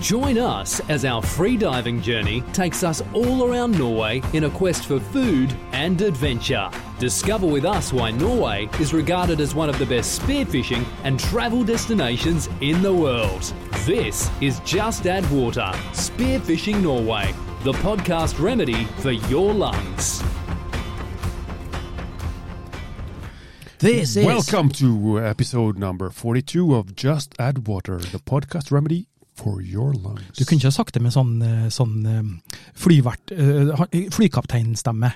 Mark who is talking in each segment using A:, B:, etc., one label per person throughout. A: Join us as our free diving journey takes us all around Norway in a quest for food and adventure. Discover with us why Norway is regarded as one of the best spearfishing and travel destinations in the world. This is Just Add Water Spearfishing Norway, the podcast remedy for your lungs.
B: This is
C: Welcome to uh, episode number 42 of Just Add Water, the podcast remedy for your lungs.
B: Du kunne ikke ha sagt det med sånn, eh, sånn eh, flyvert, eh, ha- flykapteinstemme.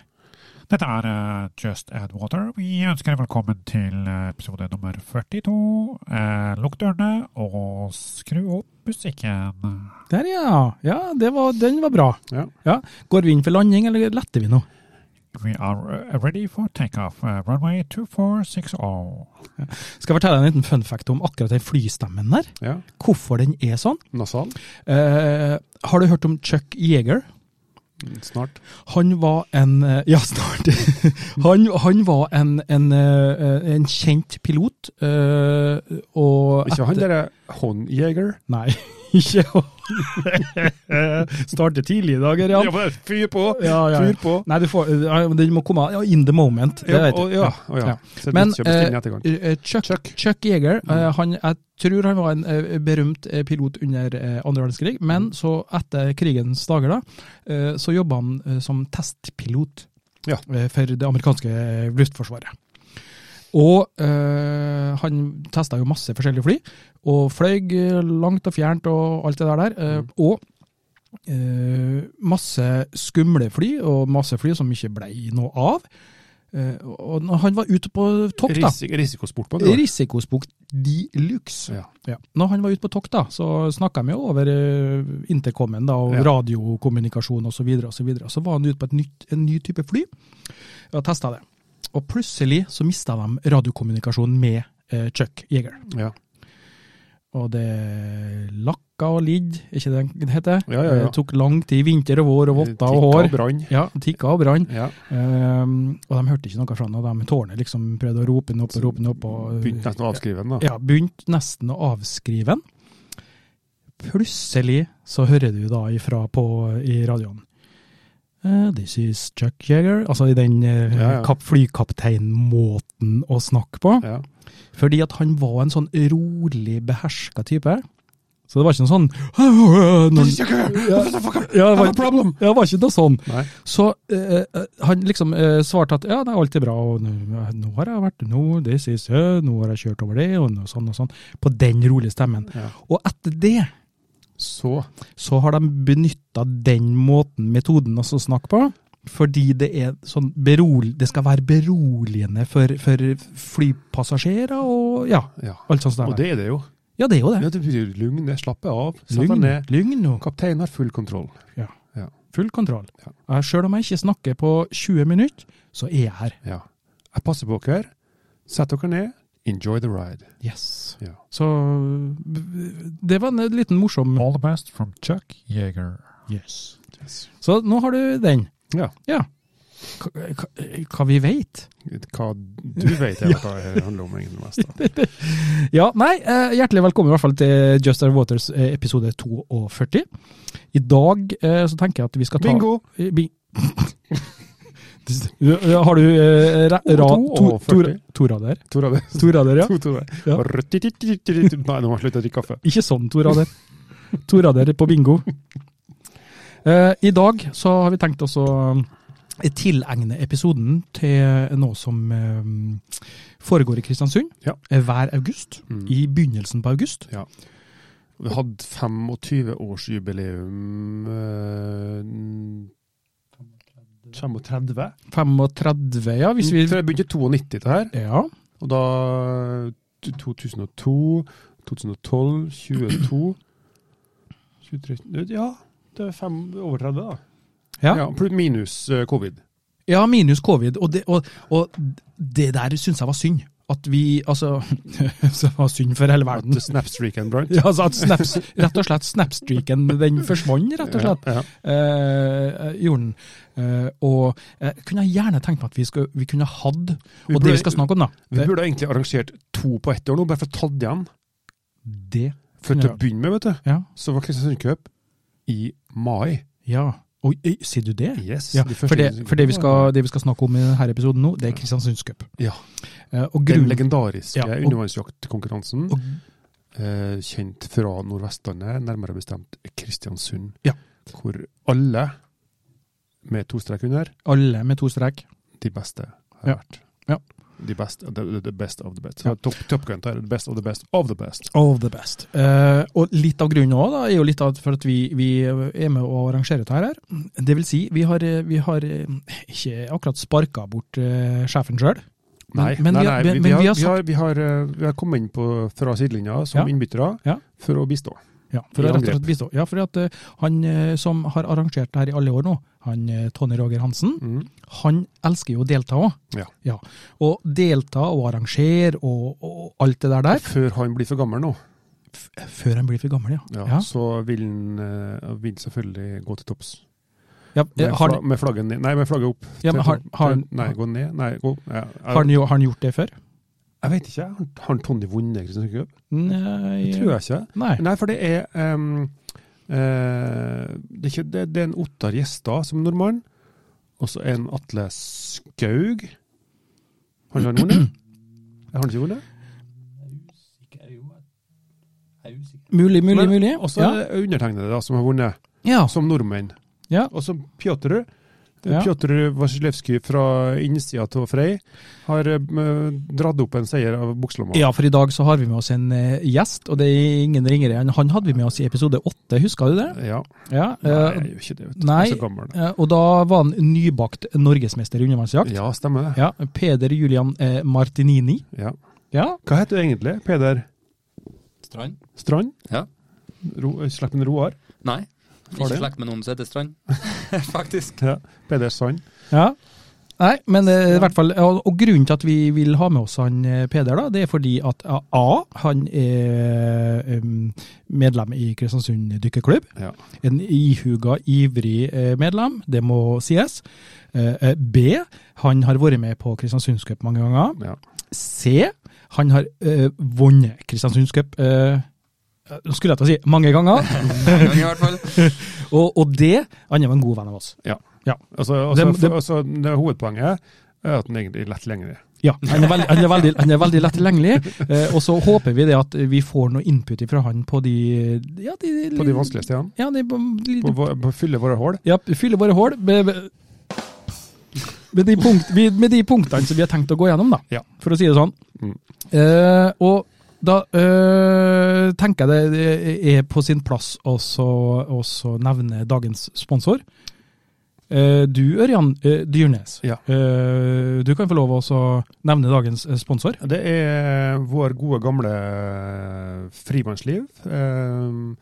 D: Dette er eh, Just Add Water. Vi ønsker deg velkommen til eh, episode nummer 42. Eh, Lukk dørene og skru opp musikken.
B: Der, ja. ja det var, den var bra.
C: Ja.
B: Går vi inn for landing, eller letter vi nå?
D: We are eh, ready for takeoff. Eh, Runway 2460.
B: Skal jeg fortelle deg en liten fun fact om akkurat den flystemmen der?
C: ja.
B: Hvorfor den er sånn?
C: Nasal. Mm,
B: Eh, har du hørt om Chuck Yeager?
C: Snart.
B: Han var en eh, Ja, snart. Han, han var en, en, eh, en kjent pilot, eh, og
C: Ikke han derre håndjeger?
B: Nei, ikke Starte tidlig i dag, Ørjan.
C: men fyr på!
B: Ja, ja, ja.
C: Fyr på!
B: Nei, du får, ja, men den må komme ja, in the moment. Det vet
C: og,
B: jeg.
C: ja. og ja.
B: Ja.
C: Så det
B: Men,
C: er ikke å bestille
B: eh,
C: etter gang.
B: Eh, Chuck, Chuck. Yeager, eh, han, jeg tror han var en eh, berømt eh, pilot under eh, andre verdenskrig, men så etter krigens dager da, eh, så jobba han eh, som testpilot
C: Ja.
B: eh, for det amerikanske eh, luftforsvaret. Og eh, han testa jo masse forskjellige fly, og fløy eh, langt og fjernt og alt det der der. eh, Og eh, masse skumle fly, og masse fly som ikke blei noe av. Eh, og når han var ute på tokt, da
C: Risik risikosport på det. da.
B: Risikosport de luxe.
C: Ja.
B: Ja. Når han var ute på tokt, da, så snakka vi jo over eh, intercomen da, og
C: Ja.
B: radiokommunikasjon osv. Så, videre, og så, videre. så var han ute på et nytt, en ny type fly og testa det. Og plutselig så mista de radiokommunikasjonen med eh, Chuck Yeager.
C: Ja.
B: Og det lakka og lidd, er ikke det det heter?
C: Ja, ja, ja.
B: Det tok lang tid, vinter og vår og votter og
C: Tikka
B: hår.
C: Eh, og brann.
B: Ja, tikka og brann.
C: Ja.
B: Ehm, og de hørte ikke noe fra han, og de tårnet liksom prøvde å rope den opp og rope den opp. Og,
C: Begynte nesten å avskrive den, da.
B: ja, begynte nesten å avskrive den. Plutselig så hører du da ifra på i radioen. Eh, this is Chuck Yeager. Altså i den eh,
C: Ja, ja.
B: kap- flykapteinmåten å snakke på.
C: Ja.
B: Fordi at han var en sånn rolig, beherska type. Så det var ikke noe sånn Når- ja, det var, ja, det var ikke noe sånn.
C: Nei.
B: Så eh, eh, han liksom eh, svarte at ja, det er alltid bra, og nå, nå har jeg vært nå, det sies, ja, nå har jeg kjørt over det, og noe sånn og sånn. På den rolige stemmen.
C: Ja.
B: Og etter det
C: Så
B: så har de benytta den måten, metoden, altså å snakke på. Fordi det, er sånn berol, det skal være beroligende for, for flypassasjerer og ja,
C: Ja.
B: alt sånt.
C: Og
B: Der.
C: det er det jo.
B: Ja, det er jo
C: Ja,
B: det.
C: du blir lugn, slappe av, sett deg
B: Lugn,
C: ned.
B: lugn og
C: Kapteinen har full kontroll.
B: full kontroll.
C: Ja.
B: Jeg- Selv om jeg ikke snakker på 20 minutter, så er jeg her.
C: Ja. Jeg passer på dere. Sett dere ned. Enjoy the ride.
B: Yes.
C: Ja.
B: Så b- b- det var en liten morsom
D: All the best from Chuck Yeager.
B: Yes. Så nå har du den.
C: Ja.
B: Ja. Hva, hva- hva vi veit?
C: Hva du vet, er hva det handler om. egentlig mest, da.
B: Ja, nei, eh, hjertelig velkommen i hvert fall til Just Air Waters eh, episode 42. I dag eh, så tenker jeg at vi skal ta
C: Bingo!
B: Eh, Bing. Ja, har du eh, ra, ra, to, to,
C: 42.
B: to rader?
C: Tor Adde.
B: To rader, ja.
C: To, to, Adde.
B: Ja.
C: Nei, nå må jeg slutte å drikke kaffe.
B: Ikke sånn, to rader. To rader på bingo. Eh, I dag så har vi tenkt oss å eh, tilegne episoden til noe som eh, foregår i Kristiansund
C: Ja.
B: eh, hver august.
C: Mm.
B: I begynnelsen på august.
C: Vi hadde 25-årsjubileum eh, 35?
B: 35, ja. Hvis vi
C: Så det begynte i 92, det her.
B: Ja.
C: Og da t- 2002, 2012, 22 23 Ja, det er fem, over 30, da.
B: Ja.
C: Ja, plut- minus eh, covid.
B: ja, minus covid. Og det, og, og det der syns jeg var synd. At vi Altså, det var synd for hele
C: At
B: verden.
C: snapstreaken brant.
B: Ja, altså at snaps, rett og slett snapstreaken, den forsvant, rett og slett.
C: Ja,
B: eh, jorden. Eh, og eh, kunne jeg gjerne tenkt meg at vi, skulle- vi kunne hatt, og
C: Vi burde-
B: det vi skal snakke om da,
C: Vi
B: det,
C: burde egentlig arrangert to på ett år nå, bare for å ta det igjen.
B: det
C: For til
B: Ja.
C: å begynne med, vet du,
B: Ja.
C: så var Kristiansund Cup i mai.
B: ja. Oi, øy, sier du det?
C: Yes.
B: Ja,
C: de første
B: for det,
C: Kristiansund
B: for det, vi,
C: Cup var-
B: skal, det vi skal snakke om i denne episoden nå, det er Kristiansunds Cup.
C: Ja.
B: Eh, Og
C: Den
B: grunnen
C: legendariske
B: Ja, og-
C: undervannsjaktkonkurransen,
B: og-
C: eh, kjent fra Nordvestlandet, nærmere bestemt Kristiansund,
B: Ja.
C: hvor alle med to strek under,
B: alle med to strek.
C: de beste har
B: Ja.
C: vært.
B: Ja.
C: De best, the, the- the best of the best.
B: Ja.
C: Ja. Top, top Gun tar the best of the best of the best.
B: Of the best. Eh, og litt av grunnen òg, er jo litt av for at vi, vi er med å arrangere dette her. Det vil si, vi har, eh, vi har eh, ikke akkurat sparka bort eh, sjefen sjøl. Men-
C: Nei,
B: men
C: nei,
B: vi har-
C: nei,
B: men-
C: vi,
B: men
C: vi, har,
B: vi har
C: vi, har, vi, har, eh, vi har kommet inn på, fra sidelinja som
B: Ja.
C: innbyttere
B: Ja.
C: for å bistå.
B: Ja, for
C: I
B: å rett og
C: angrep.
B: slett bistå. Ja, for at eh, han eh, som har arrangert det her i alle år nå, han eh, Tony Roger Hansen,
C: Mm.
B: han elsker jo å delta òg.
C: Ja.
B: Og delta og arrangere og, og alt det der der.
C: Før han blir for gammel nå,
B: F før han blir for gammel, ja.
C: ja,
B: Ja.
C: så vil han eh, vil selvfølgelig gå til topps.
B: Ja, eh,
C: Med,
B: har,
C: fla, med flagget ned. Nei, med flagget opp.
B: ja, men har,
C: Til-
B: har,
C: til- nei, gå ned. Nei, gå ja, jeg,
B: har, han, jo- har han gjort det før?
C: jeg vet ikke. Har, har Tony vunnet Kristiansund Cup?
B: Nei,
C: Det tror jeg ikke.
B: Nei.
C: Nei, for det er ehm, eh, det, er ikke, det, det er en Ottar Gjestad som er nordmann, og så en Atle Skaug. Har han vunnet? Har han ikke vunnet?
B: Mulig, mulig,
C: Men
B: mulig.
C: Og så
B: Ja.
C: er det undertegnede da, som har vunnet,
B: ja.
C: som nordmenn.
B: Ja.
C: Og så Pjotr.
B: Ja.
C: Pjotr Vasilevsky fra innsida av Frei har eh, dratt opp en seier av bukselomma.
B: Ja, for i dag så har vi med oss en eh, gjest, og det er ingen ringere enn han hadde vi med oss i episode åtte, husker du det?
C: Ja.
B: Ja.
C: Nei,
B: eh,
C: jeg gjør ikke det, vet du.
B: nei.
C: Jeg er så gammel.
B: eh, og da var han nybakt norgesmester i undervannsjakt.
C: Ja, stemmer det.
B: Ja, Peder Julian eh, Martinini.
C: Ja.
B: Ja,
C: Hva heter du egentlig, Peder
E: Strand?
C: Strand?
E: Ja.
C: Ro, slapp en Roar?
E: Nei.
C: Får
E: Ikke
C: det?
E: slekt med noen som heter Strand, faktisk.
C: Ja, Peder Sand.
B: ja. Nei, men eh, i hvert fall, og, og grunnen til at vi vil ha med oss han eh, Peder, da, det er fordi at eh, A, han er em, medlem i Kristiansund dykkerklubb.
C: Ja.
B: En ihuga, ivrig eh, medlem, det må sies. Eh, eh, B. Han har vært med på Kristiansundscup mange ganger.
C: Ja.
B: C. Han har eh, vunnet Kristiansundscup eh, eh, skulle jeg til å si mange ganger.
E: Noen i hvert fall.
B: Og, og D. Han er jo en god venn av oss.
C: Altså, altså,
B: Dem- dem-
C: for- altså, det hovedpoenget er at den egentlig er lett lengre.
B: Ja, han er veldig, han er veldig, han er veldig lett tilgjengelig. Eh, og så håper vi det at vi får noe input fra han på de ja, de,
C: På de vanskelige stedene.
B: Ja, de, de,
C: På, på, på å fylle våre hull.
B: Ja, fylle våre hull med, med- med, de punkt, med med de punktene som vi har tenkt å gå gjennom, da.
C: Ja.
B: For å si det sånn.
C: Mm.
B: Eh, og da eh, tenker jeg det det er på sin plass også å nevne dagens sponsor. Eh, du, Ørjan eh, Dyrnes,
C: Ja.
B: eh, du kan få lov å også nevne dagens eh, sponsor.
C: Det er eh, vår gode, gamle frimannsliv. eh,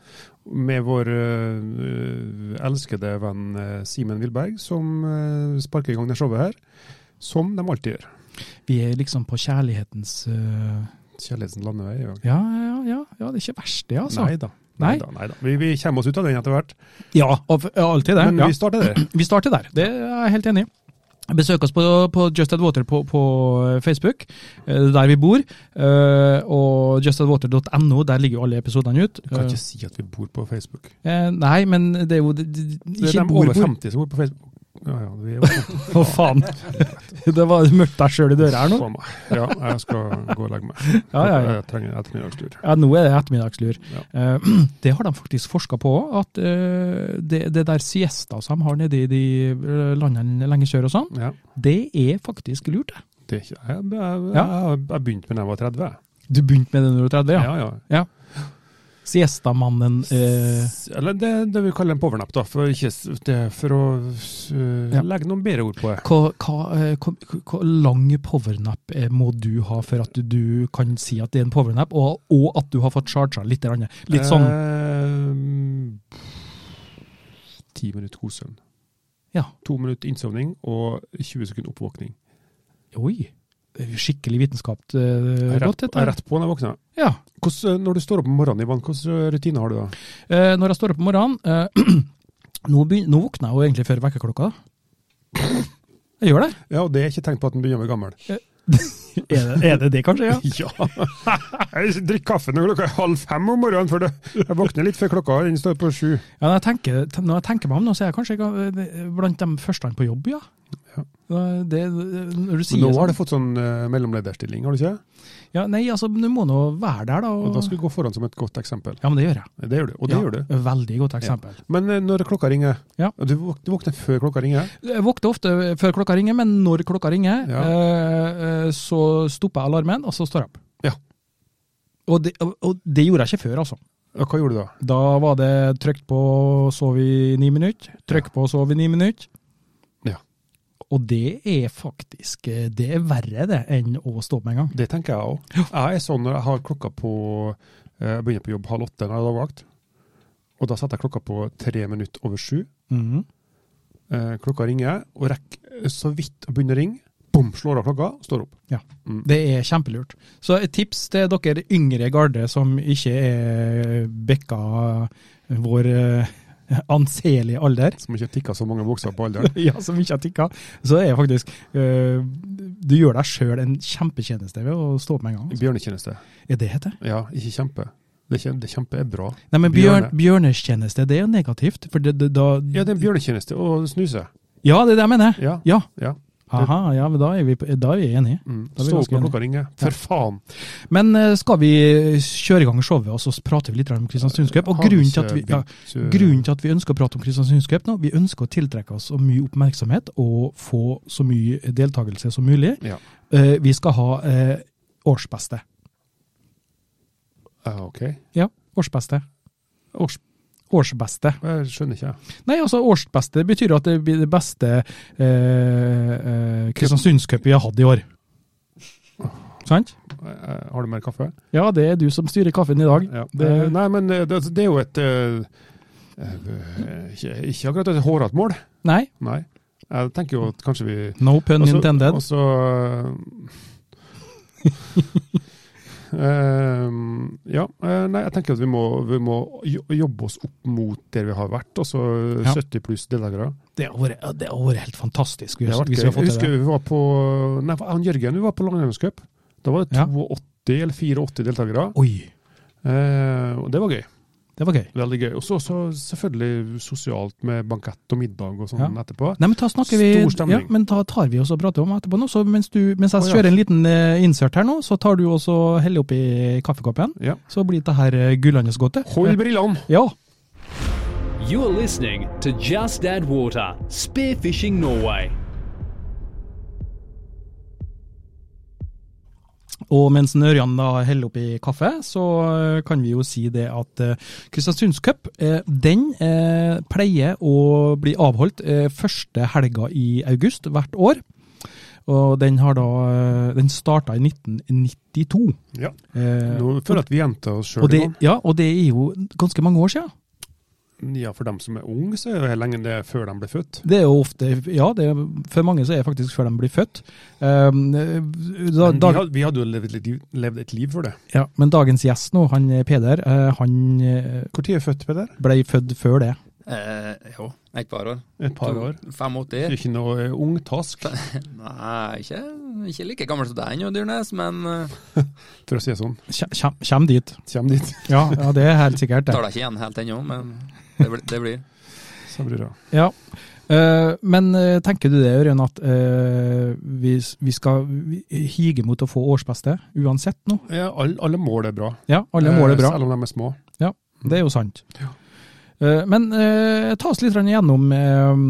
C: Med vår eh, elskede venn eh, Simen Wilberg, som eh, sparker i gang det showet her. Som de alltid gjør.
B: Vi er liksom på kjærlighetens eh,
C: Kjærlighetens landevei. Ja.
B: ja, ja, ja, ja, det er ikke verst det, altså.
C: Nei da.
B: Nei.
C: Neida, neida. Vi, vi kommer oss ut av den etter hvert.
B: Ja, og, ja, alltid det.
C: Men
B: ja.
C: vi starter der.
B: Vi starter der, det er jeg helt enig i. Besøk oss på, på Just Add Water på, på Facebook, eh, der vi bor. eh, Og justadwater.no, der ligger jo alle episodene ut.
C: Du kan ikke si at vi bor på Facebook.
B: Eh, Nei, men det er jo de- de-
C: Det er
B: Ikke
C: de
B: bor,
C: over
B: bor.
C: 50 som bor på Facebook. Ja, ja, vi er over 50.
B: Å, faen. Det var mørkt deg sjøl i døra her nå.
C: Faen meg. Ja, jeg skal gå og legge meg.
B: Ja, ja, ja.
C: Jeg trenger ettermiddagslur.
B: Ja, nå er det ettermiddagslur. Eh, Det har de faktisk forska på òg, at eh, det, det der siesta som de har nede i de eh, landene lenger sør og sånn,
C: Ja.
B: det er faktisk lurt. det.
C: Det er ikke, jeg, jeg,
B: Ja.
C: jeg, jeg begynte med da jeg var 30.
B: Du begynte med det når du var 30, ja?
C: Ja, ja.
B: Siestamannen eh,
C: S- Eller det, det vi kaller en powernap, da. For, ikke, s- det, for å s-
B: Ja.
C: legge noen bedre ord på det.
B: Hva, hva, eh, hva, hva lang powernap eh, må du ha for at du kan si at det er en powernap, og, og at du har fått charga litt? grann? Litt sånn
C: Eh, Ti minutter god søvn.
B: Ja.
C: To minutter innsovning og 20 sekunder oppvåkning.
B: Oi, det er jo skikkelig vitenskap. Eh,
C: Jeg er
B: godt,
C: rett, jeg
B: dette.
C: er rett på når jeg våkner.
B: Ja.
C: Hvordan, eh, når du står opp om morgenen, Ivan, hvilke rutiner har du da?
B: Eh, når jeg står opp om morgenen eh, nå, begyn- nå våkner jeg jo egentlig før vekkerklokka. Jeg gjør det.
C: Ja, og Det er ikke tegn på at du begynner å bli gammel.
B: Er det er det, det kanskje? ja?
C: Ja. Jeg drikker kaffe når klokka er halv fem om morgenen, for det- jeg våkner litt før klokka den står på sju.
B: Ja, når jeg tenker, ten- når jeg tenker meg om nå, så er jeg kanskje ikke- eh, blant de første på jobb, ja.
C: Ja.
B: Eh, Det, når du sier
C: Men nå har
B: sånn-
C: du fått sånn eh, mellomlederstilling, har du ikke?
B: Ja, nei, altså, du må nå være der, da.
C: Og
B: Og,
C: da skal du gå foran som et godt eksempel.
B: Ja, men det gjør jeg.
C: Det gjør du, og det
B: ja,
C: gjør du.
B: Veldig godt eksempel.
C: Men eh, når klokka ringer,
B: Ja.
C: og du, våk- du våkner før klokka ringer,
B: Jeg våkner ofte før klokka ringer, men når klokka ringer,
C: Ja.
B: eh, eh, så stopper jeg alarmen, og så står jeg opp.
C: Ja.
B: Og det, og- og det gjorde jeg ikke før, altså.
C: og hva gjorde du da?
B: Da var det trykk på, sov i ni minutter. Trykk på, sov i ni minutter.
C: Ja.
B: Og det er faktisk eh, Det er verre, det, enn å stå opp med en gang.
C: Det tenker jeg òg. Jeg er sånn når jeg har klokka på eh, Jeg begynner på jobb halv åtte når jeg har dagvakt. Og da setter jeg klokka på tre minutter over sju.
B: Mhm.
C: Eh, Klokka ringer, og rekker så vidt å begynne å ringe. Bom, slår av klokka, står opp.
B: Det er kjempelurt. Så et tips til dere yngre garde som ikke er bekka vår eh, anselige alder,
C: Som ikke tikka så mange bukser på alderen.
B: ja, som ikke har tikka, så er faktisk eh, Du gjør deg sjøl en kjempetjeneste ved å stå opp med en gang.
C: Bjørnetjeneste.
B: Er det hete?
C: Ja, ikke kjempe. Det, er kjem- det kjempe er bra.
B: Nei, men bjørn,
C: Bjørne.
B: bjørnetjeneste, det er jo negativt. For det, det, da
C: Ja, det er en bjørnetjeneste å snuse.
B: Ja, det er det jeg mener.
C: Ja.
B: Ja.
C: ja.
B: Aha, ja, men da er vi, på- da er vi enige.
C: Mm.
B: Da blir
C: Stå opp
B: ganske
C: når
B: enig.
C: klokka ringer. For faen!
B: Men eh, skal vi kjøre i gang showet, og så prater vi litt om Kristiansunds Cup? Og
C: Har
B: grunnen
C: ikke
B: til at vi ja,
C: begynt, eh,
B: Grunnen til at vi ønsker å prate om Kristiansunds Cup nå, vi ønsker å tiltrekke oss så mye oppmerksomhet og få så mye deltakelse som mulig.
C: Ja.
B: Eh, vi skal ha eh, årsbeste.
C: Ja, OK.
B: Ja, årsbeste.
C: Års...
B: Årsbeste.
C: Jeg skjønner ikke, jeg.
B: Nei, altså årsbeste betyr at det blir det beste eh, eh, Kristiansunds Cup vi har hatt i år. Sant?
C: Jeg- jeg- Eh, Har du mer kaffe?
B: Ja, det er du som styrer kaffen i dag.
C: Ja.
B: Det,
C: Eh, Nei, men eh, det, altså, det er jo et eh, eh, ikke, ikke akkurat et hårete mål.
B: nei,
C: Nei. Jeg tenker jo at kanskje vi
B: no pun
C: Også-
B: intended.
C: også, eh, ehm, ja, eh, nei, jeg tenker at vi må, vi må jo- jobbe oss opp mot der vi har vært. Altså
B: Ja.
C: 70 pluss deltakere.
B: Det har vært- det har vært helt fantastisk
C: Det
B: hvis,
C: har vært
B: hvis vi har
C: gøy. Jeg
B: fått
C: husker
B: til det.
C: vi var på Nei, han Jørgen vi var på langrennscup. Da var det
B: Ja.
C: 82 eller 84 deltakere.
B: Oi,
C: Eh, og det var gøy.
B: det var gøy.
C: Veldig gøy. Og så så selvfølgelig sosialt med bankett og middag og sånn etterpå.
B: Nei, men ta snakker vi,
C: Stor stemning.
B: Ja, men da tar vi oss og prater om etterpå nå. Så mens, du, mens jeg
C: Å, ja.
B: kjører en liten eh, insert her nå, så tar du også heller oppi kaffekoppen.
C: Ja.
B: Så blir det her eh, gullandets godte.
C: Hold brillene!
B: Ja.
A: You're listening to Just Add Water Spearfishing Norway.
B: Og mens Ørjan da heller oppi kaffe, så eh, kan vi jo si det at eh, Kristiansunds Cup, eh, den eh, pleier å bli avholdt eh, første helga i august hvert år. Og den har da eh, Den starta i 1992.
C: Ja.
B: Eh,
C: Nå føler jeg at vi gjentar oss sjøl.
B: Og det, ja, og det er jo ganske mange år siden.
C: Ja, for dem som er unge, så er det lenge det er før de ble født.
B: Det er jo ofte, ja, det er, for mange så er det faktisk før de blir født. Um, da,
C: Men vi,
B: dag,
C: hadde, vi hadde jo levd et, liv, levd et liv før det.
B: ja, men dagens gjest nå, han eh, Peder, eh, han eh,
C: Når er født, Peder?
B: ble født før det.
E: Eh, jo, et par år.
C: Et par år. Du
E: To- 85.
C: er ikke noe eh, ung task,
E: Nei, ikke, ikke like gammel som deg ennå, Dyrnes, men eh,
C: for å si det sånn.
B: Kjem, kjem- kjem dit.
C: Kjem dit.
B: Ja, ja, det er helt sikkert det.
E: tar deg ikke igjen helt ennå. Men det blir. Det blir.
C: Så blir det.
B: Ja. Eh, men eh, tenker du det, Ørjan, at eh, vi, s- vi skal vi- hige mot å få årsbeste uansett nå?
C: Ja, alle, alle mål er bra.
B: Ja, alle mål er bra.
C: Eh, Selv om de er små.
B: Det er jo sant. Eh, Men eh, ta oss litt grann igjennom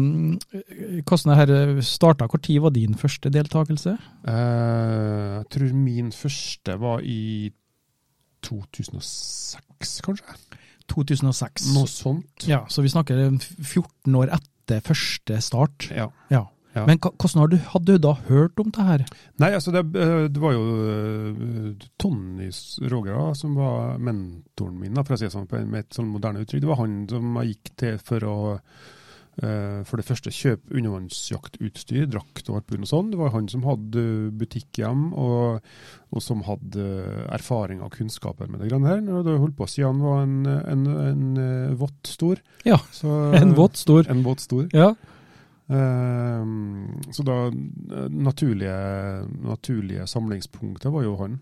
B: eh, hvordan det her starta. Hvor tid var din første deltakelse?
C: Eh, jeg tror min første var i 2006, kanskje?
B: 2006.
C: Noe sånt.
B: Ja, Så vi snakker en f- 14 år etter første start.
C: Ja.
B: Ja.
C: Ja.
B: Men hva- hvordan har du, hadde du da hørt om det her?
C: Nei, altså det, eh, det var jo eh, Tony Roger da, som var mentoren min, da, for å si det sånn, på en- med et sånn moderne uttrykk. Det var han som jeg gikk til for å eh, for det første kjøpe undervannsjaktutstyr, drakt og harpun og sånn. Det var han som hadde eh, butikk hjem, og, og som hadde eh, erfaring og kunnskaper med det greiene her. Og det holdt på siden han var en, en, en eh, vått stor.
B: Ja,
C: Så,
B: En våt stor.
C: En vått stor.
B: Ja.
C: Ehm, Så da eh, naturlige, naturlige samlingspunktet var jo han.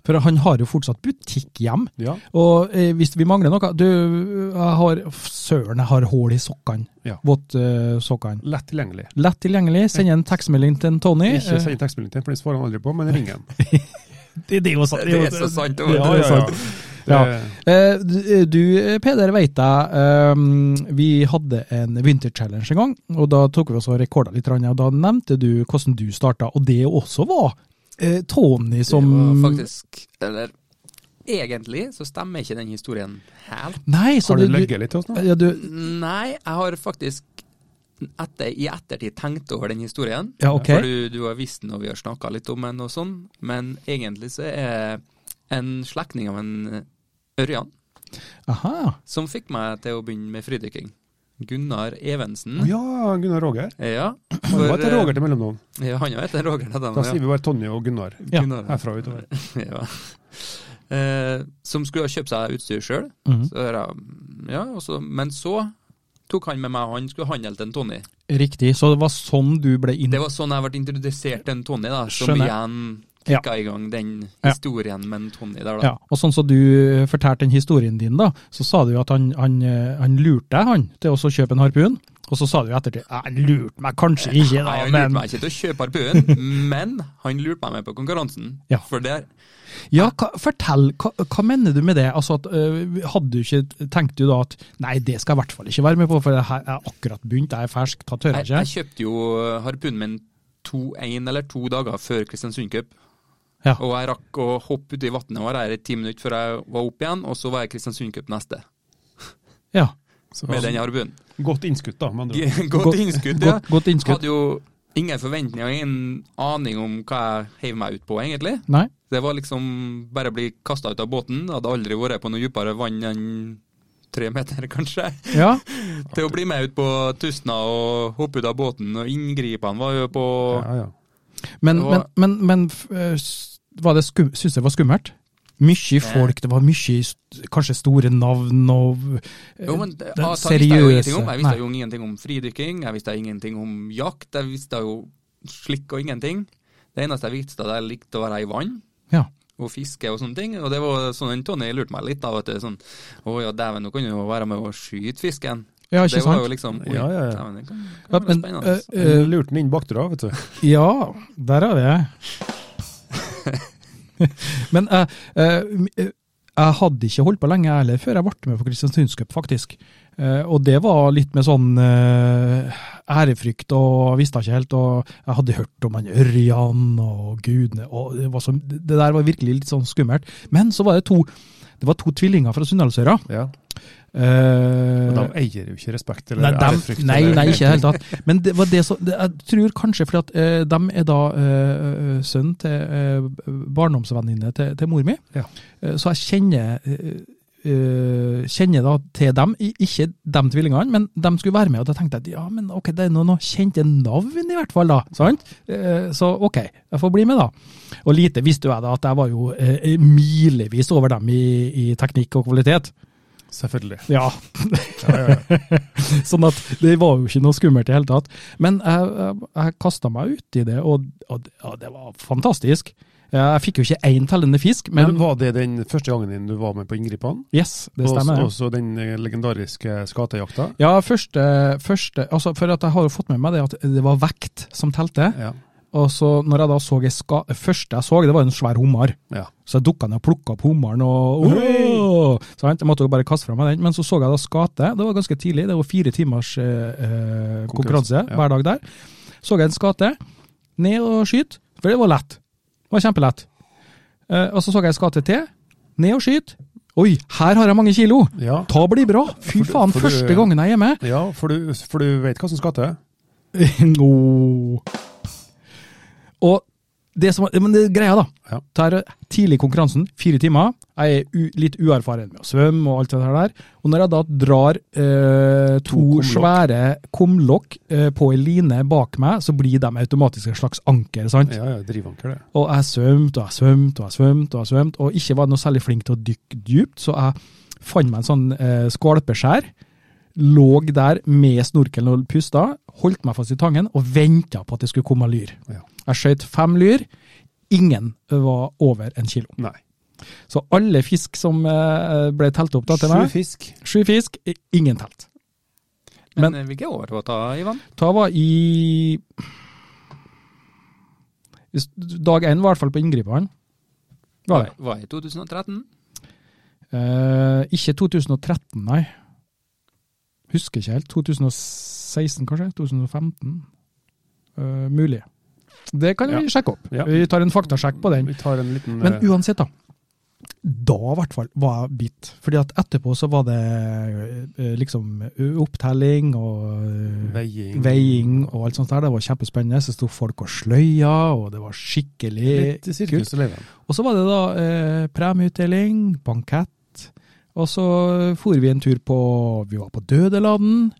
B: For han har jo fortsatt butikk hjem.
C: Ja.
B: Og eh, hvis vi mangler noe Du, jeg har Søren, jeg har hull i sokkene.
C: Ja.
B: Våtsokkene.
C: Lett tilgjengelig.
B: Lett tilgjengelig. Send en tekstmelding til en Tony. Eh,
C: Ikke send tekstmelding til ham, for den svarer han aldri på, men ring ham.
B: Det, det er jo sant.
E: Det er så sant. det var-
B: Ja, ja, ja.
C: Ja.
B: Eh, du- Du, Peder, veit jeg ehm, Vi hadde en vinterchallenge en gang, og da tok vi oss og rekorda litt, og da nevnte du hvordan du starta, og det også var eh, Tony som
E: Det var faktisk Eller egentlig så stemmer ikke den historien helt.
B: Nei, så
C: Har du
B: du- Mm. du-
C: løyet litt til oss nå?
B: ja, du,
E: Nei, jeg har faktisk etter, i ettertid tenkt over den historien.
B: ja, ok.
E: For du, du har visst den, og vi har snakka litt om den og sånn. Men egentlig så er en slektning av en eh, Ørjan
B: Aha.
E: som fikk meg til å begynne med fridykking. Gunnar Evensen.
C: Ja, Gunnar Roger.
E: Ja,
C: Han
E: for,
C: var til Roger til mellomnavn.
E: eh, Ja, han heter Roger. det er den,
C: Da
E: ja.
C: sier vi bare Tonje og Gunnar
B: Ja.
E: Gunnar, ja.
C: herfra og utover.
E: ja. Eh, som skulle ha kjøpt seg utstyr sjøl.
C: Mm.
B: Mhm.
E: Ja, og så- men så tok han med meg, og han skulle handle til en Tony.
B: Riktig. Så det var sånn du ble inn...
E: Det var sånn jeg ble introdusert til en Tony, da, som
B: Skjønner.
E: igjen
B: Ja.
E: kicka i gang den
B: Ja.
E: historien med en Tony der, da.
B: Ja, og sånn som du fortalte den historien din, da, så sa du jo at han, han, eh, han lurte deg han, til også å kjøpe en harpun. Og så sa du i ettertid «Ja, han lurte meg kanskje ikke, da,
E: Nei, han lurte
B: men
E: meg ikke til å kjøpe harpuen, men han lurte meg med på konkurransen.
B: Ja.
E: For der
B: Ja, hva, fortell, hva, hva mener du med det? Altså, at, eh, hadde du ikke, Tenkte du da at nei, det skal jeg i hvert fall ikke være med på, for det her jeg har akkurat begynt, jeg er fersk, ta tørre
E: jeg, jeg
B: ikke?
E: kjøpte jo eh, harpunen min to, en eller to dager før Kristiansund Cup.
B: Ja.
E: Og jeg rakk å hoppe uti vannet og være her i ti minutter før jeg var oppe igjen, og så var jeg Kristiansund Cup neste.
B: Ja,
C: Så,
E: Med den arven.
C: godt innskutt, da. Med andre. ord.
E: Godt innskudd, ja.
B: godt, godt innskudd.
E: Hadde jo ingen forventninger, ingen aning om hva jeg heiv meg ut på, egentlig.
B: Nei?
E: Det var liksom bare å bli kasta ut av båten. Jeg hadde aldri vært på noe dypere vann enn tre meter, kanskje.
B: Ja,
E: Til å bli med ut på Tustna og hoppe ut av båten, og inngripene var jo på
C: Ja, ja.
B: men,
E: Det
B: men,
E: var-
B: men, men f- eh, s- var det skum, synes det var skummelt? Mye folk, det var mye st- kanskje store navn og eh,
E: Jo, men det,
B: den
E: ah, så visste jeg, jo ingenting om. jeg
B: Nei.
E: visste jo ingenting om fridykking, jeg visste ingenting om jakt, jeg visste jo slikk og ingenting. Det eneste jeg visste, at jeg likte å være i vann
B: Ja.
E: og fiske og sånne ting. Og det var sånn en Tony lurte meg litt av at det er sånn Å ja, dæven, nå kan du jo være med og skyte fisken.
B: ja,
E: det
B: ikke
E: var jo
B: sant?
E: liksom Oi,
C: Ja, ja, ja.
E: dæven, det kan,
B: Ja,
E: kan være
B: men,
E: spennende. altså.
B: eh, eh,
C: Lurte den inn bakdøra, vet du.
B: Ja, der er det. Men eh, eh, eh, jeg hadde ikke holdt på lenge jeg heller før jeg ble med på Kristiansundscup, faktisk. Eh, og det var litt med sånn eh, ærefrykt og jeg visste ikke helt. Og jeg hadde hørt om han Ørjan og gudene, og det, var så, det der var virkelig litt sånn skummelt. Men så var det to, det var to tvillinger fra Sunndalsøra.
C: Ja.
B: Eh,
C: Men de eier jo ikke respekt
B: Nei,
C: eller
B: dem,
C: ærefrykt.
B: nei,
C: eller-
B: nei, ikke i det hele tatt. Men det var det som det, Jeg tror kanskje fordi at eh, de er da eh, eh, sønnen til eh, barndomsvenninne til, til mor mi.
C: Ja.
B: Eh, så jeg kjenner eh, eh, kjenner da til dem, I- ikke de tvillingene, men de skulle være med. Og da tenkte jeg at ja, men ok, det er noen noen kjente navn i hvert fall, da. sant? Eh, så ok, jeg får bli med, da. Og lite visste jo jeg da at jeg var jo eh, milevis over dem i, i teknikk og kvalitet.
C: Selvfølgelig.
B: Ja,
C: Ja, ja, ja.
B: Sånn at det var jo ikke noe skummelt i hele tatt. Men jeg, jeg, jeg kasta meg ut i det, og, og ja, det var fantastisk. Jeg fikk jo ikke én tellende fisk,
C: Men
B: men
C: var det den første gangen din du var med på Inngripene?
B: yes, det stemmer.
C: Også, også den eh, legendariske skatejakta?
B: Ja, første, første altså For at jeg har jo fått med meg det at det var vekt som telte.
C: Ja.
B: Og så når jeg da så ei ska... første jeg så, det var en svær hummer.
C: ja.
B: Så jeg dukka ned og plukka opp hummeren og Åh! sant? Jeg måtte jo bare kaste fra meg den. Men så så jeg da skate. Det var ganske tidlig. Det var fire timers eh, eh, konkurranse
C: Konkurranse, ja.
B: hver dag der. Så jeg en skate. Ned og skyte. For det var lett. Det var kjempelett. Eh, og så så jeg en skate til. Ned og skyte. Oi, her har jeg mange kilo!
C: Ja.
B: Ta blir bra! Fy
C: For du-
B: faen,
C: for du-
B: første gangen jeg er hjemme!
C: ja, for du, for du vet hva som skal til?
B: no. Og det som Men det er greia, da.
C: Ja.
B: Det her er tidlig i konkurransen, fire timer. Jeg er u litt uerfaren med å svømme og alt det her der. Og når jeg da drar eh, to,
C: kumlokk.
B: svære kumlokk eh, på ei line bak meg, så blir de automatisk et slags anker. sant?
C: Ja, ja, drivanker, det.
B: Og jeg svømte og jeg svømte og jeg svømte, og jeg svømte, og ikke var jeg noe særlig flink til å dykke dypt, så jeg fant meg en sånn eh, skvalpeskjær. lå der med snorkelen og pusta, holdt meg fast i tangen og venta på at det skulle komme lyr.
C: Ja.
B: Jeg skjøt fem lyr. Ingen var over en kilo.
C: Nei.
B: Så alle fisk som eh, ble telt opp da til
C: Sju
B: meg,
C: fisk.
B: sju fisk, i- ingen telt.
E: Men,
B: Men-
E: eh, hvilke år var det, Ivan?
B: Da var i Hvis- Dag én var i hvert fall på inngriperen. Var det.
E: Var det i 2013?
B: Eh, ikke 2013, nei. Husker ikke helt. 2016, kanskje? 2015? Eh, mulig. Det kan vi
C: Ja.
B: sjekke opp.
C: Ja.
B: Vi tar en faktasjekk på den.
C: Vi tar en liten
B: Men
C: eh,
B: uansett, da. Da i hvert fall var jeg bitt. Fordi at etterpå så var det eh, liksom opptelling og eh,
C: veiing.
B: veiing og alt sånt der. Det var kjempespennende. Så sto folk og sløya, og det var skikkelig
C: Litt sirkus og leven.
B: Og så var det da eh, premieutdeling, bankett, og så for vi en tur på Vi var på Dødelanden,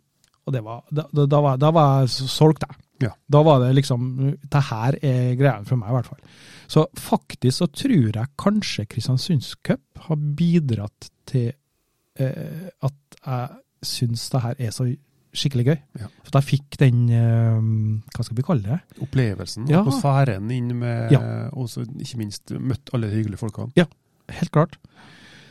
B: og det var, da, da, da var, da var jeg s- solgt, jeg.
C: Ja.
B: Da var det liksom Det her er greia for meg, i hvert fall. Så faktisk så tror jeg kanskje Kristiansunds Cup har bidratt til eh, at jeg syns det her er så skikkelig gøy.
C: Ja.
B: For da fikk den eh, Hva skal vi kalle det?
C: Opplevelsen,
B: Ja.
C: atmosfæren inn med
B: Ja.
C: Og så ikke minst møtt alle de hyggelige folkene.
B: Helt klart.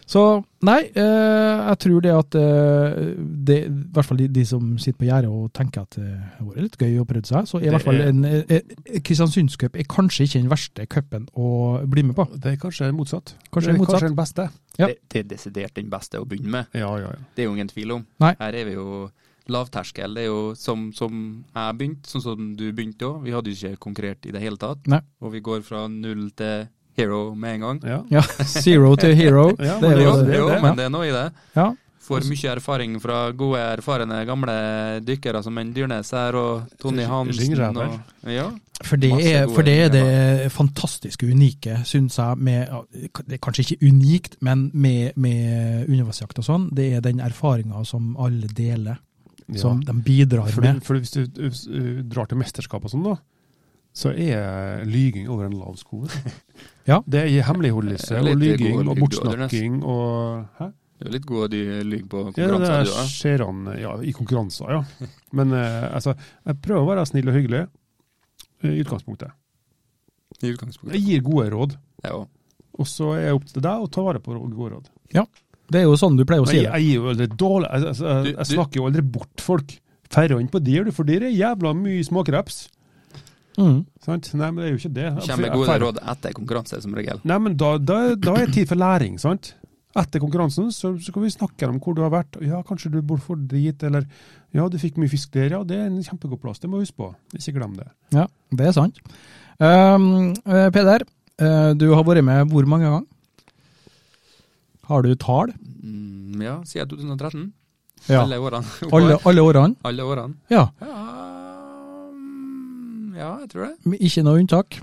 B: Så nei, eh, jeg tror det at eh, det, I hvert fall de, de som sitter på gjerdet og tenker at eh, det har vært litt gøy å prøve seg, så er i
C: Det
B: hvert fall
C: er-
B: en eh, eh, Kristiansundscup er kanskje ikke den verste cupen å bli med på.
C: Det er kanskje motsatt.
B: Kanskje
C: det er
B: motsatt.
C: Kanskje den beste.
B: Ja.
E: Det, det er desidert den beste å begynne med.
C: Ja, ja, ja.
E: Det er jo ingen tvil om.
B: Nei.
E: Her er vi jo lavterskel. Det er jo som, som jeg begynte, sånn som du begynte òg. Vi hadde jo ikke konkurrert i det hele tatt.
B: Nei.
E: Og vi går fra null til hero med en gang.
C: ja.
B: Ja, Zero to hero.
C: Ja,
B: det
C: men
B: er jo
E: jo,
B: det.
E: jo,
C: det.
E: men det er noe i det.
B: Ja.
E: Får mye erfaring fra gode, erfarne gamle dykkere som en Dyrnes her, og Tony Hansen. Og,
C: Ringrever.
E: ja.
B: For det
E: Masse
B: er,
E: gode
B: for det, er det fantastiske unike, syns jeg, med ja, Det er kanskje ikke unikt, men med, med undervannsjakt og sånn, det er den erfaringa som alle deler, som de bidrar
C: For,
B: med.
C: du, for hvis du uh, drar til mesterskap og sånn, da, så er lyging over en lav sko.
B: Ja.
C: Det er hemmeligholdelse og
E: Litt
C: lyging
E: god
C: og
E: lyd,
C: bortsnakking og Hæ?
E: Det er jo litt god lyg på
C: Ja, det
E: konkurranser,
C: er
E: du òg.
C: skjer'n ja, i konkurranser, ja. Men eh, altså, jeg prøver å være snill og hyggelig eh, i utgangspunktet.
E: I utgangspunktet.
C: Jeg gir gode råd,
E: Ja, og-
C: og så er det opp til deg å ta vare på rå- gode råd.
B: Det er jo sånn du pleier å
C: Men
B: si
C: jeg,
B: det.
C: jeg gir jo aldri dårlig Jeg, altså, jeg,
E: Du-
C: jeg
E: du-
C: snakker jo aldri bort folk. Færre inn på dyr, du, for dyr er jævla mye småkreps.
B: Mm.
C: Sant? Nei, men det er jo ikke det.
E: Kommer med gode råd etter konkurranse, som regel.
C: Nei, men da, da, da er det tid for læring, sant? Etter konkurransen så så skal vi snakke om hvor du har vært. Ja, kanskje du burde få dit, eller ja, du fikk mye fisk der. Ja, det er en kjempegod plass, det må du huske på. Ikke glem det.
B: Ja, det er sant. Ehm, eh, Peder, eh, du har vært med hvor mange ganger? Har du tall?
E: Mm, ja, siden 2013.
B: Ja.
E: Alle årene.
B: Alle, alle årene?
E: Alle årene.
B: Ja.
E: Ja, mm, ja, jeg tror det.
B: men Ikke noe unntak.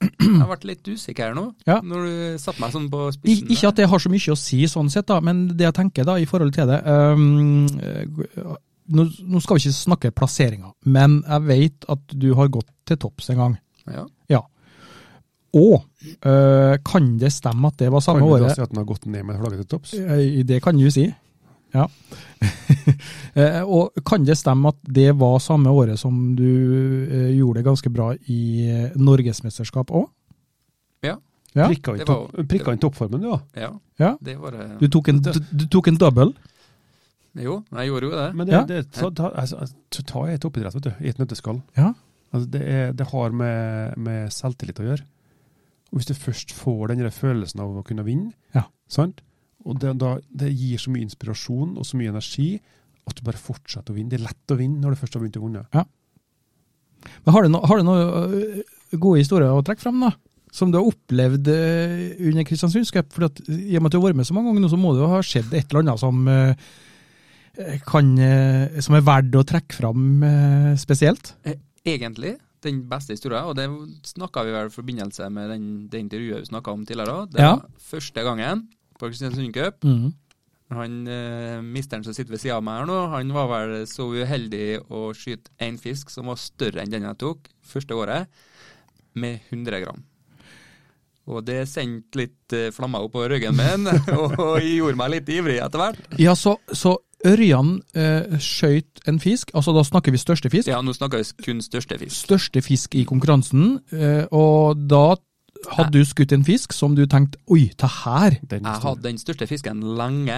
E: Jeg har vært litt usikker her nå,
B: Ja.
E: når du satte meg sånn på
B: I,
E: spissen.
B: ikke at det har så mye å si sånn sett, da, men det jeg tenker da i forhold til det ehm, eh, nå, nå skal vi ikke snakke plasseringer, men jeg vet at du har gått til topps en gang.
E: Ja.
B: Og eh, kan det stemme at det var samme
C: kan du
B: året?
C: da si at den har gått ned med flagget til topps?
B: Eh, Det kan du si. Ja. Eh, og kan det stemme at det var samme året som du eh, gjorde det ganske bra i eh, Norgesmesterskap òg? Ja.
C: Prikka inn
E: Det var
C: topp-
E: jo-
C: prikka inn toppformen, du, da.
E: ja.
B: Ja.
E: Det var det.
B: Du tok en, du, du tok en double?
E: Jo, jeg gjorde jo det.
C: Men det,
B: Ja.
C: det, så, ta, altså, så ta i et toppidrett, vet du. I et nøtteskall.
B: Ja.
C: Altså, det, er, det har med, med selvtillit å gjøre. Og hvis du først får den der følelsen av å kunne vinne,
B: Ja.
C: sant? og det, da, det gir så mye inspirasjon og så mye energi at du bare fortsetter å vinne. Det er lett å vinne når du først har begynt å vinne.
B: Men har du no- har du noen gode historier å trekke fram, da? Som du har opplevd eh, under Kristiansundscup? For at, eh, i og med at du har vært med så mange ganger nå, så må det jo ha skjedd et eller annet som eh, kan, eh, som er verdt å trekke fram eh, spesielt?
E: Egentlig den beste historien, og det snakka vi vel i forbindelse med den, det intervjuet vi snakka om tidligere òg. Det
B: Ja.
E: var første gangen på Kristiansund Cup.
B: Mm.
E: Han eh, misteren som sitter ved sida av meg her nå, han var vel så uheldig å skyte én fisk som var større enn den jeg tok første året, med 100 gram. Og det sendte litt eh, flammer opp på ryggen min, og, og gjorde meg litt ivrig etter hvert.
B: Ja, så, så Ørjan eh, skøyt en fisk, altså da snakker vi største fisk.
E: Ja, nå snakker vi kun største fisk.
B: Største fisk i konkurransen, eh, og da hadde du skutt en fisk som du tenkte oi, det her
C: Den
E: Jeg
C: store.
E: hadde den største fisken lenge,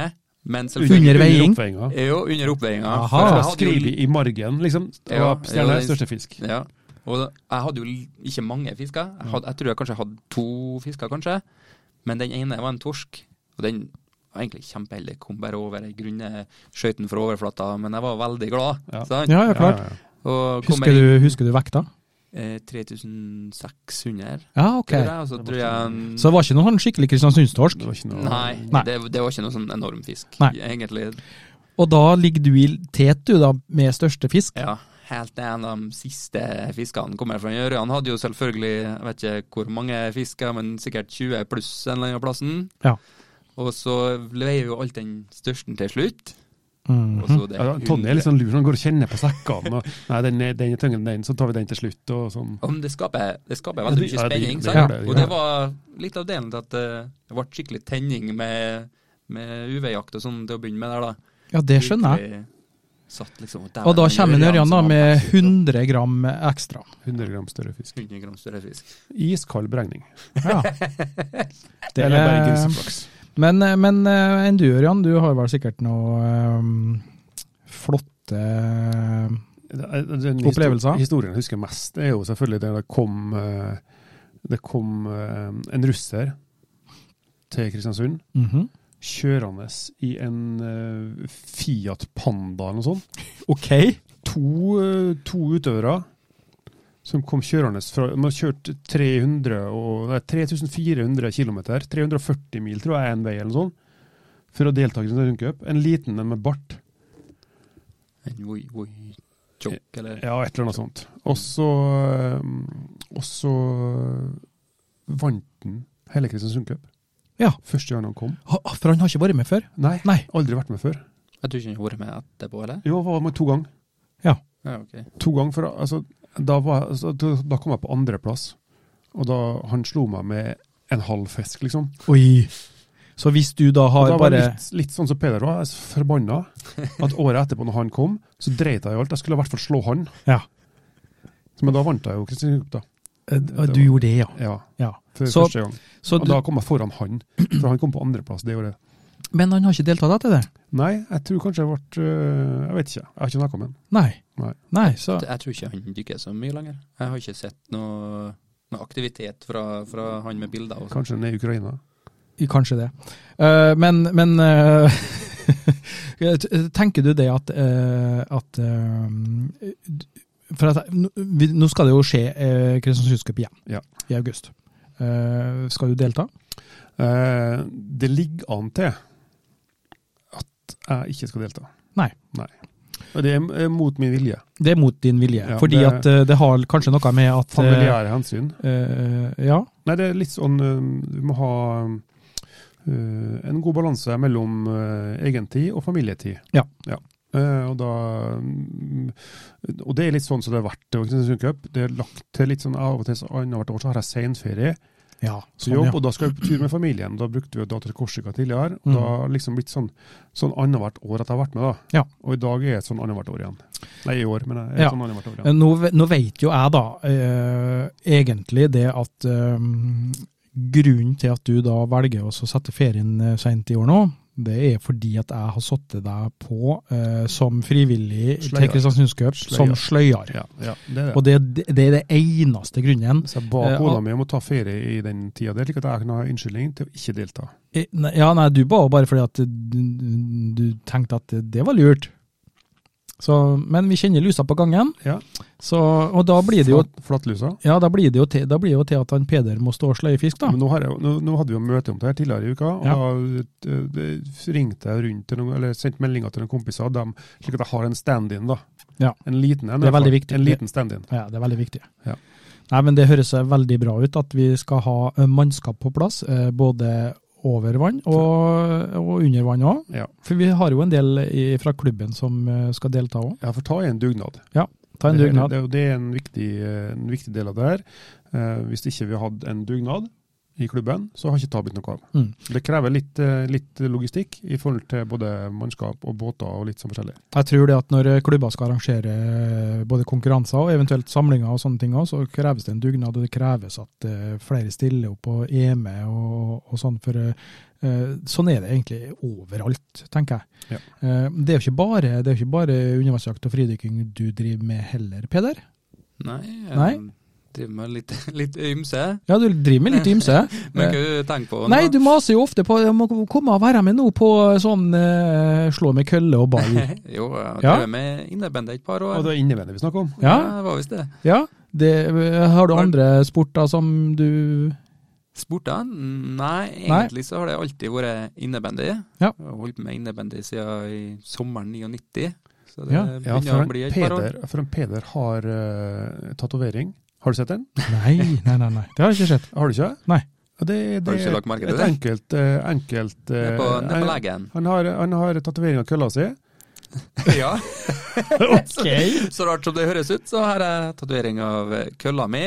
E: men
B: Under
E: selvfølgelig
B: veiing.
C: oppveiinga.
E: Jo, under oppveiinga.
B: Aha.
E: for jeg
C: Ah,
E: hadde jo-
C: Skriv i i margen, liksom.
E: Ja,
C: Ja, Stjerne
E: ja,
C: er
E: det-
C: største fisk.
E: Ja. Og jeg hadde jo l- ikke mange fisker. Jeg, hadde, jeg tror jeg kanskje hadde to fisker, kanskje. Men den ene var en torsk. Og den var egentlig kjempeheldig. Kom bare over i grunne skøyten fra overflata. Men jeg var veldig glad.
C: Ja.
E: sant?
B: Ja, ja, klart.
C: Ja, ja, ja.
E: Og kom
B: Husker
E: jeg
B: du, husker du vekta?
E: inn eh, 3600,
B: Ja, ok.
E: tror jeg. Og så tror jeg mm,
B: Så det var ikke noen sånn skikkelig kristiansundstorsk.
C: Det var ikke noe
E: Nei,
B: Nei.
E: Det, det var ikke noe sånn enorm fisk,
B: Nei.
E: egentlig.
B: Og da ligger du i tet, du, da, med største fisk.
E: Ja, helt til en av de siste fiskene kommer fra Gjøre. Han hadde jo selvfølgelig, jeg vet ikke hvor mange fisker, men sikkert 20 pluss en eller annen plassen.
B: Ja.
E: Og så veier jo alt den største til slutt.
B: Mhm.
E: Og så det
C: Ja, Tonje er litt sånn lur, han går og kjenner på sekkene. Og, nei, den er, den er tyngre enn den, så tar vi den til slutt, og sånn.
E: Ja, men det skaper, det skaper
C: Ja,
E: veldig
C: det-
E: mye
C: ja, det-
E: spenning.
C: det
E: sant?
C: gjør det, det
E: og
C: gjør
E: det var litt av delen til at eh, det ble skikkelig tenning med, med UV-jakt og sånn til å begynne med der, da.
B: Ja, det skjønner jeg.
E: Virkelig Satt liksom,
B: Og da kommer en Ørjan da
E: som var
B: med
E: best ut, og
B: 100 gram ekstra.
C: 100 gram større fisk.
E: 100 gram større fisk.
C: Iskald beregning.
B: Ja. Det
C: Eller
B: er,
C: bergensflaks.
B: Eh, men, men eh, enn du, Ørjan, du har vel sikkert noe eh, flotte eh, Opplevelser?
C: Historien jeg husker mest, det er jo selvfølgelig det det kom eh, Det kom eh, en russer til Kristiansund
B: Mhm.
C: kjørende i en eh, Fiat Panda eller noe sånt.
B: Ok.
C: to, eh, to utøvere som kom kjørende fra De har kjørt 300 og, nei, 3400 km, 340 mil tror jeg er en vei eller noe sånt, for å delta i Grønland Rundcup. En liten en med bart.
E: En voi, voi, tjokk, eller
C: Ja, et eller annet sånt. Og så eh, Og så vant han hele Kristiansund Cup.
B: Ja.
C: Første gang han kom.
B: Ha- ah, For han har ikke vært med før?
C: Nei,
B: Nei.
C: aldri vært med før.
E: Jeg tror ikke han har vært med etterpå, eller?
C: Jo, var med to ganger.
E: Ja, ok.
C: To ganger, for altså, da, var, altså, da da kom jeg på andreplass. Og da han slo meg med en halv fisk, liksom.
B: Oi. Så hvis du da
C: Og
B: har
C: da var jeg
B: bare
C: litt, litt sånn som Peder var, jeg er så forbanna at året etterpå, når han kom, så dreit jeg i alt. Jeg skulle i hvert fall slå han.
B: Ja.
C: Så, Men da vant jeg jo Kristin Cup, da.
B: eh, Du gjorde det, ja.
C: Ja,
B: ja.
C: for
B: Så-
C: første gang.
B: Så
C: og
B: du,
C: da kom jeg foran han, for han kom på andreplass det året.
B: men han har ikke deltatt etter det?
C: Nei, jeg tror kanskje jeg ble øh, Jeg vet ikke, jeg har ikke snakka med han.
B: Nei.
C: Nei.
B: Nei, så
E: Jeg tror ikke han dykker så mye lenger. Jeg har ikke sett noe, noe aktivitet fra, fra han med bilder. Og sånn. sånt.
C: Kanskje han er i Ukraina.
B: Kanskje det. Eh, men men eh, t- tenker du det at, eh, at eh, for at, jeg- nå- vi- Nå skal det jo skje uh, Kristiansundscup igjen
C: Ja.
B: i august. Eh, skal du delta?
C: Eh, det ligger an til at jeg ikke skal delta.
B: Nei.
C: Og det er eh, mot min vilje.
B: Det er mot din vilje.
C: Ja,
B: fordi
C: det-
B: at eh, det har kanskje noe med at eh,
C: Familiære hensyn.
B: eh, ja.
C: Nei, det er litt sånn øhm, Du må ha øhm, øh, en god balanse mellom øh, egentid og familietid.
B: Ja.
C: Eh, og, da, øhm, og det er litt sånn som det har vært ved Kristiansund Cup. Det er lagt til litt sånn av og til så annethvert år så har jeg senferie
B: ja
C: så
B: sånn,
C: jobb,
B: ja.
C: og da skal jeg på tur med familien. Da brukte vi jo da til Korsika tidligere. Og
B: Mm.
C: da har det liksom blitt sånn, sånn annethvert år at jeg har vært med, da.
B: Ja.
C: Og i dag er jeg et sånn annethvert år igjen. Nei, i år, men jeg er et
B: Ja.
C: sånn annethvert år igjen.
B: Eh, Nå, ve- nå vet jo jeg da eh, egentlig det at eh, grunnen til at du da velger å så sette ferien eh, sent i år nå, det er fordi at jeg har satt deg på eh, som frivillig
C: Sløyer.
B: til Kristiansundscup som
C: Sløyer.
B: sløyer.
C: Ja, ja, det er det.
B: Og det, det er det eneste grunnen.
C: Så jeg ba
B: Eh,
C: kona
B: og-
C: mi om å ta ferie i den tida der, slik at jeg kunne ha unnskyldning til å ikke delta.
B: Eh, nei- Ja, nei, du ba jo bare fordi at du, du tenkte at det var lurt. Så, men vi kjenner lusa på gangen,
C: Ja.
B: så, og da blir det jo
C: Flat- Flatlusa.
B: ja, da blir det jo til, da blir det jo til at han Peder må stå og sløye fisk, da.
C: Men nå, har jeg, nå, nå hadde vi jo møte om det her tidligere i uka, og da eh, det ringte jeg rundt til noen, eller sendte meldinger til noen kompiser, og dem, slik at jeg har en stand-in, da.
B: Ja.
C: En liten en.
B: Det er
C: i hvert
B: veldig
C: fall.
B: viktig.
C: En liten stand-in.
B: Ja, det er veldig viktig.
C: Ja.
B: Nei, men Det høres veldig bra ut at vi skal ha eh, mannskap på plass, eh, både over vann og, og under vann òg.
C: Ja.
B: For vi har jo en del i, fra klubben som eh, skal delta òg.
C: Jeg får ta i en dugnad.
B: Ta en
C: Det-
B: dugnad.
C: Det, det, det er en viktig, eh, en viktig del av det her. Eh, hvis ikke vi hadde en dugnad i klubben, så har ikke ta blitt noe av.
B: Mm.
C: Det krever litt, eh, litt logistikk i forhold til både mannskap og båter og litt sånn forskjellig.
B: Jeg tror det at når eh, klubber skal arrangere eh, både konkurranser og eventuelt samlinger og sånne ting, også, så kreves det en dugnad, og det kreves at eh, flere stiller opp og er med og, og sånn. For eh, eh, sånn er det egentlig overalt, tenker jeg.
C: Ja.
B: Eh, Det er jo ikke bare, det er jo ikke bare undervannsjakt og fridykking du driver med heller, Peder.
E: Nei, jeg
B: Nei?
E: driver med litt, litt ymse.
B: Ja, du driver med litt ymse.
E: Men hva tenker du på nå?
B: Eh, Nei, du maser jo ofte på jeg må komme og være med nå på sånn eh, slå med kølle og ball.
E: Jo, jeg
B: Ja.
E: drev med innebandy et par
C: Og
E: år.
C: det er innevendig vi snakker om.
B: Ja,
E: det var visst det.
B: ja. Det, eh, har du andre sporter som du
E: Sporter? Nei, egentlig så har det alltid vært innebandy.
B: Ja.
E: Jeg har holdt på med innebandy siden i sommeren 99. Så det
B: Ja.
C: Ja,
E: Eh, begynner
C: for
E: å
C: en
E: bli et par år.
C: Peder, for en Peder har uh, tatovering. Har du sett den?
B: Nei, nei, nei. nei. Det har ikke skjedd.
C: Har du ikke?
B: Nei.
C: Ja, Det, det,
E: Har du ikke lagt merke til
C: et
E: det?
C: Enkelt, eh, enkelt
E: Det er på, det er
C: eh,
E: på legen.
C: han har, han har tatovering av kølla si.
B: eh,
E: Ja. Så rart som det høres ut, så har jeg tatovering av kølla mi.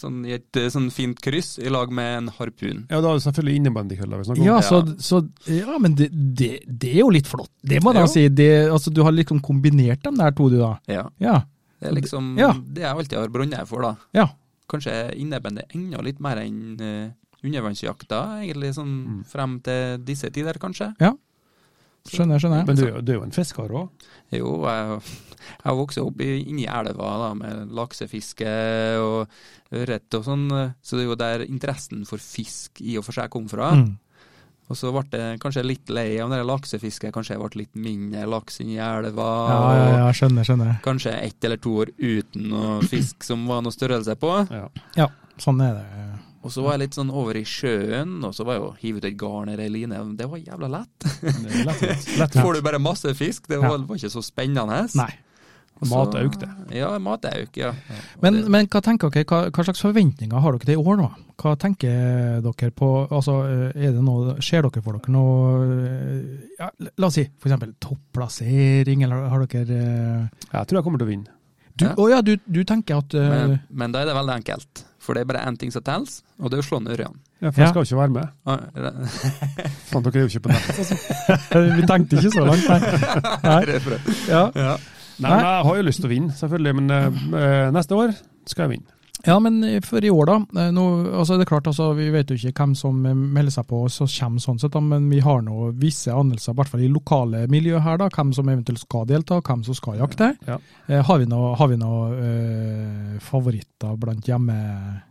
E: Sånn i et eh, sånn fint kryss i lag med en harpun.
C: Ja, da er det selvfølgelig innebandykølla vi snakker om.
B: Ja, så, så, ja men det, det, det er jo litt flott. Det må jeg da
E: Jo.
B: si. Det, altså, du har liksom kombinert dem der to, du da.
E: Ja.
B: Ja.
E: Det er liksom
B: Ja.
E: det jeg alltid har brunnet for, da.
B: ja.
E: Kanskje innebandy enda litt mer enn eh, undervannsjakta, egentlig sånn
C: Mm.
E: frem til disse tider, kanskje.
B: Skjønner, skjønner.
C: Men du, er jo- du er jo en fisker òg.
E: Jo, jeg, jeg vokste opp i- inni elva da, med laksefiske og ørret og sånn, eh, så det er jo der interessen for fisk i og for seg kom fra.
B: Mm.
E: Og så ble jeg kanskje litt lei av det der laksefisket, kanskje jeg ble litt mindre laks inni elva.
B: Ja, ja, ja, skjønner, skjønner.
E: og Kanskje ett eller to år uten noe fisk som var noe størrelse på.
C: Ja.
B: Sånn er det.
E: Og så var jeg litt sånn over i sjøen, og så var jeg jo hive ut et garn eller ei line. Det var jævla lett.
C: Det er lett, lett. lett.
E: Får du bare masse fisk, det var,
B: Ja.
E: var ikke så spennende.
B: Nei.
E: Og så-
C: Mat økte.
E: Ja, matauk, ja.
B: Men,
E: Det-
B: men hva tenker dere, hva, hva slags forventninger har dere til i år nå? Hva tenker dere på, altså er det noe, ser dere for dere noe, eh, ja, la oss si for eksempel topplassering, eller har dere, eh,
C: Jeg tror jeg kommer til å vinne.
B: du,
E: Ja.
B: å ja, du, du tenker at, eh,
E: Men, men da er det veldig enkelt. For det er bare én ting som teller, og det er å slå ned ørene.
C: Ja, for jeg
B: Ja.
C: skal jo ikke være med.
E: Ah,
C: Faen, dere er jo ikke på nett.
B: Eh, vi tenkte ikke så langt, nei. nei.
E: det er bra.
B: Ja.
E: Ja.
C: Nei, men jeg har jo lyst til å vinne, selvfølgelig. Men eh, neste år skal jeg vinne.
B: Ja, men for i år da, eh, nå, altså det er klart, altså, vi vet jo ikke hvem som eh, melder seg på og så kommer sånn sett, da, men vi har nå visse anelser, i hvert fall i lokale miljø her da, hvem som eventuelt skal delta, og hvem som skal jakte.
C: Ja.
B: Eh, har vi noe, har vi noe eh, favoritter blant hjemme?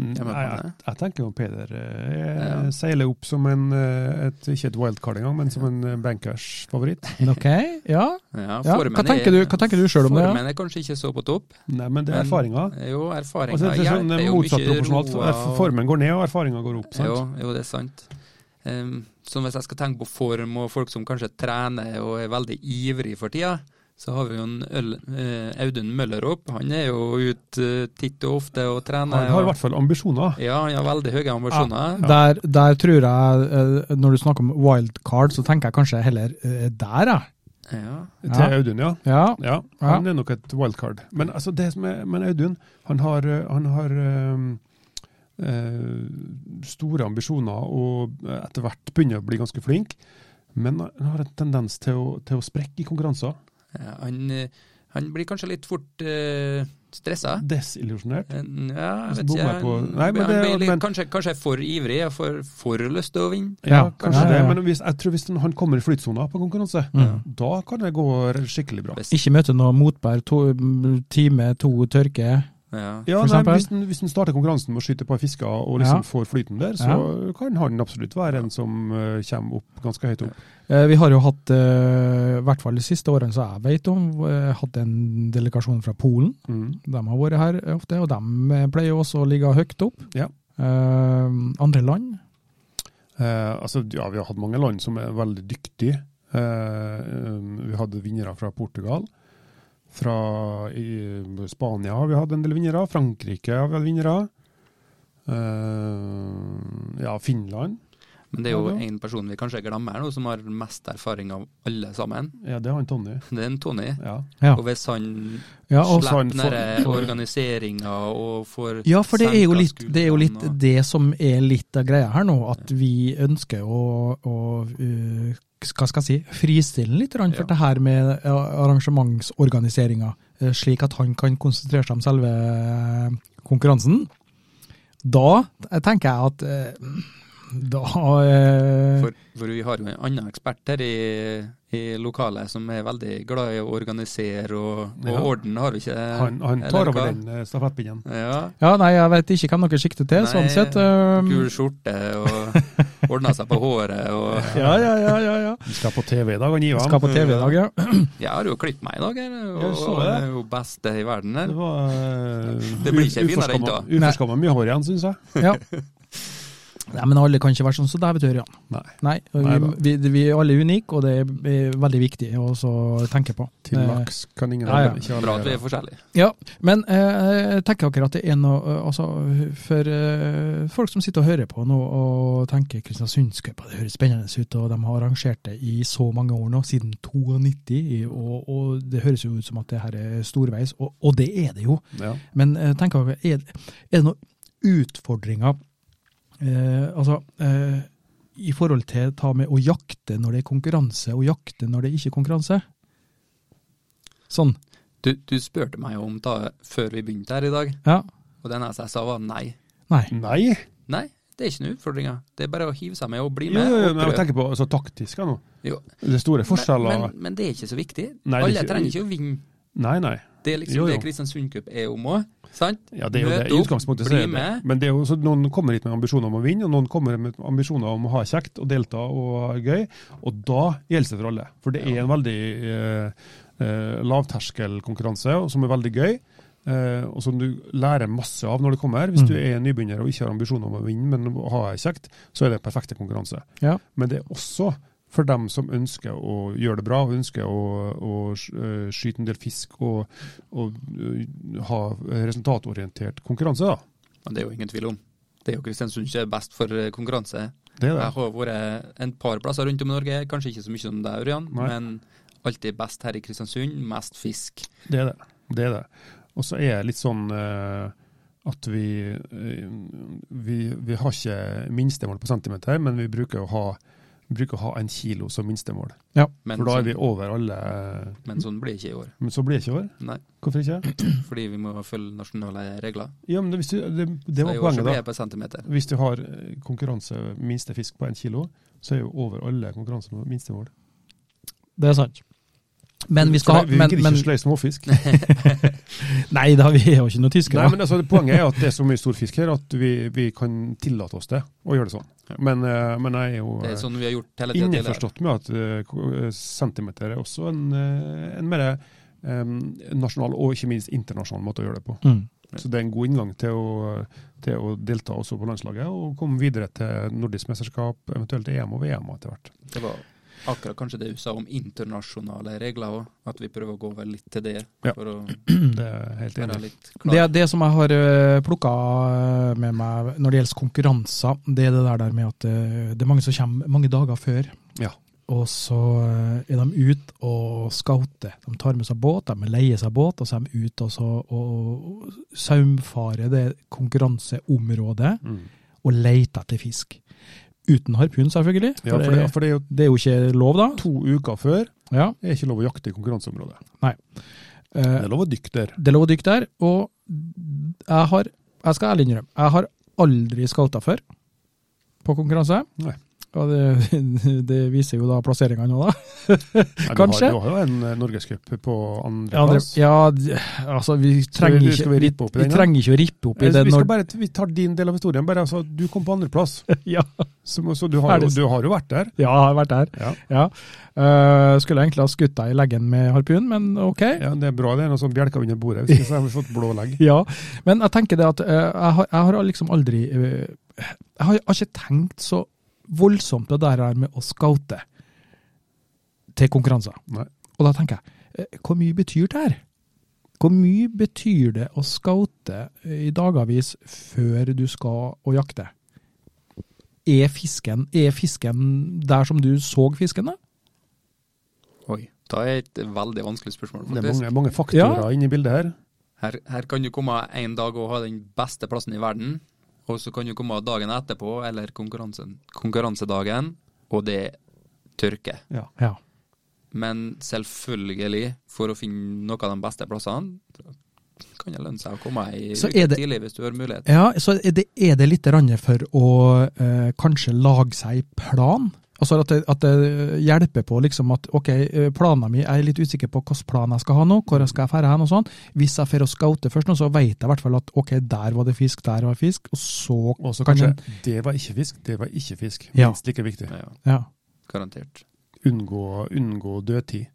C: Mm,
E: Jeg er med på
C: jeg, jeg,
E: det.
C: jeg tenker jo Peder eh,
E: Ja.
C: jeg seiler opp som en eh, et, Ikke et wildcard engang, men som en eh, bankers-favoritt.
B: Ok, eh? ja.
E: Ja,
B: ja.
E: formen
B: Hva, tenker du,
E: er-
B: hva tenker du selv om det? Ja?
E: Formen er kanskje ikke så på topp.
C: Nei, men det er
E: Men-
C: erfaringa.
E: Jo, erfaringa
C: Altså, det er sånn
E: hjelper jo
C: motsatt
E: mye
C: proporsjonalt.
E: roa
C: F-
E: og-
C: Formen går ned, og erfaringa går opp. sant?
E: Jo, jo, det er sant. Ehm, så hvis jeg skal tenke på form og folk som kanskje trener og er veldig ivrig for tida, så har vi jo en øl, eh, Audun Møller opp. Han er jo ute eh, titt og ofte og trener.
C: Han har i
E: og-
C: hvert fall ambisjoner.
E: Ja, han har veldig høye ambisjoner.
B: Der, der tror jeg, eh, når du snakker om wildcard, så tenker jeg kanskje heller eh, der, ja.
E: Ja.
C: Til
B: Ja.
C: Audun, ja.
B: Ja,
C: ja. Han er nok et wildcard. Men, altså, det som er, men Audun, han har, eh, han har eh, eh, store ambisjoner og eh, etter hvert begynner å bli ganske flink. Men han har en tendens til å, til å sprekke i konkurranser.
E: Ja, han, eh, han blir kanskje litt fort eh, stressa.
C: Desillusjonert.
E: En- Ja,
C: Så
E: jeg vet
C: bommer
E: ikke.
C: jeg på-
E: Han,
C: Nei, men
E: han
C: det-
E: blir litt,
C: men-
E: kanskje, kanskje for ivrig og for, for lyst til å vinne.
B: Ja, ja,
C: kanskje
B: ja, ja.
C: det. Men hvis, jeg tror hvis han kommer i flytsona på konkurranse,
B: Mm.
C: da kan det gå skikkelig bra.
E: Hvis-
B: Ikke møte noe motbær, to, time, to tørke.
E: Ja.
C: Ja,
B: For
C: nei,
B: eksempel?
C: hvis, den, hvis den starter konkurransen med å skyte et par fisker og liksom
B: Ja.
C: får flyten der, så kan han absolutt være en som eh, kommer opp ganske høyt opp.
B: Eh, Vi har jo hatt, eh, i hvert fall de siste årene som jeg vet om, eh, hatt en delegasjon fra Polen.
C: Mm.
B: De har vært her ofte, og de eh, pleier jo også å ligge høyt opp.
C: Ja.
B: Eh, andre land?
C: Eh, altså, ja, vi har hatt mange land som er veldig dyktige. Eh, um, vi hadde vinnere fra Portugal. Fra i, Spania har vi hatt en del vinnere. Frankrike har vi hatt vinnere. Eh, ja, Finland.
E: Men det er jo
C: Ja, det
E: én person vi kanskje glemmer her nå, som har mest erfaring av alle sammen.
C: Ja, det er han Tonje.
E: Det er en Tony.
C: Ja.
B: Ja.
E: Og hvis han
B: Ja, og,
E: slipper
C: han får-
E: denne organiseringa og får
B: ja, for det er, jo litt, det er jo litt
E: senka skuldrene
B: det som er litt av greia her nå, at vi ønsker å, å eh, hva skal jeg si, fristille litt grann for
E: Ja.
B: det her med eh, arrangementsorganiseringa, eh, slik at han kan konsentrere seg om selve eh, konkurransen. Da tenker jeg at eh, da
E: og-
B: eh,
E: For, for vi har jo en annen ekspert her i, i lokalet som er veldig glad i å organisere, og, og
C: Ja.
E: orden har vi ikke.
C: Han, han
E: eller
C: tar over
E: hva?
C: den eh, stafettpinnen.
E: Ja.
B: Ja, nei, jeg vet ikke hvem dere sikter til, sånn
E: Nei,
B: sett. eh,
E: Gul skjorte og ordna seg på håret og
B: ja, ja, ja, ja, ja.
C: Vi skal på TV i dag, han Ivan.
B: Skal på TV i dag, ja.
E: Jeg har jo klippet meg i dag, her, og
C: Jeg så
E: og
C: det.
E: er jo beste i verden her.
C: Det var eh,
E: Det blir ikke
C: u-
E: finere
C: uforskammet-
E: enn
C: Uforskammet mye hår igjen, syns jeg.
B: ja. Nei, men alle kan ikke være sånn som deg, vet du, Ørjan.
C: Nei.
B: Nei, og vi,
C: Neida.
B: vi, vi er alle unike, og det er veldig viktig å også tenke på.
C: Til
B: Eh,
C: laks kan ingen
B: ja, ja.
C: ikke alle
E: Bra at vi
C: gjøre.
E: er forskjellige.
B: Ja, men eh, tenker dere at det er noe eh, altså, For eh, folk som sitter og hører på nå og tenker Kristiansundscupa, det høres spennende ut, og de har arrangert det i så mange år nå, siden 92, og, og det høres jo ut som at det her er storveis, og, og det er det jo.
C: Ja.
B: Men eh, tenk, dere, er, er det noen utfordringer eh, altså, eh, i forhold til ta med å jakte når det er konkurranse, og jakte når det ikke er konkurranse? Sånn.
E: Du, du spurte meg jo om det før vi begynte her i dag,
B: Ja.
E: og det eneste jeg sa var nei.
B: Nei.
C: Nei,
E: Nei, det er ikke noen utfordringer. Det er bare å hive seg med og bli
C: jo,
E: med.
C: jo, jo,
E: og
C: men jeg
E: prøve.
C: tenker på altså, taktisk jeg, nå.
E: Jo.
C: Det er store forskjeller.
E: Men, men, men det er ikke så viktig.
C: Nei, det er
E: Alle
C: ikke-
E: trenger ikke å vinne.
C: Nei, nei.
E: Det er liksom
C: Jo, jo.
E: det Kristiansund Cup er om òg, sant?
C: Ja, det er jo
E: Møt
C: det. I
E: opp,
C: utgangspunktet så
E: bli
C: er det.
E: med.
C: Men det er jo, så noen kommer hit med ambisjoner om å vinne, og noen kommer med ambisjoner om å ha kjekt og delta og ha gøy. Og da gjelder det for alle. For det er en veldig eh, eh, lavterskelkonkurranse og som er veldig gøy. eh, og som du lærer masse av når du kommer. Hvis
B: Mm.
C: du er nybegynner og ikke har ambisjoner om å vinne, men å ha det kjekt, så er det perfekte konkurranse.
B: Ja.
C: Men det er også for dem som ønsker å gjøre det bra, og ønsker å, å sk- eh, skyte en del fisk og, og eh, ha resultatorientert konkurranse. da.
E: Og det er jo ingen tvil om. Det er jo Kristiansund som er best for eh, konkurranse.
C: Det er det.
E: Jeg har vært en par plasser rundt om i Norge, kanskje ikke så mye som deg, Ørjan,
C: Nei.
E: men alltid best her i Kristiansund, mest fisk.
C: Det er det. det, er det. Og så er jeg litt sånn eh, at vi, eh, vi Vi har ikke minstemål på centimeter, men vi bruker å ha, bruker å ha en kilo som minstemål.
E: Men,
C: For da er
E: sånn,
C: vi over alle eh,
E: men sånn blir det ikke i år.
C: Men så blir det ikke over.
E: Nei,
C: Hvorfor ikke?
E: fordi vi må følge nasjonale regler.
C: Ja, men det, hvis du, det, det
E: Så
C: var
E: i år så
C: poenget,
E: blir
C: da.
E: jeg på centimeter.
C: Hvis du har eh, konkurranse minste fisk på én kilo, så er jo over alle konkurranser med minstemål.
B: Det er sant. Men vi skal ha
C: For det- vi
B: men,
C: gir
B: men,
C: ikke sløy småfisk.
B: Nei da, vi er jo ikke noen
C: Nei,
B: tyskere.
C: men altså, Poenget er at det er så mye stor fisk her at vi, vi kan tillate oss det, og gjøre det sånn.
E: Ja.
C: Men, eh, men jeg er jo eh,
E: Det er sånn vi har gjort hele tiden tidligere.
C: innforstått med at eh, ko- eh, centimeter er også en, eh, en mer eh, nasjonal og ikke minst internasjonal måte å gjøre det på.
B: Mm.
C: Så det er en god inngang til å, til å delta også på landslaget og komme videre til nordisk mesterskap, eventuelt EM og VM etter hvert.
E: Det var akkurat kanskje det du sa om internasjonale regler òg, at vi prøver å gå over litt til det.
C: Ja.
E: For å
C: Det er jeg helt
E: være
C: enig. i.
E: litt
B: Det
E: klar.
B: er det som jeg har plukka med meg når det gjelder konkurranser, det er det der, der med at eh, det er mange som kommer mange dager før.
C: Ja.
B: Og så eh, er de ute og scouter. De tar med seg båt, de leier seg båt, og så er de ute og, så, og, og saumfarer det konkurranseområdet
C: Mm.
B: og leter etter fisk. Uten harpun, selvfølgelig.
C: Ja,
B: For
C: for det,
B: det,
C: for det er jo
B: det er jo ikke lov, da.
C: to uker før
B: Ja.
C: det er ikke lov å jakte i konkurranseområdet.
B: eh,
C: Det er lov å dykke der.
B: Det lå dykk der, og jeg har, jeg skal ærlig innrømme, jeg har aldri scouta før på konkurranse.
C: Nei.
B: Og det, det viser jo da plasseringene nå, da.
C: Nei,
B: Kanskje.
C: Du har, du har jo en eh, norgescup på andre
B: Ja,
C: plass.
B: d- altså, vi trenger
C: vi-
B: ikke,
C: skal vi rippe opp i
B: vi,
C: den, da?
B: trenger ikke å rippe opp i
C: Eller,
B: det
C: vi, skal
B: når
C: bare, vi tar din del av historien. bare altså, Du kom på andreplass,
B: ja,
C: så, må- så du, har, jo-
B: Ferdig.
C: du har jo vært der.
B: ja, jeg har vært der.
C: Ja.
B: Ja. Eh, skulle egentlig ha skutt deg i leggen med harpun, men ok.
C: Ja, Det er bra det er noe sånn bjelker under bordet, hvis ikke så har vi fått blå legg.
B: Ja, men jeg tenker det at eh, jeg, har, jeg har liksom aldri eh, Jeg har, har ikke tenkt så voldsomt på det der her med å scoute til konkurranser.
C: Nei.
B: Og da tenker jeg, eh, hvor mye betyr det her? Hvor mye betyr det å scoute eh, i dagavis før du skal og jakte? Er fisken, er fisken der som du så fisken, da?
E: Oi. Da er et veldig vanskelig spørsmål,
C: Det er
E: faktisk.
C: mange, mange faktorer
B: Ja.
C: inne i bildet her.
E: Her, her kan du komme en dag og ha den beste plassen i verden, og så kan du komme dagen etterpå, eller konkurransen, konkurransedagen, og det er tørke.
B: Ja.
E: Men selvfølgelig, for å finne noen av de beste plassene, kan det lønne seg å komme i
B: Så er det-
E: tidlig hvis du har mulighet.
B: Ja, så er det, er det litt rande for å eh, kanskje lage seg plan? Altså at det, at det hjelper på liksom at ok, eh, planen min, jeg er litt usikker på hvilken plan jeg skal ha nå, hvor jeg skal ferde hen og sånn. Hvis jeg får å scoute først nå, så vet jeg i hvert fall at ok, der var det fisk, der var fisk, og så
C: Og så
B: kan
C: kanskje
B: en-
C: Det var ikke fisk, det var ikke fisk.
B: Ja.
C: Minst like viktig.
E: Ja,
B: Ja.
E: garantert.
C: Unngå, unngå dødtid.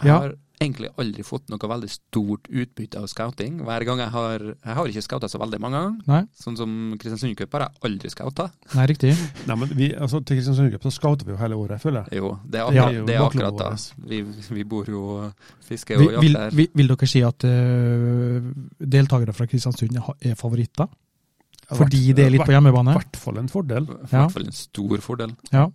E: Jeg
B: Ja.
E: har egentlig aldri fått noe veldig stort utbytte av scouting. Hver gang jeg har Jeg har ikke scouta så veldig mange ganger.
B: Nei,
E: Sånn som Kristiansund Cup har jeg aldri scouta.
B: nei, riktig.
C: Nei, men vi, altså, til Kristiansund Cup så scouter vi jo hele året, føler jeg.
E: Jo, det er
C: Ja,
E: akkurat, det, er akkurat da.
C: baklomma
E: Vi, vi bor jo og fisker
B: Vil,
E: og
B: vil,
E: jakter.
B: vil, vil dere si at eh, deltakere fra Kristiansund ha- er favoritter? Fordi det er litt på
C: I
B: hjemmebane?
C: hvert fall en fordel.
E: I
B: Ja.
E: hvert fall en stor fordel.
B: Ja.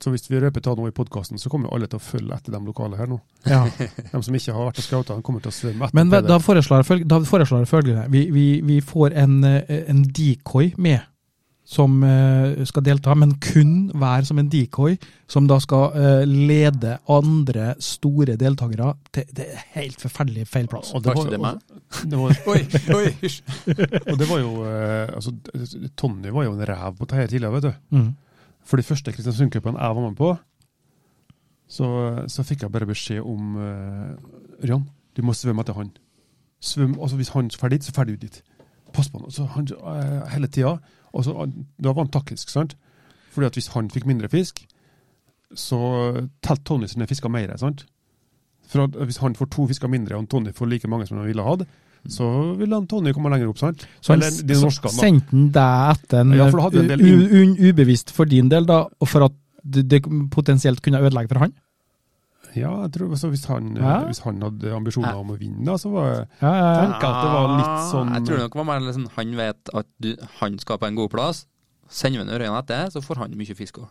C: Så hvis vi røper ta noe i podkasten, så kommer jo alle til å følge etter de lokale her nå.
B: ja.
C: De som ikke har vært og scouta, de kommer til å svømme etter.
B: Men hva-
C: det.
B: da foreslår jeg, følg- da foreslår jeg følgende. Vi, vi, vi får en, eh, en decoy med, som eh, skal delta, men kun være som en decoy, som da skal eh, lede andre store deltakere til det er helt forferdelig feil plass.
C: Og det
E: Takk
C: var-
E: til det meg.
C: Det var,
E: Oi, oi, hysj.
C: og det var jo eh, altså, Tonje var jo en ræv på dette her tidligere, vet du.
B: Mm.
C: For de første Kristiansund-cupene jeg var med på, så, så fikk jeg bare beskjed om eh, Ørjan, du må svømme etter han. Svøm, altså Hvis han drar dit, så drar du dit. Pass på han. Og Så han eh, hele tida. Og så, eh, da var han taktisk, sant? Fordi at hvis han fikk mindre fisk, så telte Tony sine fisker mer. sant? For at hvis han får to fisker mindre, og Tony får like mange som han ville hatt, så ville han Tony komme lenger opp, sant?
B: Så han
C: Eller de
B: s-
C: norske, da.
B: sendte han deg etter en,
C: Ja, for da hadde vi en del
B: u, u, ubevisst for din del, da, og for at det, det potensielt kunne ødelegge for han?
C: Ja, jeg tror, altså, hvis, han, eh,
B: Ja.
C: hvis han hadde ambisjoner
E: Ja.
C: om å vinne, da, så var
B: Ja, ja, ja.
C: tenker at det var litt sånn-
E: Ah, Jeg tror nok det var mer litt sånn han vet at du, han skal på en god plass. Sender vi en Ørjan etter, så får han mye fisk òg.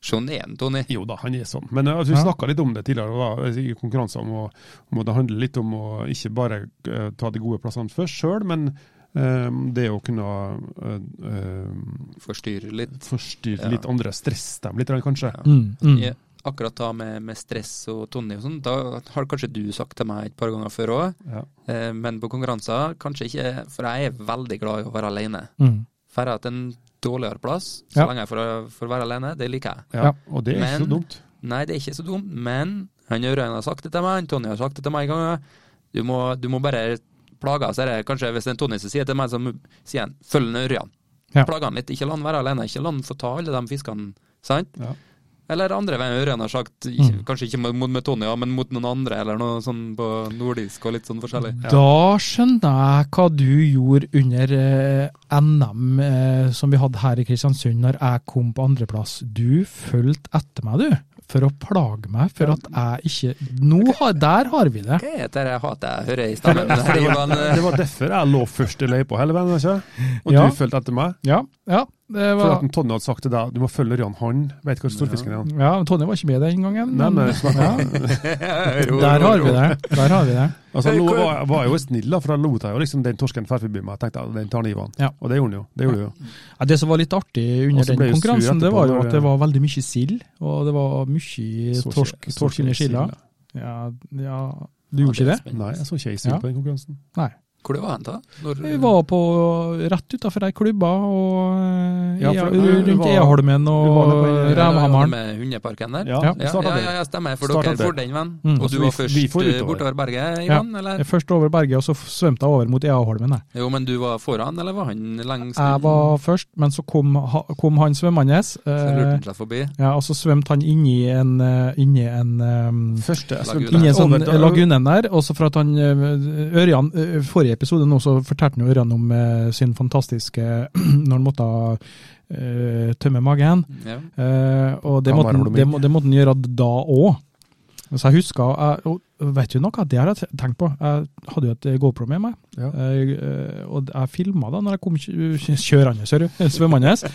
E: Sånn er han, Tony.
C: Jo da, han er sånn. Men eh, altså, vi
B: Ja.
C: snakka litt om det tidligere da, altså, i konkurranser, om, å- om at det handler litt om å ikke bare eh, ta de gode plassene først sjøl, men eh, det å kunne eh, eh,
E: Forstyrrer litt.
C: forstyrre
E: Ja.
C: litt andre, stresse dem litt, kanskje.
E: Ja.
B: Mm, mm.
E: Ja, akkurat da med, med stress og Tony og sånn, da har kanskje du sagt til meg et par ganger før òg,
C: Ja.
E: eh, men på konkurranser kanskje ikke, for jeg er veldig glad i å være alene.
B: Mm.
E: Drar jeg til en dårligere plass, så
B: Ja.
E: lenge jeg får, får være alene, det liker jeg.
C: Ja.
B: Ja.
C: Og det er ikke så
E: Men-
C: dumt.
E: Nei, det er ikke så dumt, men han Ørjan har sagt det til meg, han Tony har sagt det til meg en gang. Du må, du må bare plage oss dette. Kanskje hvis det er en Tony som sier til meg, så må- sier han 'følg han Ørjan'.
B: Ja.
E: Plage han litt, ikke la han være alene, ikke la han få ta alle de fiskene, sant?
C: Ja.
E: Eller andre veien Ørjan har sagt,
B: Mm.
E: ikke, kanskje ikke mot, mot Tony, ja, men mot noen andre, eller noe sånn på nordisk og litt sånn
B: Mm.
E: forskjellig.
B: Da skjønner jeg hva du gjorde under eh, NM eh, som vi hadde her i Kristiansund, når jeg kom på andreplass. Du fulgte etter meg, du. For å plage meg for at jeg ikke Nå har, der har vi det.
E: Hva er dette jeg hater jeg hører i stemmen? Her, Ivan, eh,
C: Det var derfor jeg lå først i løypa hele veien, ikke? og
B: Ja.
C: du fulgte etter meg.
B: Ja, ja. Det
C: For
B: var,
C: at Tonje hadde sagt til deg du må følge Ørjan, han vet hvor storfisken er. han.
B: ja, Tonje var ikke med den gangen.
C: Nei,
B: men-
C: men
B: ja,
E: ro, ro,
B: der har
E: ro.
B: vi det. Der har vi det.
C: Altså,
E: Hey,
C: nå
E: hvor-
C: var, var jeg jo snill, da, for da lot jeg jo liksom den torsken fære forbi meg. Jeg tenkte ja, den tar han Ivan.
B: Ja.
C: Og det gjorde han jo. Det gjorde han jo.
B: Ja, det som var litt artig
C: Og
B: under
C: så
B: den
C: ble jeg sur
B: konkurransen, det
C: etterpå
B: var jo
C: når
B: at det
C: jeg-
B: var veldig mye sild, og det var mye
C: Så ikke-
B: torsk,
C: så
B: torsk
C: ikke
B: under
C: jeg
B: silda.
C: silda.
B: Ja, ja, du gjorde ikke det?
C: Nei, jeg så ikke ei sild
B: Ja.
C: på den konkurransen.
B: Nei.
E: Hvor det var han da? Når,
B: Vi var på rett utafor ei klubba og
C: Ja,
B: ja,
C: for- vi
B: rundt
C: var-
B: Eholmen
C: vi var
B: og
C: der på-
B: Rævhammeren.
E: Med hundeparken der?
C: Ja,
B: Ja.
C: vi
E: Ja,
C: startet
E: ja,
C: der.
E: ja, ja, stemmer. For
C: Starta
E: dere
C: der.
E: får den, venn.
B: Mm.
E: Og
C: Altså,
E: du
C: vi-
E: var først
C: vi får
E: eh,
C: utover.
E: bortover berget, Ivan? Eller?
B: Først over berget, og så svømte jeg over mot Eaholmen. jeg.
E: Jo, men du var foran, eller var han lengst?
B: Jeg var først, men så kom, ha- kom han svømmende.
E: Så lurte
B: Eh,
E: han seg forbi.
B: ja, og så svømte han inni en, eh, inni en eh,
C: Første jeg
E: Lagune.
C: svømte
B: Inni en sånn
C: over-
B: lagunen der, og så for at han eh, Ørjan, eh, forrige episode nå så fortalte han jo Ørjan om eh, sin fantastiske Når han måtte eh, tømme magen.
E: Ja.
B: Eh, og det
C: Han
B: Eh, måtte,
C: var
B: han-
C: blomming.
B: det, må- det måtte han gjøre da òg. Så jeg husker, jeg, og vet du noe, det har jeg tenkt på. Jeg hadde jo et eh, GoPro med meg,
C: Ja.
B: jeg, eh, og jeg filma da når jeg kom kjø- kjørende, ser du, svømmende.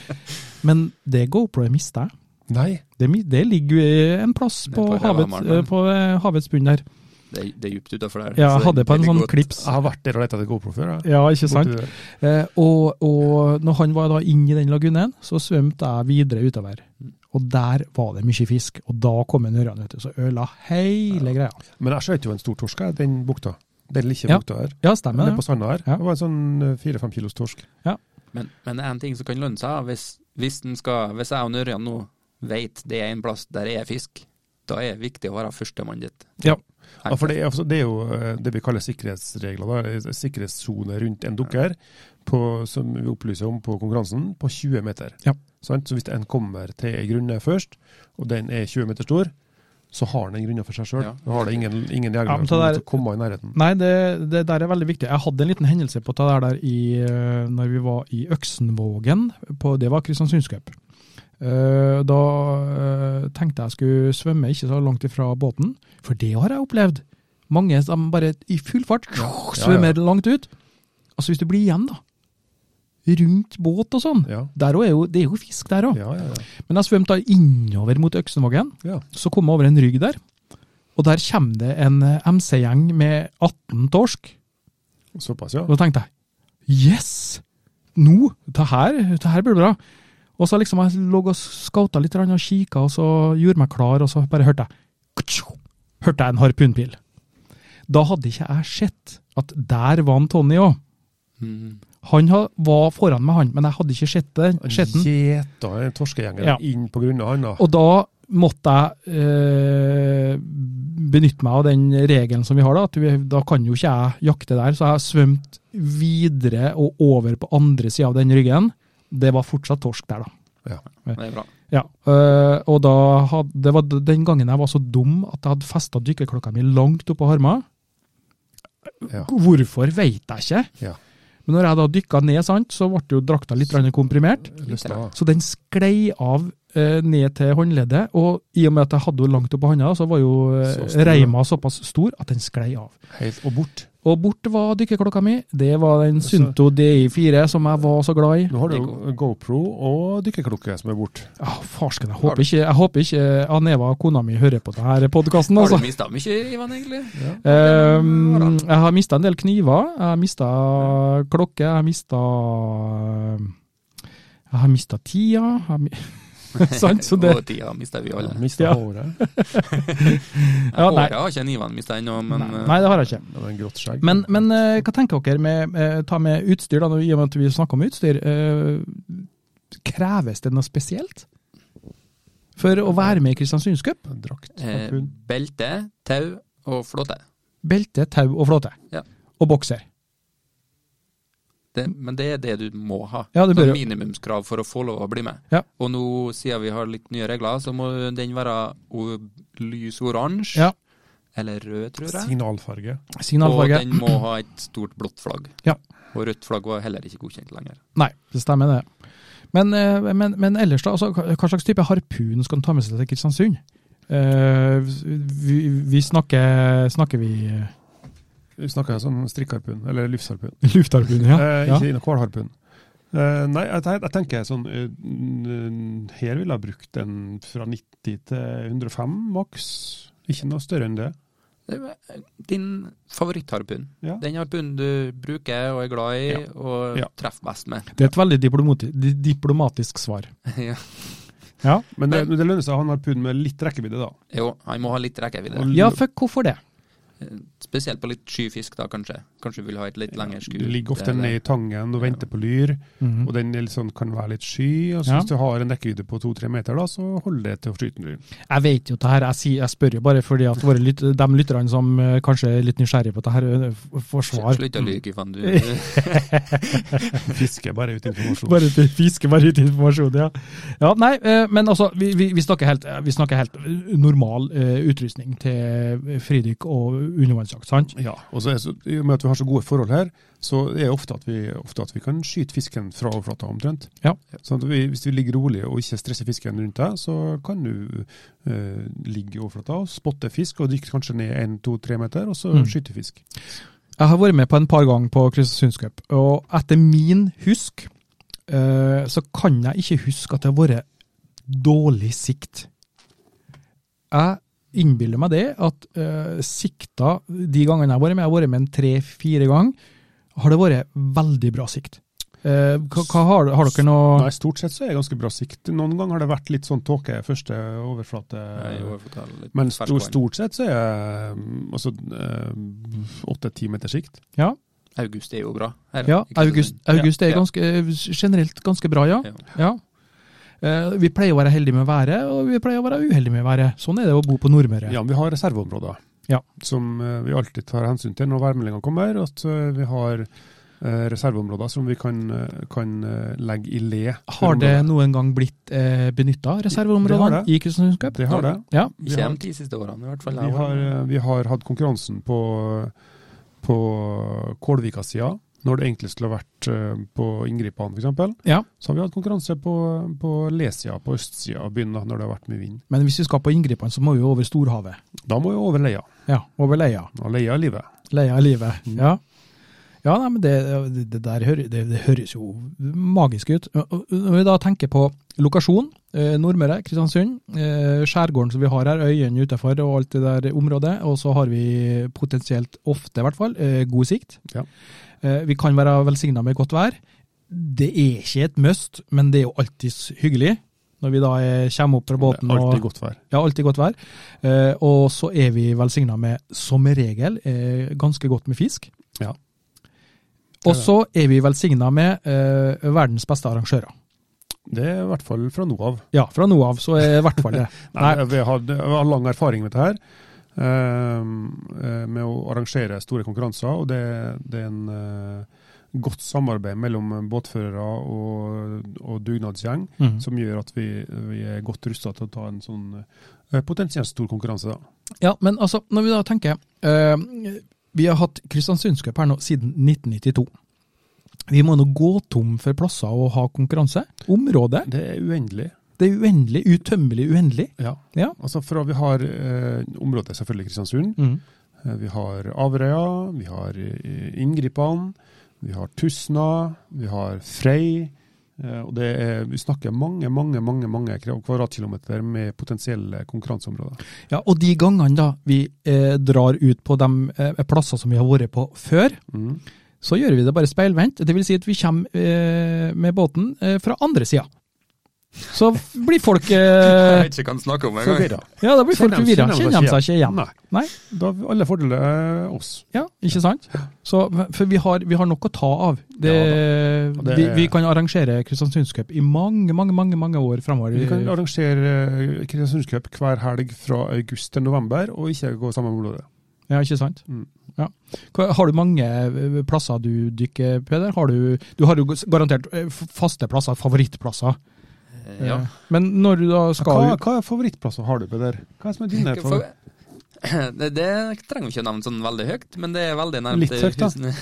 B: Men det GoPro-et mista jeg.
C: Nei.
B: Det, mi- det ligger jo en plass
E: Det er
B: på,
E: på
B: havet,
E: Hevhammaren.
B: eh, på eh, havets bunn der.
E: Det, er- det er djupt utafor der.
B: Ja,
E: så
B: jeg hadde på en
E: veldig
B: sånn
E: godt.
B: klips.
C: Jeg har vært der og lett etter GoPro før. Jeg.
B: Ja, ikke sant?
C: Borti der.
B: Eh, og, og når han var da inne i den lagunen, så svømte jeg videre utover. Og der var det mye fisk, og da kom en ørjan, vet du, så øla hele greia.
C: Men jeg skjøt jo en stor torsk, jeg, den bukta. Den lille
B: Ja.
C: bukta her.
B: Ja,
C: Nede
B: stemmer
C: på
B: det.
C: stranda her.
B: Ja.
C: Det var en sånn eh, fire-fem kilos torsk.
E: Men, men en ting som kan lønne seg, hvis, hvis, den skal, hvis jeg og Nørjan nå vet det er en plass der det er fisk, da er det viktig å være førstemann dit.
B: Ja.
E: Hei.
C: Ja, for det, er- altså, det er jo eh, det vi kaller sikkerhetsregler, da, eller sikkerhetssone rundt en dukker, på, som vi opplyser om på konkurransen, på 20 meter.
B: Ja.
C: Sant? Så hvis en kommer til ei grunne først, og den er 20 meter stor, så har den en grunne for seg sjøl.
E: Ja.
C: Da har det ingen, ingen
B: Ja,
C: jegere
B: men så
C: som
B: der-
C: måtte komme i nærheten.
B: Nei, det, det der er veldig viktig. Jeg hadde en liten hendelse på det der, der i, eh, når vi var i Øksenvågen. På, det var Kristiansundscup. Eh, da eh, tenkte jeg skulle svømme ikke så langt ifra båten, for det har jeg opplevd. Mange som bare i full fart svømmer langt ut. Altså hvis du blir igjen, da. Rundt båt og sånn.
C: Ja.
B: Der også er jo, det er jo fisk der òg.
C: Ja, ja, ja.
B: Men jeg svømte da innover mot Øksenvågen.
C: ja.
B: Så kom jeg over en rygg der, og der kommer det en eh, MC-gjeng med 18 torsk.
C: Såpass, ja.
B: Og da tenkte jeg yes! Nå! Det her, det her blir bra. Og så liksom jeg lå og skauta litt grann og kikka, og så gjorde meg klar, og så bare hørte jeg kutsjo, Hørte jeg en harpunpil. Da hadde ikke jeg sett at der var en Tony òg.
E: Mm.
B: Han ha- var foran meg, han, men jeg hadde ikke sett den. sett den.
C: Gjeta en torskegjeng
B: Ja.
C: inn på grunna han, da.
B: Og da måtte jeg eh, benytte meg av den regelen som vi har, da, at vi, da kan jo ikke jeg jakte der. Så jeg har svømt videre og over på andre sida av den ryggen. Det var fortsatt torsk der, da.
C: Ja.
E: Det er bra.
B: Ja, øh, og da had, det var d- den gangen jeg var så dum at jeg hadde festa dykkerklokka mi langt oppå harma.
C: Ja.
B: Hvorfor, veit jeg ikke.
C: Ja.
B: Men når jeg da dykka ned, sant, så ble jo drakta litt grann komprimert.
C: Løsna. av.
B: Så den sklei av eh, ned til håndleddet, og i og med at jeg hadde henne langt opp på hånda, så var jo eh,
C: Så stor, ja.
B: reima såpass stor at den sklei av.
C: Helt og bort.
B: Og bort var dykkerklokka mi. Det var den
C: Så-
B: Sunto DI4 som jeg var så glad i.
C: Nå har du jo GoPro og dykkerklokke som er borte.
B: Ah, farsken, jeg håper ikke, jeg håper ikke eh, Aneva, kona mi, hører på denne podkasten,
E: Har
B: altså.
E: du mista mye, Ivan, egentlig?
B: Ehm, jeg har mista en del kniver. Jeg har mista klokke. Jeg har mista Jeg har mista tida. jeg har mi- Sant? Så det
E: Og tida mista vi alle.
C: Mista
B: Ja.
C: håret.
B: Ja, nei.
E: Håret har ikke en Ivan mista ennå, men eh,
B: Nei, det har jeg ikke.
C: Det var en grått skjegg.
B: Men, men eh, hva tenker dere med, eh, ta med utstyr, da, når- i og med at vi snakker om utstyr? eh, kreves det noe spesielt for å være med i Kristiansunds Cup?
C: En drakt.
E: eh,
C: harpun.
E: belte, tau og flåte.
B: Belte, tau og flåte.
E: Ja.
B: Og bokser.
E: Det, men det er det du må ha.
B: Ja, du
E: Sånn
B: bør jo-
E: minimumskrav for å få lov å bli med.
B: Ja.
E: Og nå, siden vi har litt nye regler, så må den være o- lys oransje.
B: Ja.
E: Eller rød, tror jeg.
C: Signalfarge.
E: Og
B: Signalfarge.
E: den må ha et stort blått flagg.
B: Ja.
E: Og rødt flagg var heller ikke godkjent lenger.
B: Nei, det stemmer det. Men, eh, men, men ellers, da, altså, hva hva slags type harpun skal en ta med seg til Kristiansund? Eh, vi, vi snakker Snakker vi eh,
C: Vi snakker sånn strikkharpun, eller livsharpun.
B: luftharpun, ja?
C: Eh,
B: ja.
C: ikke noe hvalharpun. Eh, nei, jeg, jeg tenker sånn eh, n- n- Her ville jeg brukt en fra 90 til 105 maks. Ikke noe større enn det.
E: Det var Din favorittharpun.
C: Ja.
E: Den harpunen du bruker og er glad i, og
C: Ja.
E: treffer best med.
B: Det er et veldig diplomati di- diplomatisk svar.
E: ja.
B: Ja,
C: Men det, det lønner seg å ha en harpun med litt rekkevidde, da.
E: Jo, han må ha litt rekkevidde. Eh,
C: Og
B: ja for hvorfor det?
E: Spesielt på litt sky fisk, da, kanskje. Kanskje du vil ha et litt lengre skur.
C: Du ligger ofte
E: Eller-
C: ned i tangen og venter på lyr,
B: Mhm.
C: og den er litt sånn, kan være litt sky. Og så
B: Ja.
C: Hvis du har en rekkevidde på to-tre meter, da, så holder det til å skyte en lyr.
B: Jeg vet jo det her, jeg, sier, jeg spør jo bare fordi at våre lyt, de lytterne som eh, kanskje er litt nysgjerrige på det her, eh, f- får svar.
E: Slutt å lyve, Ivan. Du, du
C: Fisker bare ut informasjon.
B: Bare til fiske, bare ut informasjon, ja. ja nei, eh, men altså, vi, vi, vi, snakker helt, eh, vi snakker helt normal eh, utrustning til fridykk og undervannsjakt, sant?
C: Ja, og så er, så, I og med at vi har så gode forhold her, så er det ofte at vi, ofte at vi kan skyte fisken fra overflata omtrent.
B: Ja.
C: Sånn at vi, hvis vi ligger rolig og ikke stresser fisken rundt deg, så kan du eh, ligge i overflata og spotte fisk, og dykke kanskje ned en, to, tre meter, og så
B: Mm.
C: skyte fisk.
B: Jeg har vært med på en par ganger på Kristiansundscup, og etter min husk eh, så kan jeg ikke huske at det har vært dårlig sikt. Jeg innbiller meg det at eh, sikta de gangene jeg har vært med, jeg har vært med en tre-fire ganger, har det vært veldig bra sikt. Eh, hva, hva har, har dere noe
C: Nei, stort sett så er det ganske bra sikt. Noen ganger har det vært litt sånn tåke første overflate.
E: Jeg overforteller litt
C: Eh, men
E: ferskvann.
C: stort, stort sett så er det mm, altså eh, åtte-ti meter sikt.
B: Ja,
E: August er jo bra. her,
B: ja
E: ikke sant?
B: august, august er
E: Ja.
B: ganske, eh, generelt ganske bra, ja.
E: Ja.
B: ja. Eh, vi pleier å være heldige med været, og vi pleier å være uheldige med været. Sånn er det å bo på Nordmøre.
C: Ja, men vi har reserveområder
B: Ja.
C: som eh, vi alltid tar hensyn til når værmeldinga kommer. At eh, vi har eh, reserveområder som vi kan, eh, kan eh, legge i le.
B: Har det noen gang blitt eh, benytta reserveområdene
C: Det har det.
B: i Kristiansund Cup?
C: Det har det.
B: Ja.
C: Vi
E: Ikke
C: har,
E: de ti siste årene, i hvert fall.
C: vi har, eh, vi har hatt konkurransen på, på Kålvika-sida. Når det egentlig skulle ha vært eh, på Ingripene f.eks.,
B: Ja.
C: så har vi hatt konkurranse på, på lesida, på østsida av byen, da, når det har vært mye vind.
B: Men hvis vi skal på inngripene, så må vi jo over Storhavet.
C: Da må vi over leia.
B: Ja, Over leia.
C: Og leia er livet.
B: Leia er livet.
C: Mm.
B: Ja. Ja, nei, men det, det der høres, det, det høres jo magisk ut. Og- og Når vi da tenker på lokasjon, eh, Nordmøre, Kristiansund, eh, skjærgården som vi har her, øyene utenfor og alt det der området, og så har vi potensielt ofte, i hvert fall, eh, god sikt.
C: Ja.
B: Eh, Vi kan være velsigna med godt vær. Det er ikke et must, men det er jo alltids hyggelig når vi da eh, kommer opp fra båten.
C: det er
B: og-
C: alltid godt vær.
B: ja, alltid godt vær. Eh, og så er vi velsigna med, som regel, eh, ganske godt med fisk.
C: Ja.
B: Og så er vi velsigna med eh, verdens beste arrangører.
C: Det er i hvert fall fra nå av.
B: Ja, fra nå av så er i hvert fall det.
C: Nei,
B: Nei.
C: Vi, har, vi har lang erfaring med dette her, eh, med å arrangere store konkurranser. og Det, det er en eh, godt samarbeid mellom båtførere og, og dugnadsgjeng,
B: Mm.
C: som gjør at vi, vi er godt rusta til å ta en sånn eh, potensielt stor konkurranse. Da.
B: Ja, men altså, når vi da tenker eh, Vi har hatt Kristiansundscup her nå siden 1992. Vi må nå gå tom for plasser å ha konkurranse. Området.
C: Det er uendelig.
B: Det er uendelig. Utømmelig uendelig.
C: Ja.
B: Ja.
C: Altså fra Vi har eh, området selvfølgelig Kristiansund,
B: Mm.
C: eh, vi har Averøya, vi har eh, Inngripene, vi har Tusna, vi har Frei. eh, Og det er, vi snakker mange mange, mange, mange kra- kvadratkilometer med potensielle konkurranseområder.
B: Ja, og de gangene da vi eh, drar ut på de eh, plasser som vi har vært på før,
C: Mm.
B: så gjør vi det bare speilvendt. Det vil si at vi kommer eh, med båten eh, fra andre sida. Så blir folk
E: Jeg
B: eh,
E: vet ikke hva han snakker om engang.
C: Forvirra.
B: Ja, da blir folk
C: Kjenner de-
B: forvirra.
C: kjenner de
B: Kjenner de seg ikke igjen?
C: Nei.
B: Nei.
C: Da har vi alle fordeler eh, oss.
B: Ja, ikke sant? Så, for vi har, vi har nok å ta av. Det,
C: Og det-
B: vi, vi kan arrangere Kristiansundscup i mange, mange mange, mange år framover.
C: Vi kan arrangere eh, Kristiansundscup hver helg fra august til november, og ikke gå samme område.
B: Ja, ikke sant?
C: Mm.
B: Ja. Hva- Har du mange eh, plasser du dykker, Peder? Har du, du har jo garantert eh, f- faste plasser, favorittplasser.
E: Eh, Ja.
B: Eh, Men når du da skal
C: Hva,
B: ut
C: hva er favorittplasser har du, Peder? Hva er som er dine?
E: For, det, det trenger jo ikke nevne sånn veldig høyt, men det er veldig nærmt.
C: Litt høyt, da.
E: husene.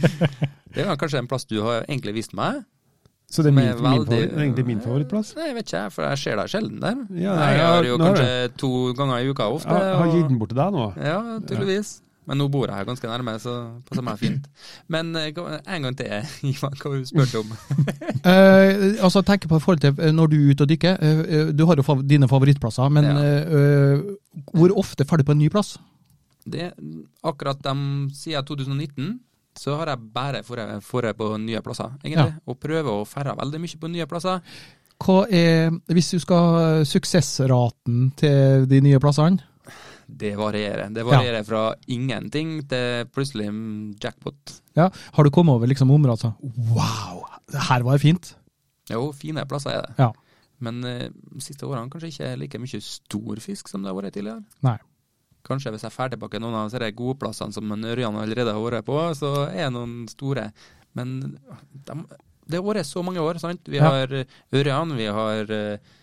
E: det er kanskje en plass du har egentlig vist meg.
C: Så det er min,
E: Med
C: min,
E: veldig-
C: favoritt, egentlig min favorittplass?
E: Nei, jeg vet ikke, jeg, for jeg ser deg sjelden der.
C: Ja,
E: Nei, jeg
C: ja,
E: har jo
C: nå har
E: kanskje to ganger i uka ofte.
C: Jeg har
E: og-
C: gitt den bort til deg nå.
E: Ja, tydeligvis. Men nå bor jeg her ganske nærme, så passer meg fint. Men eh, hva- en gang til, Ivan, hva du spurte om.
B: eh, Altså tenk på i forhold til eh, når du er ute og dykker. eh, eh, Du har jo fav dine favorittplasser, men
E: Ja.
B: eh, eh, hvor ofte får du på en ny plass?
E: Det, akkurat dem, siden 2019 så har jeg bare dratt på nye plasser, egentlig. Og prøver å ferde veldig mye på nye plasser.
B: Hva er, hvis du skal suksessraten til de nye plassene?
E: Det varierer. Det varierer fra ingenting til plutselig mm, jackpot.
B: Ja, har du kommet over liksom områder som Wow, det her var fint.
E: Jo, fine plasser er det.
B: Ja.
E: Men eh, de siste årene kanskje ikke like mye stor fisk som det har vært tidligere.
B: Nei.
E: Kanskje hvis jeg får tilbake noen av disse gode plassene som en Ørjan allerede har vært på, så er det noen store. Men de, det har vært så mange år, sant. Vi
B: Ja.
E: har eh, Ørjan, vi har eh,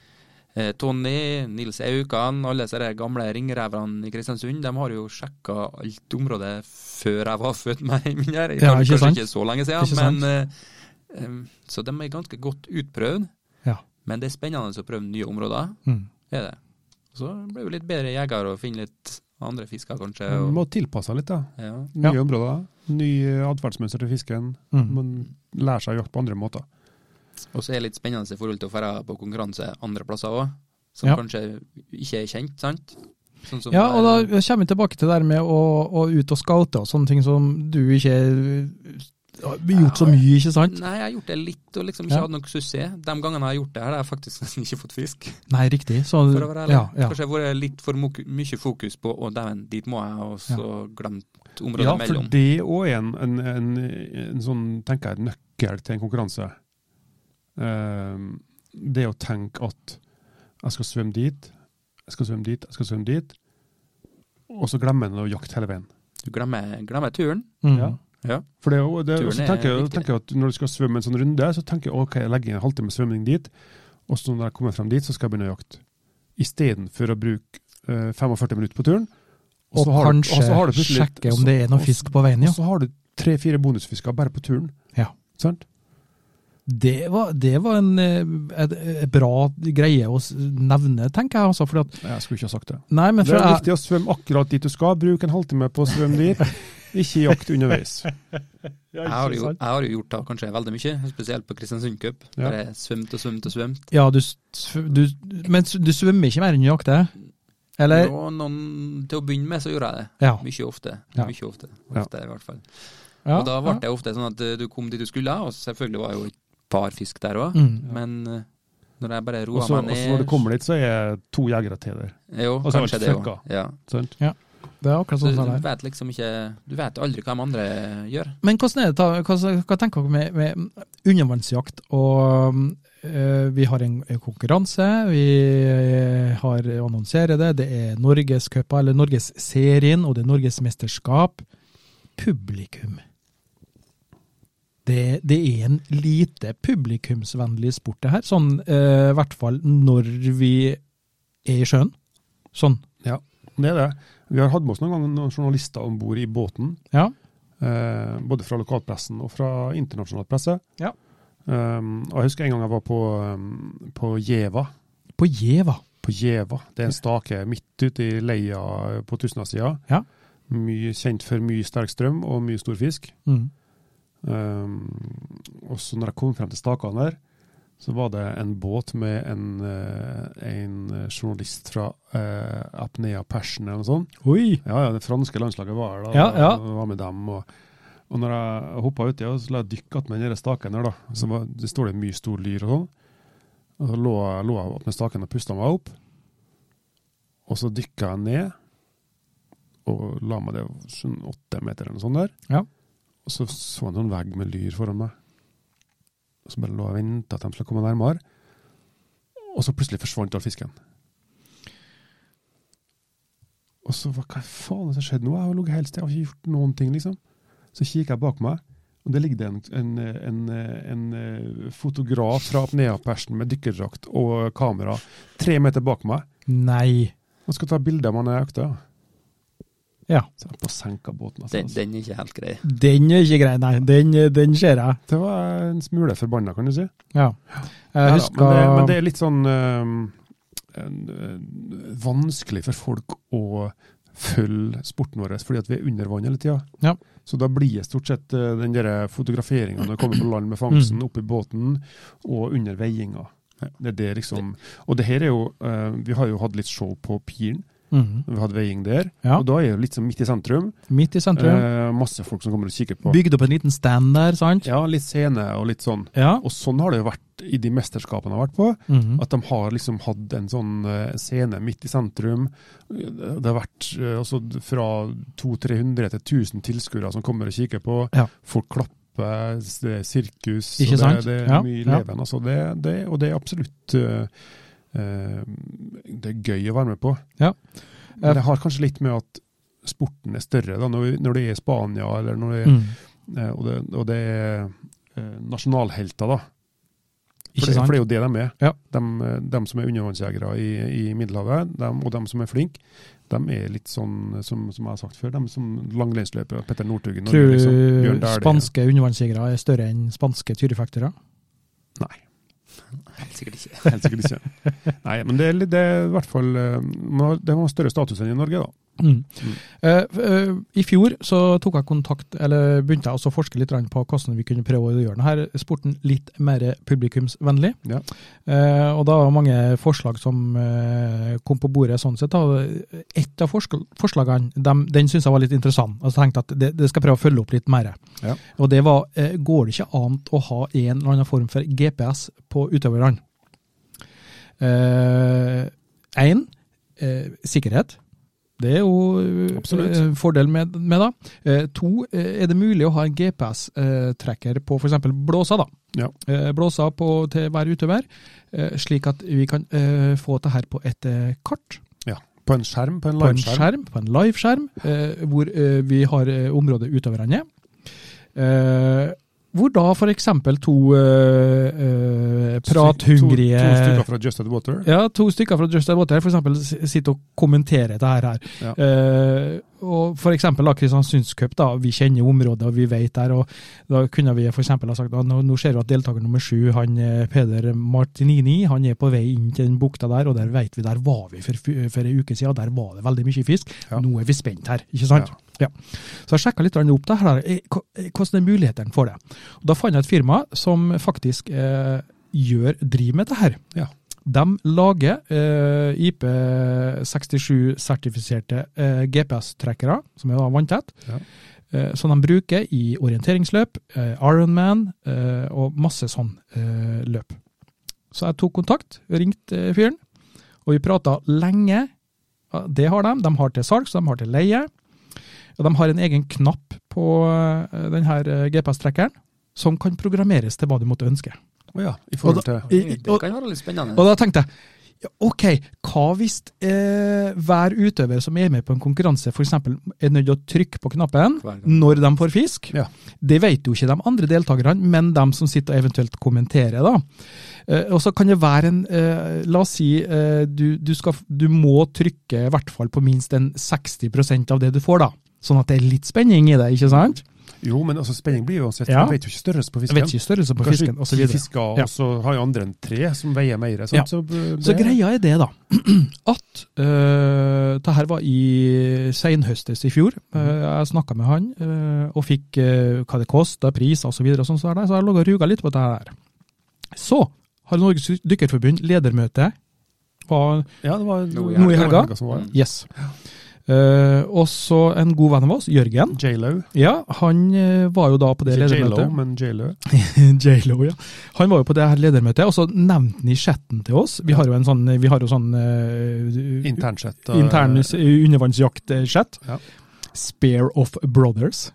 E: Eh, Tony, Nils Aukan, alle disse her gamle ringreverne i Kristiansund, de har jo sjekka alt området før jeg var født, meg min her.
B: Ja, ikke
E: Kanskje
B: sant?
E: ikke så lenge
B: Ikke
E: siden,
B: sant?
E: men eh, em, Så de er ganske godt utprøvd.
B: Ja.
E: Men det er spennende å prøve nye områder,
B: Mm.
E: er det. Og så blir du litt bedre jeger og finner litt andre fisker, kanskje.
C: Man
E: Eh,
B: Mm.
E: Og,
C: Må tilpasse seg litt, da.
E: ja.
C: Nye
B: Ja.
C: områder. Nye atferdsmønster til fisken.
B: Mm.
C: Man lærer seg å jakte på andre måter.
E: Og så er det litt spennende i forhold til å dra på konkurranse andre plasser òg, som
B: Ja.
E: kanskje ikke er kjent, sant? Sånn som
B: Ja, og da
E: der-
B: kommer vi tilbake til det der med å, å ut og scoute og sånne ting som du ikke har gjort så mye, ikke sant?
E: Nei, jeg har gjort det litt, og liksom ikke
B: Ja.
E: hatt noe suksess. De gangene jeg har gjort det her, har jeg faktisk nesten ikke fått fisk.
B: Nei, riktig. Så,
E: For å være ærlig.
B: ja, ja.
E: Kanskje jeg har vært litt for mok- mye fokus på å dæven, dit må jeg, og så glemt området
C: Ja, for
E: mellom.
C: det òg er en, en, en, en sånn, tenker jeg, nøkkel til en konkurranse. Ehm, det å tenke at jeg skal svømme dit, jeg skal svømme dit, jeg skal svømme dit. Og så glemmer en å jakte hele veien.
E: Du glemmer, glemmer turen.
B: Mm.
C: Ja.
E: Ja.
C: For det, er jo- det,
E: Turen
C: og så
E: er
C: tenker jeg,
E: viktig.
C: tenker jeg at Når du skal svømme en sånn runde, så tenker jeg ok, jeg legger inn en halvtime svømming dit. Og så når jeg kommer frem dit, så skal jeg begynne å jakte. Istedenfor å bruke eh, 45 minutter på turen.
B: Og
C: så har du-
B: kanskje
C: og så har du plutselig-
B: sjekke om det er
C: og
B: noe
C: så-
B: fisk på veien, ja.
C: Og så har du tre-fire bonusfisker bare på turen.
B: Ja.
C: Sant?
B: Det var, det var en eh, et, et bra greie å s- nevne, tenker jeg. Altså, fordi at,
C: Jeg skulle ikke ha sagt det.
B: nei, men for
C: Det er
B: jeg,
C: viktig å svømme akkurat dit du skal. Bruk en halvtime på å svømme dit. Ikke jakt underveis.
E: Jeg har, jo, jeg har jo gjort da kanskje veldig mye, spesielt på Kristiansund Cup.
C: Ja.
E: Der jeg svømte og svømte og svømte.
B: ja, du, s- du, men s- du svømmer ikke mer enn du jakter? Eller?
E: Og noen, til å begynne med så gjorde jeg det.
B: Ja.
E: Mye ofte.
B: Ja.
E: Mye ofte.
C: Ja.
E: Ofte, i hvert fall.
B: ja.
E: og da ble det ofte sånn at eh, du kom dit du skulle, og selvfølgelig var jo et par fisk der òg.
B: Mm.
E: Men eh, når jeg bare
C: Og
E: roa
C: så
E: meg
C: og
E: ned
C: så når du kommer dit, så er to jegere til der.
E: Jo,
C: og så er
E: kanskje
C: det
E: det òg.
C: fucka.
E: Ja.
C: Sant?
B: Det er akkurat
E: Så
B: sånn
E: du
B: som det er.
E: vet liksom ikke Du vet aldri hva de andre gjør.
B: Men hvordan er det, da? hva, hva tenker dere med, med undervannsjakt? Og eh, vi har en en konkurranse, vi eh, har annonserer det, det er Norgescupa, eller Norgesserien, og det er Norgesmesterskap. Publikum. Det, det er en lite publikumsvennlig sport, det her. Sånn eh, i hvert fall når vi er i sjøen. Sånn.
C: Det er det. Vi har hatt med oss noen ganger noen journalister om bord i båten.
B: Ja.
C: Eh, både fra lokalpressen og fra internasjonal presse.
B: Ja.
C: Um, og jeg husker en gang jeg var på, um, på Gjeva.
B: På Gjeva.
C: På Gjeva. Det er en stake midt ute i leia på Tustnadsida.
B: Ja.
C: Mye kjent for mye sterk strøm og mye stor fisk.
B: Mm.
C: Um, og så når jeg kom frem til stakene der, så var det en båt med en, eh, en journalist fra eh, Apnea Persen eller noe sånt.
B: Oi!
C: Ja, ja, det franske landslaget var her da,
B: Ja, ja.
C: og var med dem. Og, og når jeg hoppa uti, og så la jeg dykke attmed den der staken der, da. Så var, det står det mye stor lyr og sånn. Og så lå jeg, lå jeg attmed staken og pusta meg opp. Og så dykka jeg ned, og la meg det sånn åtte meter eller noe sånt der.
B: Ja.
C: Og så så jeg noen vegg med lyr foran meg. Og så bare lå jeg og venta at de skulle komme nærmere. Og så plutselig forsvant all fisken. Og så var hva faen er det som skjedde nå? Jeg har ligget helt stille, jeg har ikke gjort noen ting, liksom. Så kikker jeg bak meg, og der ligger det en, en, en, en, eh, fotograf fra Apnea-persen med dykkerdrakt og kamera tre meter bak meg.
B: Nei.
C: Han skal ta bilde av meg når jeg økter.
B: Ja.
C: Så jeg på senka båten. Altså.
E: Den, den er ikke helt grei.
B: Den er ikke grei, nei. Den, den ser jeg.
C: Det var en smule forbanna, kan du si.
B: Ja. Jeg
C: Neida,
B: husker
C: men, det, men det er litt sånn eh, en, eh, vanskelig for folk å følge sporten vår, fordi at vi er under vann hele tida.
B: Ja.
C: Så da blir det stort sett eh, den der fotograferinga når du kommer på land med
B: Mm.
C: fangsten, oppe i båten og under veiinga. Det er det liksom. Og det her er jo eh, Vi har jo hatt litt show på piren.
B: Mhm.
C: Vi hadde veiing der.
B: Ja.
C: Og da er det jo litt sånn midt i sentrum.
B: Midt i sentrum.
C: Eh, masse folk som kommer og kikker på.
B: Bygd opp en liten stand der, sant?
C: Ja, litt scene og litt sånn.
B: Ja.
C: Og sånn har det jo vært i de mesterskapene jeg har vært på.
B: Mhm.
C: At de har liksom hatt en sånn eh, scene midt i sentrum. Det har vært eh, altså fra 200-300 til 1000 tilskuere som kommer og kikker på.
B: Ja.
C: Folk klapper, s- det er sirkus.
B: Ikke
C: og
B: sant?
C: Det, det er
B: Ja,
C: mye
B: ja.
C: leven. Altså det, det, og det er absolutt eh, eh, Det er gøy å være med på.
B: Ja. Eh,
C: Men det har kanskje litt med at sporten er større da, når, vi- når du er i Spania eller når du er
B: Mm.
C: Eh, og, det, og det er eh, nasjonalhelter, da. eh, For
B: Ikke
C: det,
B: sant?
C: for det er jo det de er.
B: Ja.
C: De, de som er undervannsjegere i, i Middelhavet, dem- og de som er flinke, de er litt sånn, som, som jeg har sagt før, de som langrennsløpere. Petter Northug i Norge,
B: Tror
C: liksom. Bjørn
B: du
C: Dæhlie.
B: spanske undervannsjegere er større enn spanske tyrefektere?
C: Nei,
E: Helt sikkert ikke.
C: helt sikkert ikke. Nei, men det er, litt- det er i hvert fall eh, man har- De har større status enn i Norge, da.
B: Mm.
C: Mm.
B: Eh, f- eh, I fjor så tok jeg kontakt, eller begynte jeg også å forske litt grann på hvordan vi kunne prøve å gjøre denne sporten litt mer publikumsvennlig.
C: Ja.
B: Eh, og da var det mange forslag som eh, kom på bordet sånn sett. Da. Et av forsk forslagene, dem, den syntes jeg var litt interessant. Altså, jeg tenkte at det, det skal jeg prøve å følge opp litt mer.
C: Ja.
B: Og det var, eh, går det ikke an å ha en eller annen form for GPS på utøverne? Én, eh, sikkerhet. Det er jo eh,
C: Absolutt.
B: eh, fordel med, med da. Eh, to, eh, er det mulig å ha en GPS-trekker eh, på f.eks. blåsa, da?
C: Ja.
B: Eh, blåsa på, til hver utøver, eh, slik at vi kan eh, få det her på et eh, kart.
C: På en skjerm, på en
B: På en
C: liveskjerm.
B: skjerm, på en liveskjerm, eh, hvor eh, vi har eh, området utøverne. Eh, hvor da f.eks. to eh, eh, prathungrige
C: To, to stykker fra Just At Water.
B: ja, to stykker fra Just That Water for eksempel s- sitter og kommenterer dette her.
C: Ja.
B: Eh, og for eksempel da, Kristiansundscup, da, vi kjenner området og vi vet der, og da kunne vi for eksempel ha sagt at nå, nå ser vi at deltaker nummer sju, han eh, Peder Martinini, han er på vei inn til den bukta der, og der vet vi, der var vi for, f- for en uke siden, og der var det veldig mye fisk.
C: Ja.
B: Nå er vi spent her, ikke sant? Ja. Så jeg sjekka litt grann opp det her, eh, hva- eh, hvordan er mulighetene for det. Og da fant jeg et firma som faktisk eh, gjør, driver med det her. De lager eh, IP67-sertifiserte eh, GPS-trekkere, som er da vanntett,
C: Ja.
B: eh, som de bruker i orienteringsløp, eh, Ironman eh, og masse sånn eh, løp. Så jeg tok kontakt, ringte eh, fyren, og vi prata lenge. Ja, Det har de. De har til salgs, de har til leie. Og de har en egen knapp på eh, denne GPS-trekkeren som kan programmeres til hva du måtte ønske.
C: Å ja, i forhold
B: Og
C: til
B: I-
E: Det kan være litt spennende.
B: og da tenkte jeg, ja, ok, hva hvis eh, hver utøver som er med på en konkurranse for eksempel er nødt til å trykke på knappen
E: Hver
C: Mm.
E: gang.
B: når de får fisk?
C: Ja.
B: Det vet jo ikke de andre deltakerne, men de som sitter og eventuelt kommenterer da. Eh, og så kan det være en, eh, la oss si, eh, du, du, skal, du må trykke i hvert fall på minst en 60% av det du får da. Sånn at det er litt spenning i det, ikke sant?
C: Jo, men altså, spenning blir jo uansett.
B: Ja.
C: Man vet jo ikke størrelsen på
B: Jeg
C: fisken.
B: vet ikke størrelse på
C: Kanskje
B: fisken, og så
C: ti
B: videre.
C: fisker,
B: Ja.
C: og så har jo andre enn tre som veier mer. Sant?
B: Ja.
C: Så, eh,
B: Så
C: det-
B: greia er det, da, at uh, det her var i senhøstes i fjor. Eh,
C: Mm.
B: jeg snakka med han eh, og fikk eh, hva det kosta, priser osv., så, sånn, så, der, så jeg lå og ruga litt på det her. Så har Norges Dykkerforbund ledermøte. Var
C: Ja, det var
E: Nå i
B: Nå i helga. Mm.
C: som var.
B: Yes. Eh, også en god venn av oss, Jørgen,
C: J.Lo.
B: ja, han eh, var jo da på det
C: Ikke J.Lo,
B: ledermøtet.
C: men J.Lo.
B: J.Lo, ja. Han var jo på det her ledermøtet, og så nevnte han i chatten til oss Vi har jo en sånn, vi har jo sånn eh,
C: Internsett. eh,
B: intern s- undervannsjakt-chat.
C: Ja.
B: Spare of Brothers.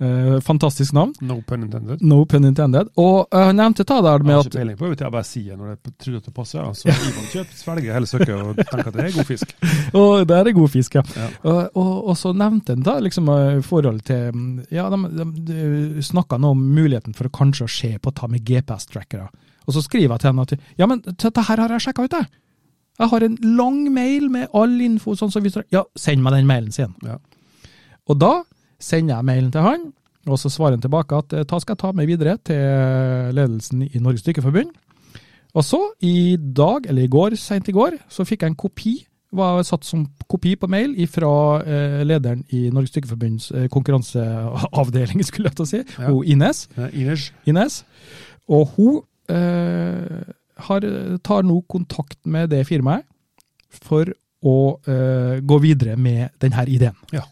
B: Eh, fantastisk navn.
C: No pun intended.
B: No pun intended. Og eh, han nevnte ta der
C: Jeg
B: med
C: har ikke
B: at
C: peiling på vet du, jeg bare sier når jeg tror at det passer. Altså, Ivan kjøper, svelger hele søkket og tenker at det er god fisk.
B: Å, der er god fisk, ja.
C: Ja.
B: Og, og, og så nevnte han da liksom eh, forholdet til mm, Ja, de, de, de snakka nå om muligheten for å kanskje å se på å ta med GPS-trackere. Og så skriver jeg til han at ja, men dette her har jeg sjekka ut, jeg. Jeg har en lang mail med all info. sånn som vi tra- Ja, send meg den mailen sin.
C: Ja.
B: Og da sender jeg mailen til han, og så svarer han tilbake at eh, ta skal jeg ta med videre til ledelsen i Norges Dykkerforbund. Og så, i dag, eller i går, sent i går, så fikk jeg en kopi, var satt som kopi på mail fra eh, lederen i Norges Dykkerforbunds eh, konkurranseavdeling, skulle jeg til å si,
C: Ja.
B: hun Ines.
C: Eh, Ines,
B: Ines. Og hun eh, har, tar nå kontakt med det firmaet for å eh, gå videre med denne ideen.
C: Ja.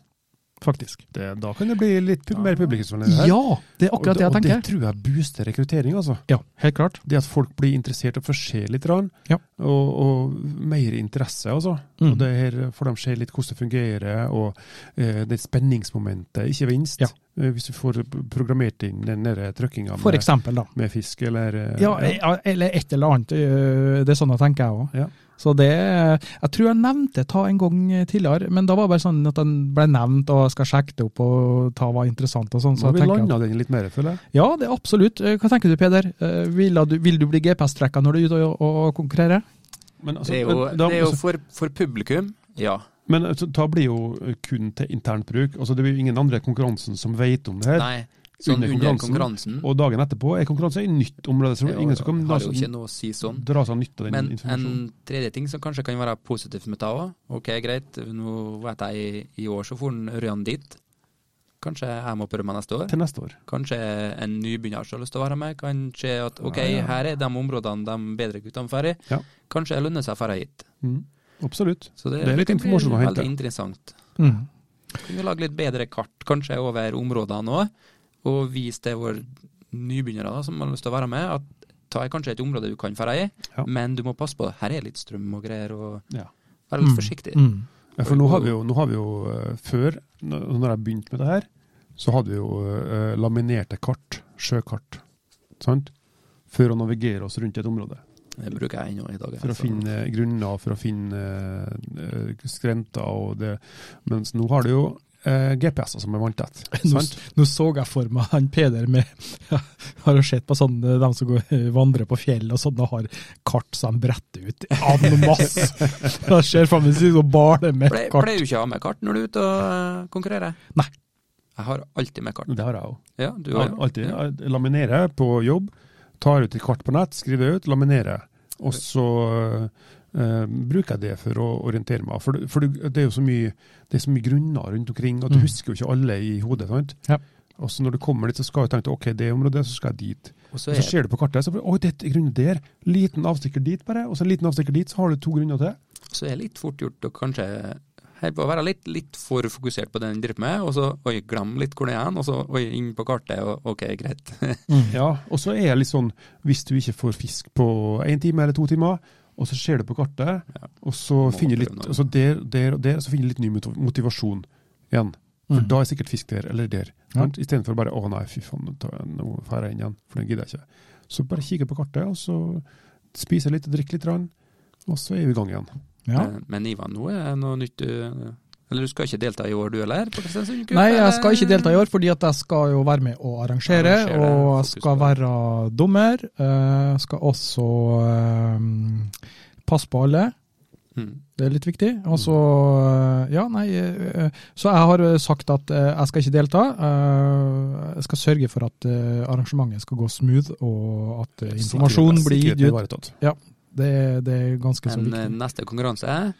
B: Faktisk.
C: det, da kan det bli litt pu- mer publikumsvennlig. her.
B: Ja, det er akkurat det jeg
C: og, det-
B: tenker.
C: Og det tror jeg booster rekruttering, altså.
B: Ja, helt klart.
C: Det at folk blir interessert og får se litt, rann,
B: Ja.
C: og, og mer interesse, altså.
B: Mm.
C: Og det her får de se litt hvordan det fungerer, og eh, det spenningsmomentet, ikke minst.
B: Ja.
C: Eh, hvis du får programmert inn den der trykkinga
B: For
C: med,
B: eksempel, da.
C: med fisk, eller eh,
B: Ja, eller et eller annet. eh, Det er sånn jeg tenker, jeg òg.
C: Ja.
B: Så det Jeg tror jeg nevnte det en gang tidligere, men da var det bare sånn at den ble nevnt, og jeg skal sjekke det opp og ta hva er interessant og sånn.
C: Nå
B: Så
C: har
B: jeg
C: vi
B: tenker at,
C: landa den litt mer, føler jeg.
B: ja, det er absolutt. Eh, Hva tenker du, Peder? Eh, Vil du, vil du bli GPS-trekka når du er ute og, og konkurrerer?
C: Men, altså,
E: Det er jo,
C: men da-
E: det er jo
C: altså-
E: for, for publikum, ja.
C: Men altså, da blir jo kun til internt bruk. Altså, det blir jo ingen andre i konkurransen som vet om det her.
E: Nei, sånn
C: under
E: under
C: konkurransen.
E: konkurransen.
C: Og dagen etterpå er konkurranse i nytt område, så
E: Det er jo-
C: ingen som altså- kan la
E: har jo ikke
C: seg-
E: noe å si sånn.
C: dra seg nytte av den
E: Men
C: informasjonen.
E: en tredje ting som kanskje kan være positivt med det òg. Ok, greit, nå vet jeg i år så for den Ørjan dit. Kanskje jeg må prøve meg neste år.
C: Til neste år.
E: Kanskje en nybegynner som har lyst til å være med. Kanskje at ok,
C: Ja, ja.
E: her er de områdene de bedre guttene drar i.
C: Ja.
E: Kanskje det lønner seg å dra hit.
C: Mm. Absolutt.
E: Så
C: Det er litt
E: kan bli
C: informasjon å hente.
E: Veldig interessant.
B: Mm.
E: Kunne lage litt bedre kart kanskje over områdene òg, og vise til våre nybegynnere da, som har lyst til å være med, at ta er kanskje et område du kan dra i,
C: Ja.
E: men du må passe på. Her er litt strøm og greier, og
C: Ja.
E: være litt forsiktig.
B: Mm. Mm.
C: Ja, For nå har vi jo, nå har vi jo eh, før, når når jeg begynte med det her, så hadde vi jo eh, laminerte kart, sjøkart, sant? for å navigere oss rundt et område.
E: Det bruker jeg ennå i dag.
C: For å
E: altså.
C: finne grunner, for å finne eh, skrenter og det. Mens nå har du jo eh, GPS-er som er vanntett.
B: Nå,
C: sant?
B: nå så jeg for meg han Peder med Har jo sett på sånne de som går, eh, vandrer på fjell og sånne, og har kart som de bretter ut en masse. Jeg ser for meg en bale med
E: Ple-
B: kart.
E: Pleier du ikke å ha med kart når du er ute og eh, konkurrerer?
B: Nei.
E: Jeg har alltid med kart.
C: Det har jeg òg.
E: Ja, du har jo.
C: Mm. Alltid.
E: Ja.
C: Jeg Laminerer på jobb, tar ut et kart på nett, skriver det ut, laminerer. Og så eh, bruker jeg det for å orientere meg. For, det- for det det er jo så mye, det er så mye grunner rundt omkring, at du
B: Mm.
C: husker jo ikke alle i hodet. sant?
B: Ja.
C: Og så når du kommer dit, så skal du tenke ok, det området, så skal jeg dit.
E: Og så
C: Og
E: er
C: så ser du på kartet, så bare, oi, det er grunn der. Liten avstikker dit bare, og så en liten avstikker dit, så har du to grunner til.
E: så er det litt fort gjort å kanskje her på å være litt, litt for fokusert på det en driver med, og så oi, glem litt hvor det er, og så oi, inn på kartet, og ok, greit.
C: Ja, og så er det litt sånn, hvis du ikke får fisk på en time eller to timer, og så ser du på kartet,
E: Ja.
C: og så
E: Må
C: finner du
E: prøve
C: litt,
E: noe.
C: altså der, der og der, så finner du litt ny motiv- motivasjon igjen. For
B: Mm.
C: da er sikkert fisk der, eller der.
B: Ja.
C: sant? I stedet for bare, å nei, fy faen, nå tar jeg- nå får jeg inn igjen, for det gidder jeg ikke. Så bare kikker på kartet, og så spiser litt, drikker litt, rann, og så er vi i gang igjen.
B: Ja.
E: Men- Eh, Men Ivan, nå er det noe nytt du Eller du skal ikke delta i år, du heller? på Kristiansund Cup,
B: Nei, jeg
E: eller?
B: skal ikke delta i år, fordi at jeg skal jo være med å arrangere.
E: Arrangere,
B: og jeg
E: fokus
B: skal
E: på
B: være dommer. eh, skal også eh, passe på alle.
E: Mm.
B: Det er litt viktig. Og så øh, Ja, nei øh, øh, Så jeg har øh, sagt at øh, jeg skal ikke delta. Øh, Jeg skal sørge for at øh, arrangementet skal gå smooth, og at øh, informasjon
C: Sikkerhet-
B: blir
C: sikkerhet
B: gitt ut.
C: ivaretatt.
B: Det, det er ganske så
E: Men eh,
B: viktig.
E: neste konkurranse er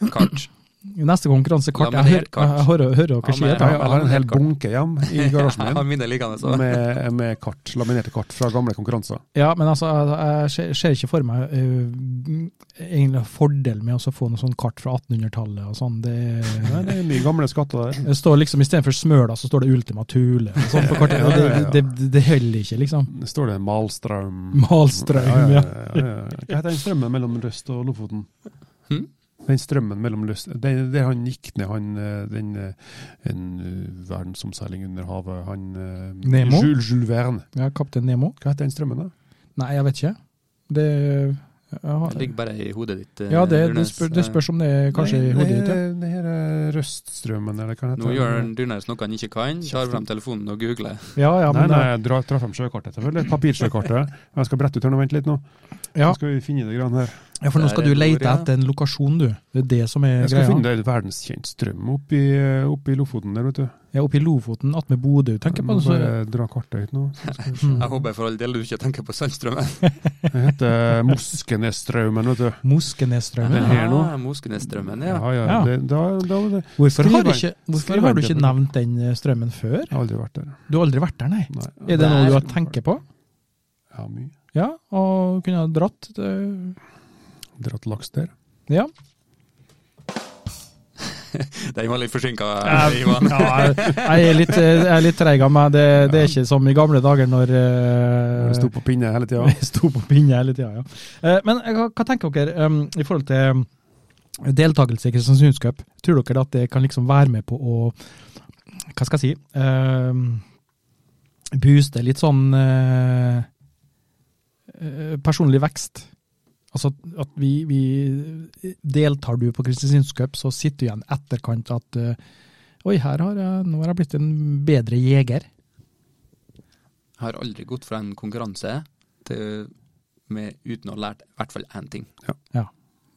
E: kart. eh,
B: Neste konkurranse kart. Jeg hører,
E: Laminert kart.
B: jeg hører, hører dere
E: Ja, men-
B: sier
C: Ja,
B: det.
C: ja, jeg har en hel bunke hjem i garasjen
E: Jeg
C: min.
E: har mine altså. liggende, så.
C: med, med kart, laminerte kart fra gamle konkurranser.
B: Ja, men altså, jeg, jeg ser- ser ikke for meg øh, egentlig fordel med å få noe sånn kart fra 1800-tallet og sånn. Det,
C: Nei, det er mye gamle skatter der.
B: det står liksom Istedenfor Smøla, så står det Ultima Thule. og sånn på kartet.
C: Ja, ja, ja.
B: Det, det, det holder ikke, liksom.
C: Det står det Malstrøm.
B: Malstrøm,
C: Ja,
B: ja.
C: ja, ja, ja, ja. Hva heter den strømmen mellom Røst og Lofoten?
E: Hm?
C: Den strømmen mellom Røst Det det han gikk ned, han eh, den eh, en eh, verdensomseiling under havet, han eh,
B: Nemo?
C: Jules, Jules Verne.
B: Ja, Kaptein Nemo.
C: Hva heter den strømmen, da?
B: Nei, jeg vet ikke. Det
E: Det ligger bare i hodet ditt. eh,
B: Ja, det, det,
E: Durnes.
B: spør, det spørs om det er kanskje
C: Nei,
B: i hodet
C: det-
B: ditt. ja.
C: Det her er eh, Røststrømmen, eller hva heter
E: Eh, Nå gjør Durnes noe han ikke kan, tar frem telefonen og googler.
B: Ja, ja,
C: Nei,
B: men,
C: nei, jeg drar, drar frem sjøkartet, selvfølgelig. Papirsjøkartet. Jeg skal brette ut her nå, vent litt nå.
B: ja.
C: Nå skal vi finne det grann her.
B: eh, ja, for nå skal du
E: Der er
B: lete
E: ordet, ja.
B: etter en lokasjon, du. Det er det som er
C: Jeg skal
B: greia.
C: finne deg en verdenskjent strøm oppe i, eh, oppe i Lofoten der, vet du.
B: Ja, Oppe i Lofoten, attmed Bodø. Tenk på
C: Må
B: det. Så,
C: Mm,
B: Mm,
C: bare dra kartet ut nå.
E: Jeg håper for all del du ikke tenker på Sandstrømmen.
C: Det heter Moskenesstraumen, vet du.
B: Moskenesstrømmen.
C: Den her nå?
E: Ah, Moskenesstrømmen,
C: Ja,
E: ja.
C: ja.
B: Ja.
C: Det, da, da, var det.
B: Hvorfor har, du
C: Skriver-
B: ikke, hvorfor
C: skriver
B: har du
C: den
B: ikke
C: til-
B: nevnt den eh, strømmen før?
C: Jeg har aldri vært der.
B: Du har aldri vært der, nei.
C: Nei.
B: Er det noe du har tenker på?
C: Ja, mye.
B: Ja, og kunne ha dratt. eh,
C: Dratt laks der.
B: Ja.
E: Den var litt forsinka,
B: Ja,
E: Ivan.
B: jeg, jeg er litt, eh, jeg er litt treig av meg. Det, det er ikke som i gamle dager når eh,
C: Det sto på pinne hele tida.
B: Vi sto på pinne hele tida, ja. Eh, Men eh, hva hva tenker dere um, i forhold til um, deltakelse i Kristiansunds Cup? Tror dere at det kan liksom være med på å Hva skal jeg si? um, booste litt sånn eh, eh, personlig vekst? Altså at- at vi, vi Deltar du på Kristiansunds Cup, så sitter du igjen i etterkant at eh, Oi, her har jeg, nå har jeg blitt en bedre jeger.
E: Jeg har aldri gått fra en konkurranse til, med, uten å ha lært i hvert fall én ting.
C: Ja.
B: Ja.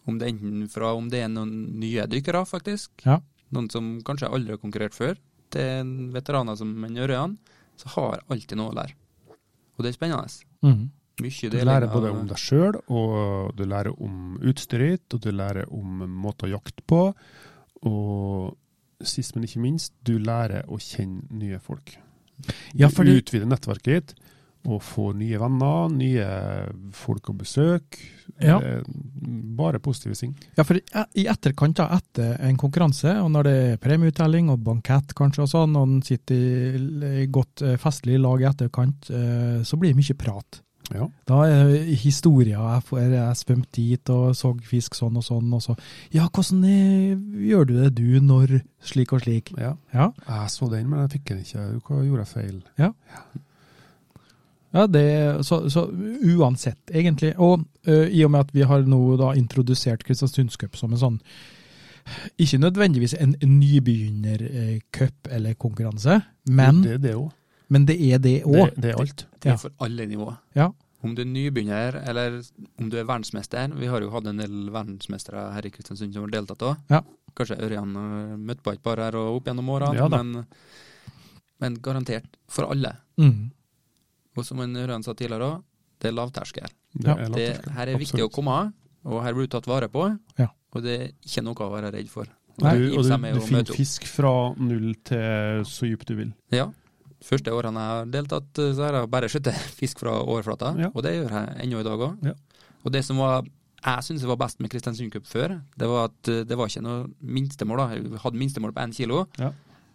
E: Om det enten fra om det er noen nye dykkere, faktisk,
B: Ja.
E: noen som kanskje aldri har konkurrert før, til veteraner som en Ørjan, så har jeg alltid noe å lære. Og det er spennende.
B: Mhm.
E: Mye
C: Du
E: deling
C: lærer
E: av-
C: både om deg sjøl, og du lærer om utstyret ditt, og du lærer om måter å jakte på. Og sist, men ikke minst, du lærer å kjenne nye folk. Du
B: Ja, fordi-
C: utvider nettverket ditt, og får nye venner, nye folk å besøke.
B: Ja.
C: Eh, Bare positive ting.
B: Ja, for i i etterkant, da, etter en konkurranse, og når det er premieuttelling og bankett kanskje og sånn, og en sitter i, i godt eh, festlig lag i etterkant, eh, så blir det mye prat.
C: Ja.
B: Da er det historier. Jeg, får- jeg svømte dit og så fisk sånn og sånn, og så Ja, hvordan eh, gjør du det du når slik og slik?
C: ja.
B: Ja,
C: Jeg så den, men jeg fikk den ikke. Hva gjorde jeg feil?
B: ja det, så, så uansett, egentlig. Og eh, i og med at vi har nå da introdusert Kristiansundscup som en sånn Ikke nødvendigvis en nybegynnercup eh, eller konkurranse, men det,
C: det, det òg.
B: men det er det
C: Det,
B: òg.
C: det er alt.
E: Det
B: Ja.
E: er for alle nivåer.
B: Ja.
E: Om du er nybegynner, eller om du er verdensmester. Vi har jo hatt en del verdensmestere her i Kristiansund som har deltatt òg.
B: Ja.
E: Kanskje Ørjan øh, møtte på et par her og opp gjennom årene,
C: Ja da.
E: men, men garantert for alle.
B: Mm.
E: Og som en Ørjan sa tidligere òg, det er lavterskel.
C: Det
B: Ja.
C: er
E: Det,
C: lavterskel.
E: her er viktig
C: Absolutt.
E: å komme av, og her blir du tatt vare på.
B: Ja.
E: Og det er ikke noe å være redd for.
C: Og
B: Nei,
C: du, og
E: Ibsen
C: du,
E: er jo
C: du
E: å møte
C: finner
E: opp.
C: fisk fra null til så djupt du vil.
E: Ja. Første årene jeg har deltatt, eh, så har jeg bare skutt fisk fra overflata,
C: Ja.
E: og det gjør jeg ennå i dag òg.
C: Ja.
E: Og det som var, jeg syns var best med Kristiansund Cup før, det var at eh, det var ikke noe minstemål. da. Vi hadde minstemål på én kilo,
C: Ja.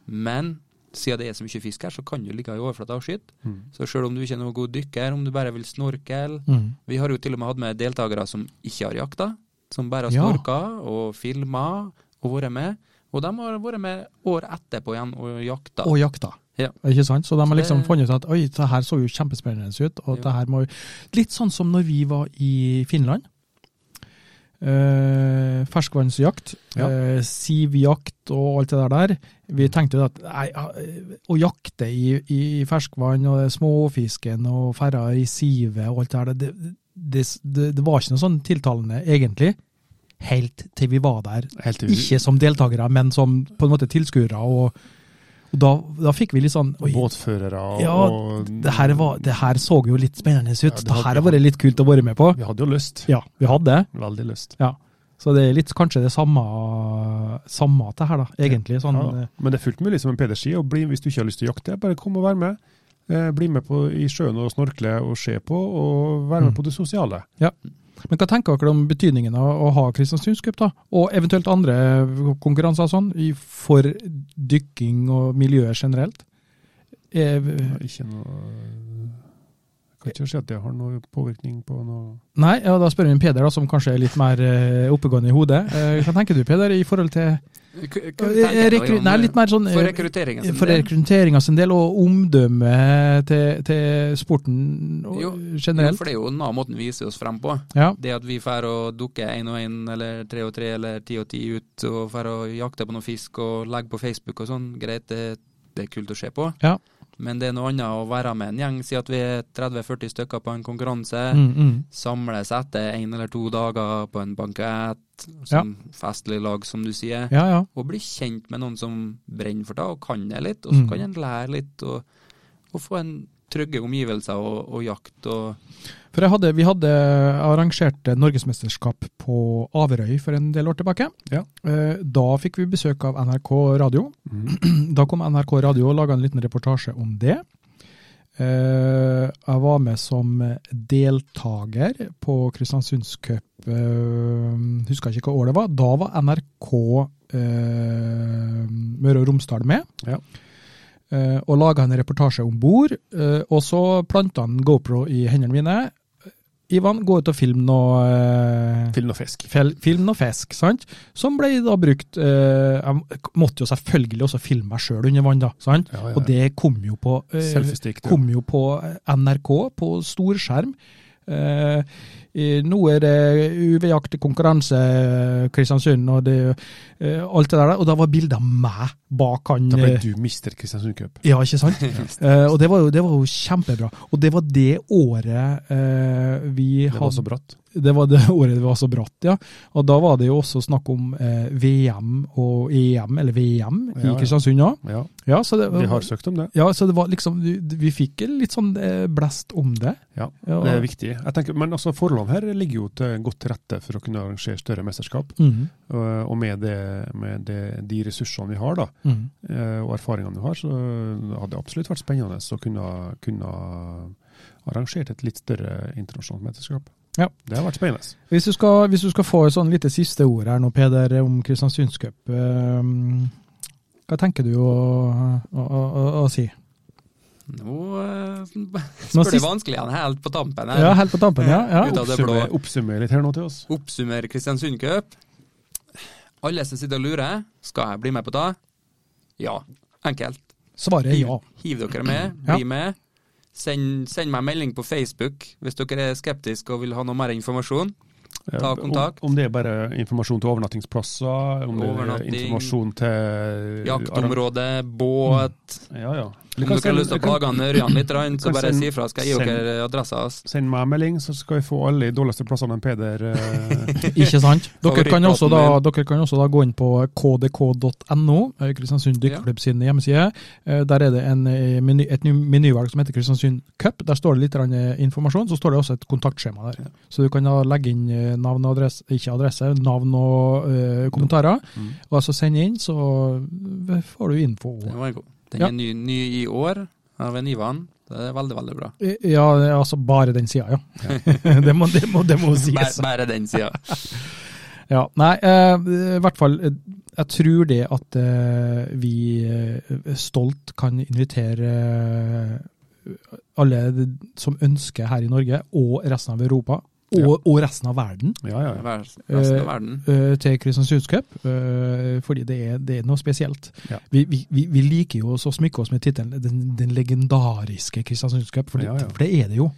E: men siden det er så mye fisk her, så kan du ligge i overflata og skyte.
C: Mm.
E: Så sjøl om du ikke er noen god dykker, om du bare vil snorkele
B: Mm.
E: Vi har jo til og med hatt med deltakere som ikke har jakta, som bare har
B: Ja.
E: snorka og filma og vært med. Og de har vært med år etterpå igjen og jakta.
B: Og jakta.
E: Ja.
B: Ikke sant? Så de har liksom
E: det-
B: funnet ut at oi, det her så jo kjempespennende ut. og
E: Ja.
B: det her må... Litt sånn som når vi var i Finland. Eh, ferskvannsjakt,
C: Ja.
B: eh, sivjakt og alt det der der. Vi tenkte jo at nei, ja, å jakte i, i ferskvann og det småfisken og ferra i sivet og alt det der, det, det, det, det var ikke noe sånn tiltalende egentlig. Helt til vi var der
C: Helt til
B: ikke som deltakere, men som på en måte tilskuere. Og, og da, da fikk vi litt sånn Oi,
C: båtførere og,
B: Ja,
C: og
B: det her, var, det her så jo litt spennende ut.
C: Ja, det
B: det her
C: hadde-
B: har vært litt kult å være med på.
C: Vi hadde jo lyst.
B: Ja, vi hadde det.
C: Veldig lyst.
B: Så det er litt kanskje det samme, samme at det her, da, egentlig. Sånn,
C: Ja, da. men det er fullt mulig, som en Peder sier, å bli- hvis du ikke har lyst til å jakte, bare kom og vær med. Eh, bli med på, i sjøen og snorkle og se på, og være med
B: Mm.
C: på det sosiale.
B: Men hva tenker dere om betydningen av å ha Kristiansundscup, da? Og eventuelt andre konkurranser og sånn, i- for dykking og miljøet generelt? Eh,
C: Det er Ikke noe Kan ikke si at det har noe påvirkning på noe
B: Nei, ja, da spør vi en Peder, da, som kanskje er litt mer eh, oppegående i hodet. Eh, hva tenker du, Peder, i forhold til
E: K- hva
B: Eh,
E: tenker dere
B: rekru-
E: om-
B: Nei, litt mer sånn
E: For
B: eh,
E: rekrutteringen sin
B: for
E: del.
B: rekrutteringa sin del, og omdømmet til, til sporten og-
E: Jo, Jo,
B: generelt.
E: For det er jo en annen måten vi viser oss frem på.
B: Ja,
E: Det at vi drar og dukker én og én, eller tre og tre, eller ti og ti ut, og drar og jakter på noe fisk og legger på Facebook og sånn, greit, det, det er kult å se på.
B: Ja.
E: Men det er noe annet å være med en gjeng, si at vi er 30-40 stykker på en konkurranse.
B: mm, mm.
E: Samles etter én eller to dager på en bankett,
B: Ja.
E: som festlig lag, som du sier
B: ja. ja.
E: og bli kjent med noen som brenner for det, og kan det litt. Og så
B: Mm.
E: kan en lære litt, og, og få en trygge omgivelser og, og jakt. Og,
B: For jeg hadde, vi hadde arrangert norgesmesterskap på Averøy for en del år tilbake.
C: Ja.
B: Eh, Da fikk vi besøk av NRK Radio.
C: mm.
B: Da kom NRK Radio og laga en liten reportasje om det. Eh, Jeg var med som deltaker på Kristiansundscup eh, Husker ikke hva år det var. Da var NRK eh, Møre og Romsdal med.
C: Ja.
B: Eh, og laga en reportasje om bord. Eh, og så planta han GoPro i hendene mine. Ivan, gå ut og film noe eh,
C: Film og fisk.
B: fel- film og fisk, sant? som ble da brukt eh, Jeg måtte jo selvfølgelig også filme meg sjøl under vann, da. sant?
C: Ja, ja, ja.
B: Og det kom jo på, eh,
C: Selfiestick. du.
B: kom jo på eh, NRK, på storskjerm. Eh, i- nå er det UV-aktig konkurranse, eh, Kristiansund, og det, eh, alt det der. Og da var bildet meg bak han.
C: Da ble
B: eh,
C: du Mr. Kristiansund Cup.
B: Ja, ikke sant? Eh, og det var, jo, det var jo kjempebra. Og det var det året eh, vi
C: Det var
B: hadde
C: så bratt.
B: det var det året det var så bratt, ja. Og da var det jo også snakk om eh, VM og EM, eller VM
C: Ja,
B: i
C: ja.
B: Kristiansund òg.
C: Ja,
B: Ja, så det,
C: vi har søkt om det.
B: ja, så det var liksom Vi, vi fikk litt sånn eh, blest om det.
C: Ja,
B: Ja.
C: Det er viktig. Jeg tenker, men altså, forholdene her ligger jo til godt til rette for å kunne arrangere større mesterskap.
B: Mhm,
C: Og og med, det, med det, de ressursene vi har, da,
B: mhm.
C: eh, og erfaringene vi har, så hadde det absolutt vært spennende å kunne, kunne arrangert et litt større internasjonalt mesterskap.
B: Ja.
C: Det har vært spennende.
B: Hvis, du skal, hvis du skal få et sånn lite siste ord her nå, Peder, om Kristiansundscup, eh, hva tenker du å, å, å, å, å si?
E: Nå eh,
B: Nå
E: spør du
B: sist-
E: vanskeligene helt på tampen her.
B: Ja, helt på tampen, ja. ja.
E: Ut av det blå.
C: Oppsummer, oppsummer litt her nå til oss.
E: Oppsummer Kristiansund Cup. Alle som sitter og lurer, skal jeg bli med på det? Ja. Enkelt.
B: Svaret er ja.
E: Hiv dere med,
B: Ja.
E: bli med. Send, send meg en melding på Facebook hvis dere er skeptiske og vil ha noe mer informasjon. Ta kontakt.
C: Om, om det er bare informasjon til overnattingsplasser, om det er
E: Overnatting.
C: informasjon til eh,
E: Jaktområde, båt
C: Ja, ja.
E: Om dere har lyst til å plage han Ørjan litt, rann, så
C: kan
E: bare
C: send-
E: si ifra, skal jeg gi
C: send-
E: dere adressa hans.
C: Send meg en melding, så skal vi få alle de dårligste plassene enn Peder. eh,
B: Ikke sant? Dere kan, også da,
E: Favorittplaten
B: dere kan også da gå inn på eh, kdk.no, eh, Kristiansund Dykkeklubb sin hjemmeside. Eh, Der er det en eh, meny, et ny menyvalg som heter Kristiansund Cup. Der står det litt grann, eh, informasjon. Så står det også et kontaktskjema der. Så du kan da legge inn eh, navn og adresse, ikke adresse, navn og eh, kommentarer.
C: Mm.
B: Og så send inn, så eh, får du info.
E: Den var god. Den
B: Ja.
E: er ny, ny i år av en Ivan. Det er veldig, veldig bra.
B: Eh, Ja, altså bare den sida, ja. det, må, det, må, det må
E: Bare,
B: sies.
E: bare den sida.
B: Ja, nei, eh, i hvert fall eh, Jeg tror det at eh, vi eh, stolt kan invitere eh, alle de- som ønsker her i Norge, og resten av Europa, og,
C: Ja.
B: og resten av verden,
C: ja, ja. ja.
E: Vær- Resten av verden.
B: eh, til Kristiansunds Cup. eh, fordi det er, det er noe spesielt.
C: Ja.
B: Vi, vi, vi, vi liker jo også å smykke oss med tittelen den, 'Den legendariske Kristiansunds Cup', for, det-
C: Ja, ja.
B: for det er det jo.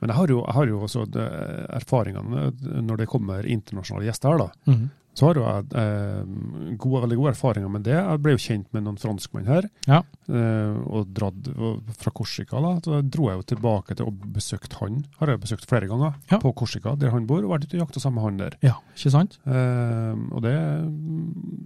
C: Men jeg har jo, jeg har jo også det, erfaringene eh, når det kommer internasjonale gjester her, da.
B: Mhm.
C: Så har jo jeg eh, gode, veldig gode erfaringer med det. Jeg ble jo kjent med noen franskmenn her,
B: Ja.
C: eh, og dratt og fra Korsika. da, Så dro jeg jo tilbake til og besøkte han. Har jeg besøkt flere ganger
B: Ja.
C: på Korsika, der han bor, og vært ute og jakta sammen med han der.
B: ja, ikke sant?
C: Eh, og det,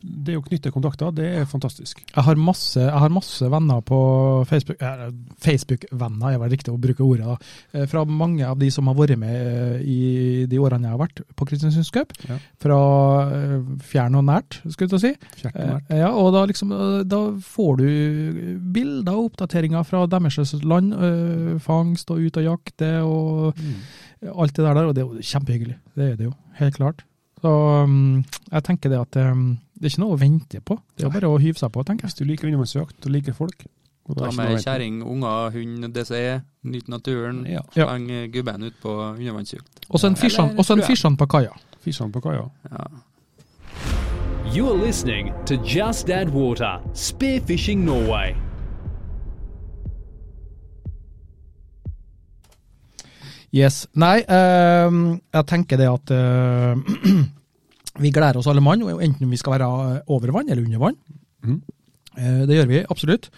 C: det å knytte kontakter, det er fantastisk.
B: Jeg har masse, jeg har masse venner på Facebook eh, Facebook-venner er vel riktig å bruke ordet, da. Eh, Fra mange av de som har vært med eh, i de årene jeg har vært på Kristiansunds Cup.
C: Ja.
B: Fra eh, fjern og nært, skulle jeg til å si.
C: Kjært
B: Eh,
C: nært.
B: Ja, og da, liksom, eh, da får du bilder og oppdateringer fra deres land. eh, Fangst og ut og jakte og
C: Mm.
B: alt det der der, og det er jo kjempehyggelig. Det er det jo, helt klart. Så um, jeg tenker det at um, det er ikke noe å vente på, det er bare å hyve seg på, tenker jeg.
C: Hvis du liker undervannsjakt og liker folk og det er
E: Ta
C: ikke noe
E: med
C: vent.
E: kjerring, unger, hund, det som er. Nyt naturen.
C: Ja.
B: Ja.
E: Sleng gubben ut på undervannsjukt.
B: Og så en fisjan- og så en fisjan på kaia.
C: Fisjene på kaia.
E: Ja.
A: You're listening to Just Add Water Spearfishing Norway.
B: Yes. Nei, ehm, jeg tenker det at ehm, vi gleder oss alle mann, og enten vi skal være eh, over vann eller under vann.
C: Mhm.
B: Eh, Det gjør vi absolutt.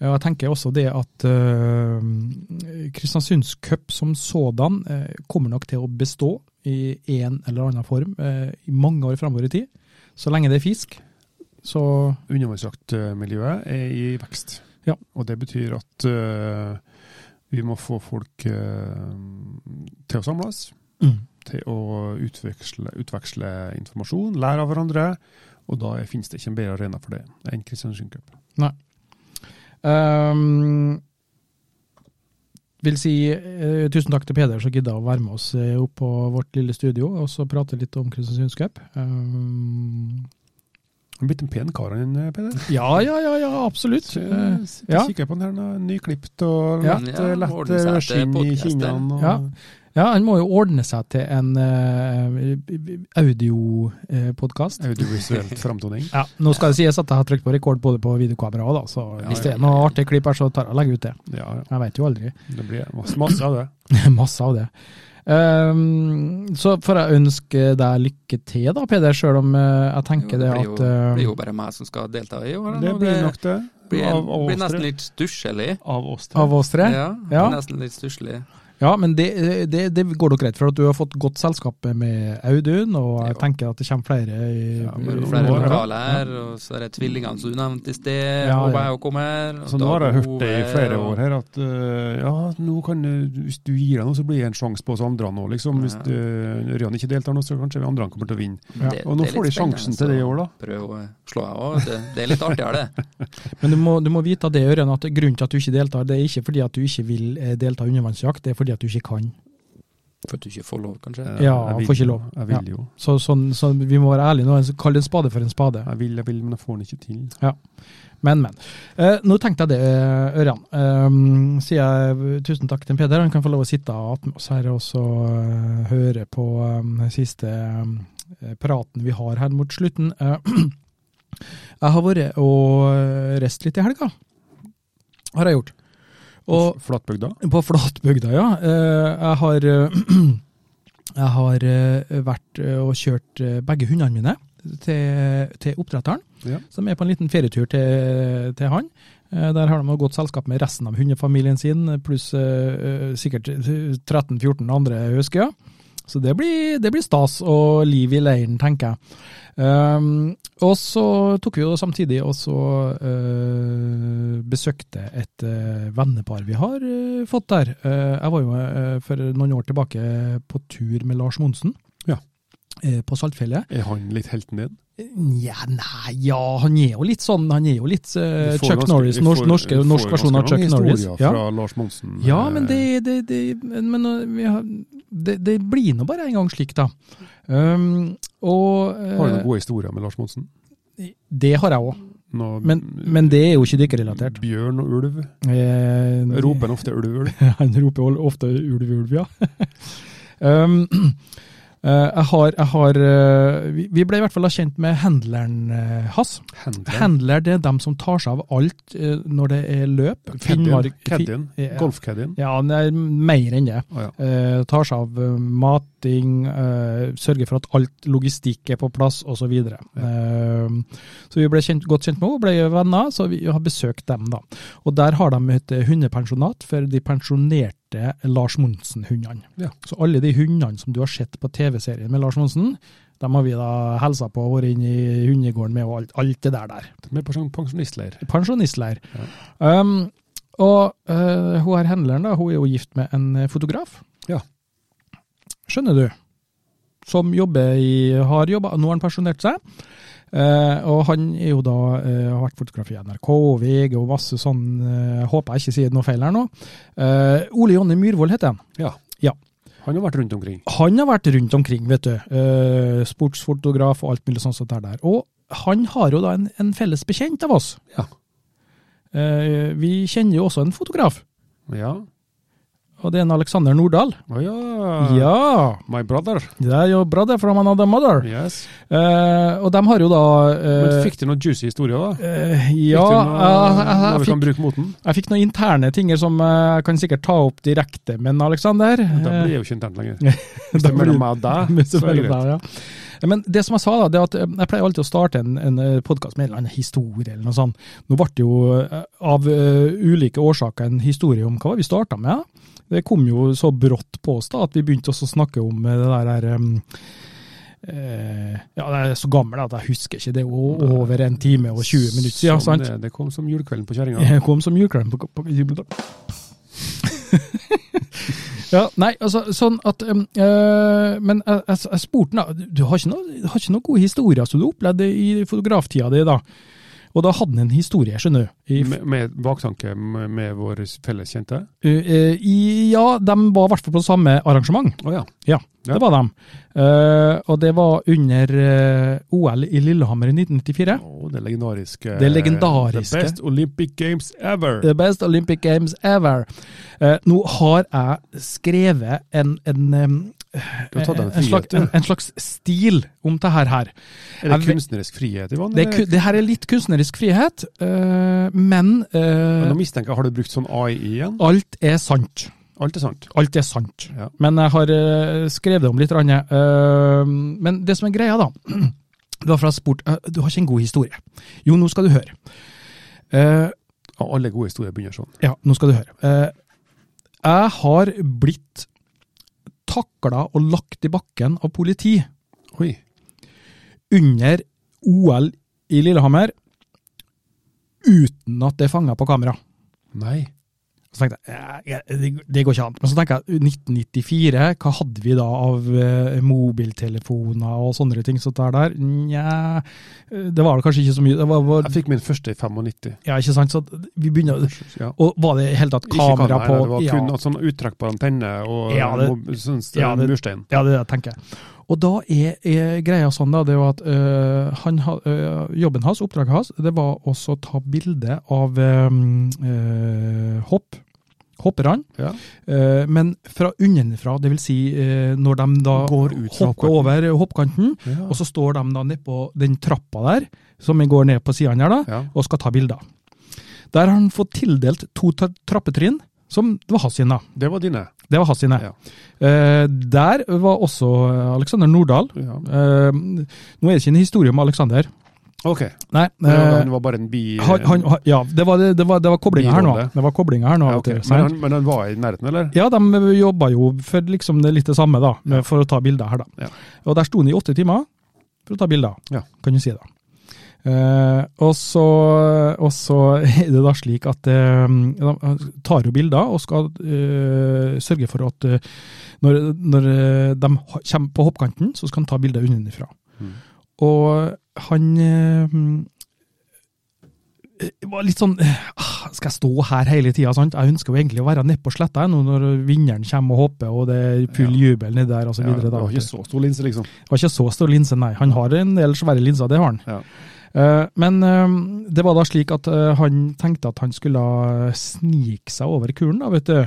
B: Eh, Og jeg tenker også det at ehm, Kristiansunds Cup som sådan eh, kommer nok til å bestå i en eller annen form eh, i mange år framover i tid. Så lenge det er fisk. Så
C: Undervannsjaktmiljøet er i vekst.
B: Ja.
C: Og det betyr at eh, vi må få folk eh, til å samles,
B: Mm.
C: til å utveksle, utveksle informasjon, lære av hverandre. Og da finnes det ikke en bedre arena for det enn Kristiansund Cup.
B: Ehm, vil si eh, tusen takk til Peder som gidda å være med oss eh, opp på vårt lille studio og så prate litt om Kristiansunds Cup. Ehm,
C: Han er blitt en pen kar, han eh, Peder.
B: ja, ja, ja, ja, absolutt.
C: Så
B: Eh,
C: jeg sitter
B: ja.
C: og kikker på den her, nå, nyklipt og
B: Ja.
C: lett,
E: Ja,
C: lett
E: ordensete
C: skinn i
E: podcaster.
C: kinnene. Og,
B: Ja. Ja, han må jo ordne seg til en uh, audiopodkast.
C: Audiovisuelt framtoning.
B: Ja, nå skal det sies at jeg har trykt på rekord både på videokamera og da, så
C: Ja,
B: hvis
C: ja,
B: det er noe artig klipp her, så tar jeg og legger ut det.
C: Ja, ja.
B: Jeg vet jo aldri.
C: Det blir masse, masse av det.
B: Masse av det. Ehm, så får jeg ønske deg lykke til da, Peder, sjøl om eh, jeg tenker det,
E: blir jo,
B: at
E: blir
B: eh,
E: jo bare meg som skal delta i år.
C: Det
E: nå.
C: blir nok det.
E: blir,
C: Av, av
E: blir
C: oss
E: nesten
C: tre.
E: litt stusslig.
C: Av oss tre.
B: Av oss tre? Ja,
E: Ja,
B: Ja.
E: Nesten litt stusslig.
B: men det, det, det går nok greit, for at du har fått godt selskap med Audun, og jeg
E: Jo.
B: tenker at det kommer flere i
C: Ja,
E: Det er jo
C: men-
E: Flere
C: Nå er det-
E: lokaler her, og så er det tvillingene som du nevnte i sted.
B: Ja,
E: og
B: ja.
E: jeg kom her. og
C: Så nå har jeg
E: Dag
C: hørt det i
E: Ove,
C: flere
E: og-
C: år her, at øh, ja, nå kan du, hvis du gir deg noe, så blir det en sjanse på oss andre nå, liksom. Hvis
E: Ja.
C: du, Ørjan ikke deltar nå, så kanskje vi andre kommer til å vinne.
B: Ja,
E: Det-
C: og nå
E: det er
C: får de
E: litt
C: sjansen
E: spennende, altså.
C: til det i
E: så
C: år, da.
E: Prøv å slå av òg. Det, det er litt artigere, det.
B: Men du må, du må vite av det, Ørjan, at grunnen til at du ikke deltar, det er ikke fordi at du ikke vil eh, delta i undervannsjakt, det er fordi at du ikke kan.
E: For at du ikke får lov, kanskje.
C: Eh,
B: Ja,
C: jeg vil
B: får ikke
C: jo.
B: lov.
C: Jeg vil jo.
B: Så, sånn, så vi må være ærlige nå, kall det en spade for en spade.
C: Jeg vil, jeg vil, men jeg får den ikke til.
B: Men, men. Eh, nå tenkte jeg det, eh, Ørjan. Eh, sier jeg tusen takk til Peder. Han kan få lov å sitte attmed oss her og så eh, høre på eh, den siste eh, praten vi har her mot slutten. Eh, jeg har vært og reist litt i helga. Har jeg gjort. Og
C: F- Flatbygda?
B: på flatbygda, ja. Eh, Jeg har, eh, jeg har eh, vært eh, og kjørt eh, begge hundene mine til, til oppdretteren,
C: Ja.
B: som er på en liten ferietur til, til han. Eh, Der har de godt selskap med resten av hundefamilien sin, pluss eh, eh, sikkert 13-14 andre husker. Så det blir, det blir stas og liv i leiren, tenker jeg. Ehm, og så tok vi jo samtidig og så eh, besøkte et eh, vennepar vi har eh, fått der. Eh, jeg var jo eh, for noen år tilbake på tur med Lars Monsen
C: Ja.
B: eh, på Saltfjellet.
C: Er han litt helten din?
B: Nja, nei, ja, han er jo litt sånn, han er jo litt eh,
C: Vi får
B: Chuck
C: ganske-
B: Norris,
C: vi
B: norsk,
C: får-
B: norske,
C: vi får
B: norsk versjon av
C: ganske
B: Chuck
C: mange
B: Norris.
C: historier
B: Ja.
C: fra eh, Lars Monsen.
B: Ja, men
C: eh,
B: det, det, det, men, men vi har, det, det blir nå bare en gang slik, da. Um, og
C: Har du
B: eh,
C: noen gode historier med Lars Monsen?
B: Det har jeg òg,
C: Noe-
B: men, men det er jo ikke dykkerrelatert.
C: Bjørn og ulv?
B: Eh,
C: Roper han ofte ulv, ulv?
B: Han roper ol- ofte ulv, ulv, ja. um, eh, jeg har, jeg har eh, vi- Vi ble i hvert fall kjent med handleren eh, hans.
C: Hendler?
B: Handler det er dem som tar seg av alt eh, når det er løp.
C: Caddien?
B: Finnmark- fi-
C: Caddien?
B: Ja.
C: Golf-caddien?
B: Ja, nei, mer enn det.
C: Å ja.
B: Eh, tar seg av eh, mating, eh, sørger for at alt logistikk er på plass, osv. Så, eh, så vi ble kjent, godt kjent med henne, ble venner, så vi har besøkt dem. da. Og der har de et eh, hundepensjonat for de pensjonerte Lars Monsen-hundene.
C: Ja.
B: Så alle de hundene som du har sett på TV-serien med Lars Monsen, dem har vi da helsa på og vært inne i hundegården med og alt, alt det der der
C: Med pensjon- pensjonistleir.
B: pensjonistleir. Um, og eh, hun her handleren da, hun er jo gift med en eh, fotograf.
C: Ja.
B: Skjønner du? Som jobber i, har jobba, nå har han pensjonert seg. Eh, og han er jo da, eh, har vært fotograf i NRK og VG og masse sånn, eh, håper jeg ikke sier noe feil her nå. Eh, Ole Jonny Myhrvold heter han.
C: Ja.
B: Ja.
C: Han har vært rundt omkring.
B: Han har vært rundt omkring, vet du. Eh, sportsfotograf og alt mulig sånt som det der. Og han har jo da en, en felles bekjent av oss.
C: Ja.
B: Eh, vi kjenner jo også en fotograf,
C: Ja.
B: og det er en Alexander Nordahl.
C: Å ja.
B: Ja!
C: My brother.
B: Det er jo bra det, from another mother.
C: Yes.
B: Eh, og de har jo da eh,
C: Men fikk du noen juicy historier, da?
B: eh,
C: Fikk
B: Ja,
C: du
B: jeg, jeg,
C: noe
B: jeg,
C: vi kan
B: fikk,
C: bruke mot den?
B: jeg fikk noen interne ting som eh, jeg kan sikkert ta opp direkte, men Alexander
C: Da
B: eh,
C: blir jeg jo ikke internt lenger. Hvis det er mellom meg og deg,
B: Hvis det
C: så er det
B: mellom
C: greit.
B: deg, ja. Men det som jeg sa, da, det er at eh, jeg pleier alltid å starte en, en podkast med en eller annen historie eller noe sånt. Nå ble det jo eh, av eh, ulike årsaker en historie om hva var det vi starta med. da? Det kom jo så brått på oss da, at vi begynte også å snakke om eh, det der der em, eh, ja, jeg er så gammel at jeg husker ikke. Det er jo
C: Nei.
B: over en time og 20 minutter siden.
C: Som
B: sant?
C: Sånn, Det, det kom som julekvelden på kjerringa.
B: Jeg kom som julekvelden på, på jubelen. ja, nei, altså, sånn at um, eh, Men jeg, jeg, jeg spurte han da, du har ikke noen noe gode historier som du opplevde i fotograftida di, da? Og da hadde han en historie, skjønner du. I, f-
C: Med, med baktanke med, med vår felles kjente?
B: eh, i, ja, de var i hvert fall på samme arrangement.
C: Å ja. Ja.
B: Det var de. Eh, og det var under eh, OL i Lillehammer i 1994.
C: Å, det legendariske
B: Det legendariske.
C: The best Olympic Games ever!
B: The best Olympic Games ever. Eh, nå har jeg skrevet en, en, em,
C: Du har tatt
B: en,
C: deg en frihet,
B: slags, en,
C: du.
B: en slags stil om det her. her.
C: Er det
B: jeg-
C: kunstnerisk frihet, Ivan?
B: Det, er
C: eller?
B: ku- det her er litt kunstnerisk frihet, eh, men eh,
C: Men Nå mistenker jeg, har du brukt sånn AI igjen?
B: alt er sant.
C: Alt er sant.
B: Alt er sant.
C: Ja.
B: Men jeg har eh, skrevet det om litt. Ranne. Eh, men det som er greia, da Det var for jeg spurte eh, Du har ikke en god historie. Jo, nå skal du høre. Eh,
C: Ja, alle gode historier begynner sånn.
B: ja, nå skal du høre. Eh, jeg har blitt takla og lagt i bakken av politi
C: Oi.
B: under OL i Lillehammer uten at det er fanga på kamera.
C: Nei.
B: Så tenkte jeg, eh, det- det går ikke an. Men så tenker jeg, 1994, hva hadde vi da av eh, mobiltelefoner og sånne ting? Så der, der, nja, eh, det var det kanskje ikke så mye. Det var, var,
C: Jeg fikk min første i 95.
B: ja, ikke sant? Så vi begynner,
C: Ja.
B: og var det i hele tatt
C: Ikke
B: kamera,
C: kamera
B: på?
C: Det var
B: ja.
C: kun ja. sånn uttrekk på antenne og
B: Ja, det-
C: mob- sånn, st-
B: ja, det-
C: murstein.
B: Ja, det er det jeg tenker. Og da er, er greia sånn da, det er jo at øh, han, ha- øh, jobben hans, oppdraget hans, det var også å ta bilde av øh, øh, hopp, hopperne,
C: Ja.
B: øh, men fra unnenfra, det vil si øh, når de da
C: Går ut fra
B: hopper over eh, hoppkanten,
C: Ja.
B: og så står de da ned på den trappa der, som går ned på siden her da,
C: Ja.
B: og skal ta bilder. Der har han fått tildelt to tra- trappetrinn, som det var hans sin da.
C: Det var dine.
B: Det var hans sine.
C: Ja.
B: Eh, der var også eh, Alexander Nordahl.
C: Ja.
B: Eh, nå er det ikke en historie om Alexander.
C: Ok.
B: Nei,
C: Men
B: eh,
C: han var bare en bi...
B: han, han, han, ja, det var, det var, det var koblinga her nå.
C: Birolle.
B: Det var koblinga her nå.
C: ja,
B: vet
C: ok.
B: du,
C: men,
B: sant?
C: han, men han var i nærheten, eller?
B: ja, de jobba jo for liksom det litt det samme, da, med- for å ta bilder her, da.
C: Ja.
B: Og der sto han i åtte timer for å ta bilder,
C: Ja.
B: kan du si da. Eh, og, så, og så er det da slik at eh, de tar jo bilder og skal eh, sørge for at eh, når, når eh, de ha- kommer på hoppkanten, så skal han ta bilder underfra.
C: Mm.
B: Og han eh, var litt sånn ah, Skal jeg stå her hele tida? sant? Jeg ønsker jo egentlig å være nede på sletta jeg, nå når vinneren kommer og hopper, og det er full jubel nedi der og så
C: Ja,
B: videre.
C: det
B: da,
C: var
B: vet
C: ikke
B: du.
C: så stor linse, liksom.
B: Det var ikke så stor linse, nei. Han har en del svære linser, det har han.
C: Ja.
B: Eh, Men eh, det var da slik at eh, han tenkte at han skulle eh, snike seg over kuren, da, vet du.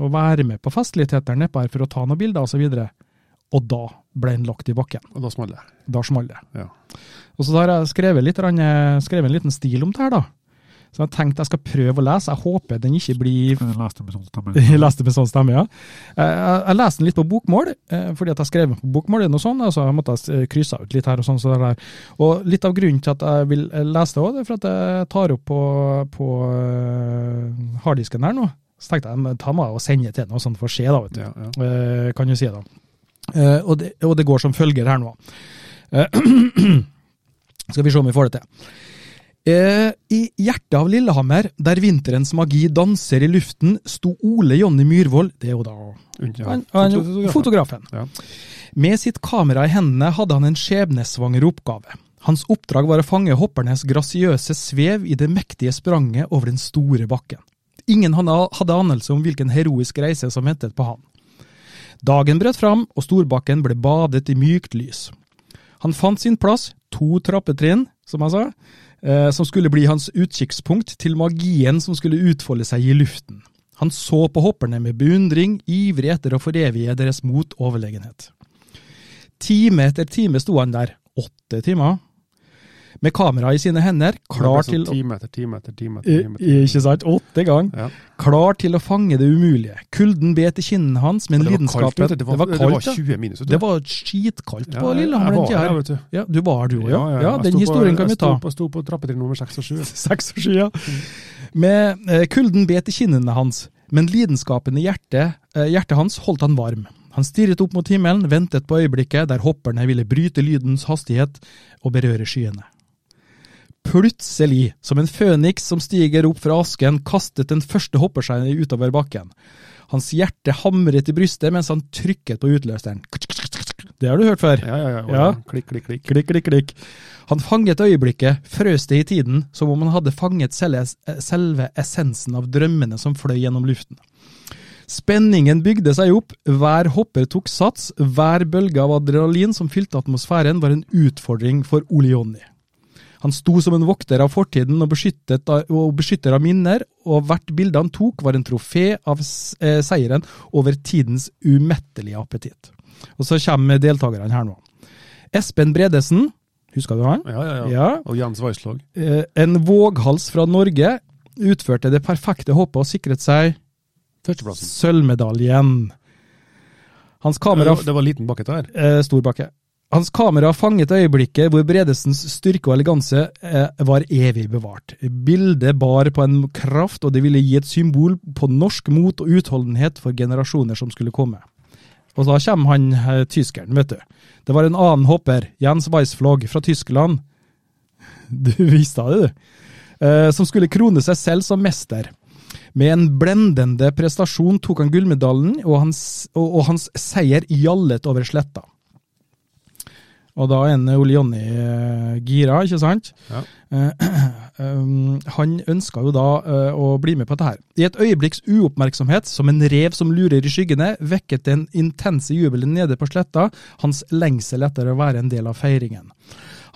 B: Og være med på festlighetene nedpå her for å ta noen bilder osv. Og da ble han lagt i bakken.
C: Og da smalt det.
B: Da smalt det.
C: Ja.
B: Og så da har jeg skrevet, litt, grann, eh, skrevet en liten stil om det her, da. Så jeg tenkte jeg skal prøve å lese. Jeg håper den ikke blir
D: Den leste med sånn stemme.
B: jeg leste med sånn stemme, ja. Eh, Jeg, jeg leste den litt på bokmål, eh, fordi at jeg skrev den på bokmål, og sånn, og så måtte jeg s- krysse ut litt her og sånn. Så det der. Og litt av grunnen til at jeg vil eh, lese det òg, er for at jeg tar opp på, på eh, harddisken her nå. Så tenkte jeg men ta meg og sende til noe sånn for å se, da, vet du.
C: Ja, ja.
B: Eh, kan du si da. Eh, og, det, og det går som følger her nå. Eh, skal vi se om vi får det til. Eh, I hjertet av Lillehammer, der vinterens magi danser i luften, sto Ole Jonny Myhrvold, det er jo da
C: Unn-
B: han, han,
C: Fotografen.
B: fotografen.
C: Ja.
B: Med sitt kamera i hendene hadde han en skjebnesvanger oppgave. Hans oppdrag var å fange hoppernes grasiøse svev i det mektige spranget over den store bakken. Ingen han hadde anelse om hvilken heroisk reise som ventet på han. Dagen brøt fram, og storbakken ble badet i mykt lys. Han fant sin plass, to trappetrinn, som jeg sa, eh, som skulle bli hans utkikkspunkt til magien som skulle utfolde seg i luften. Han så på hopperne med beundring, ivrig etter å forevige deres mot og overlegenhet. Time etter time sto han der, åtte timer, med kameraet i sine hender, klar
C: Det ble
B: til å Eh,
C: sånn Time etter time etter time. etter
B: I-
C: time etter time.
B: Ikke sant? Åtte ganger
C: Ja.
B: klar til å fange det umulige. Kulden bet i kinnene hans, men
C: Det var kaldt,
B: lidenskapen
C: vet du. Det var, det var 20 minus. vet du.
B: Det var skitkaldt på
C: Ja,
B: Lillehammer den
C: jeg var
B: tida.
C: der,
B: her.
C: vet du.
B: Ja, du var her, du òg, ja.
C: ja,
B: ja.
C: jeg
B: Den
C: sto på-
B: historien kan vi ta.
C: Jeg sto på, sto på trappetrinn nummer 6 og 7.
B: Seks og sju, ja. Med eh, kulden bet i kinnene hans, men lidenskapen i hjertet, eh, hjertet hans holdt han varm. Han stirret opp mot himmelen, ventet på øyeblikket der hopperne ville bryte lydens hastighet og berøre skyene. Plutselig, som en føniks som stiger opp fra asken, kastet den første hopper seg utover bakken. Hans hjerte hamret i brystet mens han trykket på utløseren. Det har du hørt før.
C: Ja, ja, ja.
B: Ja.
C: Klikk, klikk, klikk.
B: Klikk, klikk, klikk. Han fanget øyeblikket, frøs det i tiden, som om han hadde fanget selve, eh, selve essensen av drømmene som fløy gjennom luften. Spenningen bygde seg opp, hver hopper tok sats, hver bølge av adrenalin som fylte atmosfæren var en utfordring for Ole Jonny. Han sto som en vokter av fortiden og, beskyttet av, og beskytter av minner, og hvert bilde han tok var en trofé av s- eh, seieren over tidens umettelige appetitt. Og så kommer deltakerne her nå. Espen Bredesen, husker du han?
C: Ja, ja, ja.
B: Ja.
C: Og Jens Weislog.
B: Eh, En våghals fra Norge utførte det perfekte hoppet og sikret seg
C: Førsteplassen.
B: sølvmedaljen. Hans kamera
C: Det var en liten bakke der.
B: eh, Storbakke. Hans kamera fanget øyeblikket hvor Bredesens styrke og eleganse eh, var evig bevart. Bildet bar på en kraft, og det ville gi et symbol på norsk mot og utholdenhet for generasjoner som skulle komme. Og da kommer han eh, tyskeren, vet du. Det var en annen hopper, Jens Weissflog fra Tyskland. Du visste det, du. Eh, som skulle krone seg selv som mester. Med en blendende prestasjon tok han gullmedaljen, og hans, og, og hans seier gjallet over sletta. Og da er en Ole Jonny eh, gira, ikke sant?
C: Ja.
B: Eh, um, han ønska jo da eh, å bli med på dette her. I et øyeblikks uoppmerksomhet, som en rev som lurer i skyggene, vekket den intense jubelen nede på sletta hans lengsel etter å være en del av feiringen.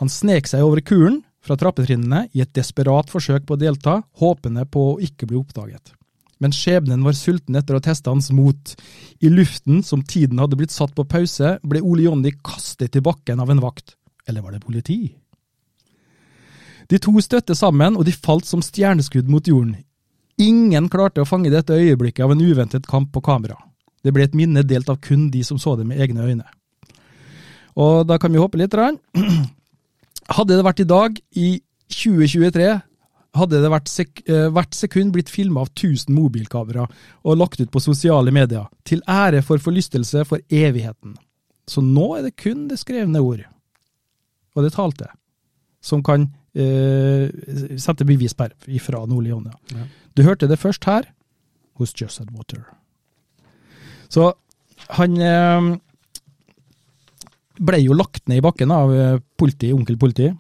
B: Han snek seg over kulen fra trappetrinnene i et desperat forsøk på å delta, håpende på å ikke bli oppdaget. Men skjebnen var sulten etter å teste hans mot. I luften, som tiden hadde blitt satt på pause, ble Ole Jondi kastet i bakken av en vakt. Eller var det politi? De to støtte sammen, og de falt som stjerneskudd mot jorden. Ingen klarte å fange dette øyeblikket av en uventet kamp på kamera. Det ble et minne delt av kun de som så det med egne øyne. Og da kan vi hoppe litt. grann. Hadde det vært i dag, i 2023, hadde det vært sek eh, hvert sekund blitt filma av 1000 mobilkamera og lagt ut på sosiale medier, til ære for forlystelse for evigheten. Så nå er det kun det skrevne ord, og det talte, som kan eh, sette bevis på her, ifra Nordli-Jonja.
C: Ja.
B: Du hørte det først her, hos Just Add Water. Så han eh, ble jo lagt ned i bakken av eh, politi, onkel politi.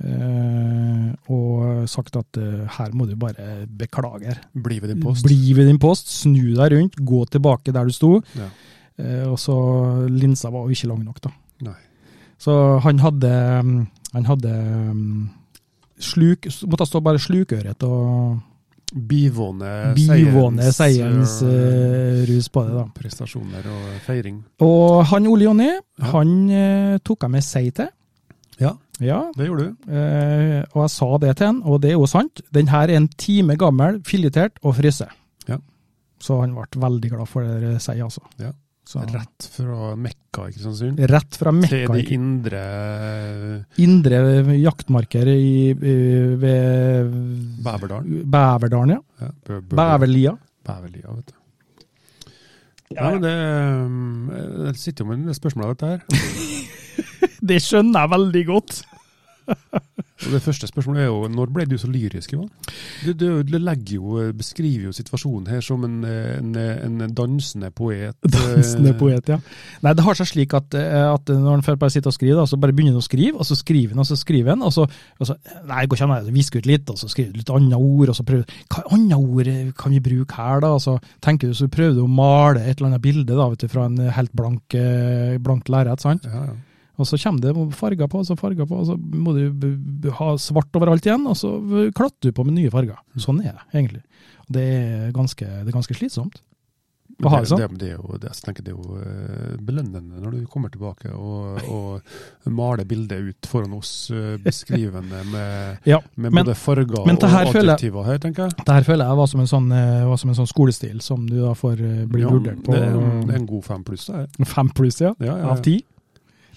B: eh, og sagt at eh, her må du bare beklage. her.
C: Blir ved din post.
B: Bli ved din post, snu deg rundt, gå tilbake der du sto.
C: Ja.
B: Eh, og så linsa var jo ikke lang nok, da.
C: Nei.
B: Så han hadde, mm, han hadde mm, sluk, måtte stå bare slukøret og
C: Bivåne
B: bivåne seierens
C: seierens,
B: eh, rus på det, da.
C: øh, prestasjoner og feiring.
B: Og han Ole Jonny,
C: Ja.
B: han eh, tok jeg med seg til.
C: Ja.
B: Ja,
C: Det gjorde du.
B: Eh, og jeg sa det til han, og det er jo sant. Den her er en time gammel, filetert og fryse.
C: Ja.
B: Så han ble veldig glad for det dere sier, altså.
C: Ja.
B: Så, rett.
C: Rett fra Mekka i Kristiansund
B: fra
C: til
B: Mekka,
C: de
B: ikke-
C: indre eh,
B: indre jaktmarker i, i, ved
C: Bæverdalen.
B: Bæverdalen, ja.
C: Ja, Bø- Bø-
B: Bæverlia.
C: Bæverlia, vet du. Nei, men det, øh, jeg sitter jo med det spørsmålet dette her.
B: Det skjønner jeg veldig godt.
C: Og det første spørsmålet er jo når ble du så lyrisk, Ivan? Du, du, du legger jo, beskriver jo situasjonen her som en, eh, en, eh, en dansende poet.
B: Dansende
C: Eh,
B: poet, ja. Nei, det har seg slik at, eh, at når han først bare sitter og skriver, da, så bare begynner han å skrive, og så skriver han, og så skriver han, og så, og så Nei, det går ikke an, jeg visker ut litt, og så skriver du litt andre ord, og så prøver Hva andre ord eh, kan vi bruke her, da? Og så tenker du, så prøver du å male et eller annet bilde da, vet du, fra en helt blank, eh, blankt lerret, sant?
C: Ja, ja.
B: Og så kommer det farger på, og så farger på, og så må du b- b- ha svart overalt igjen, og så v- klatter du på med nye farger. Sånn er det, egentlig. Og det er ganske, det er ganske slitsomt.
C: Men
B: Å ha det sånn.
C: Det, det, er jo, det, jeg tenker det er jo eh, belønnende når du kommer tilbake og, og maler bildet ut foran oss, eh, beskrivende med,
B: Ja,
C: med
B: men-
C: både farger
B: men
C: og
B: det her føler jeg-
C: adjektiver her, tenker jeg.
B: Det her føler jeg var som en sånn, eh, var som en sånn skolestil som du da får eh, bli
C: Ja,
B: vurdert på. eh,
C: det, er, jo- det er en god fem pluss, det her.
B: Fem pluss, ja?
C: Ja, ja, ja.
B: Av ti?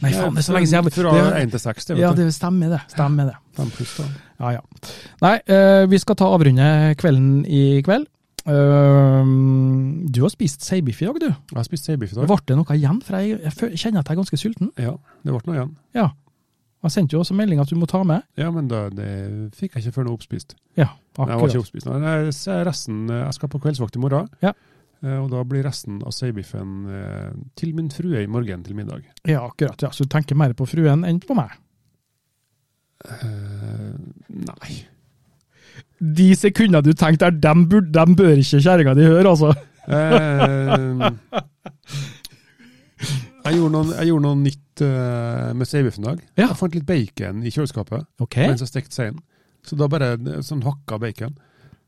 B: Nei, faen, det er så lenge siden jeg
C: Fra
B: det,
C: én til seks, det.
B: Ja,
C: Vet du.
B: det stemmer det. Stemmer det.
C: Fem pluss, da.
B: Ja, ja. Nei, eh, vi skal ta avrunde kvelden i kveld. Eh, du har spist seibiff i dag, du.
C: Jeg har spist seibiff i dag.
B: Ble det noe igjen? For jeg, jeg fø- kjenner at jeg er ganske sulten.
C: Ja, det ble noe igjen.
B: Ja. Og Jeg sendte jo også melding at du må ta med.
C: Ja, men da, det fikk jeg ikke før nå oppspist.
B: Ja,
C: Nei, jeg var
B: akkurat.
C: ikke oppspist. nå. Nei, se resten eh, Jeg skal på kveldsvakt i morgen.
B: Ja.
C: Eh, Og da blir resten av seibiffen eh, til min frue i morgen til middag.
B: Ja, akkurat. ja. Så du tenker mer på fruen enn på meg.
C: Eh, nei.
B: De sekundene du tenkte der, dem, burde, dem bør ikke kjerringa di høre, altså.
C: Eh, jeg, gjorde noen, jeg gjorde noe nytt eh, med seibiffen i dag.
B: Ja.
C: Jeg fant litt bacon i kjøleskapet
B: Ok.
C: mens jeg stekte seien. Så da bare eh, sånn hakka bacon.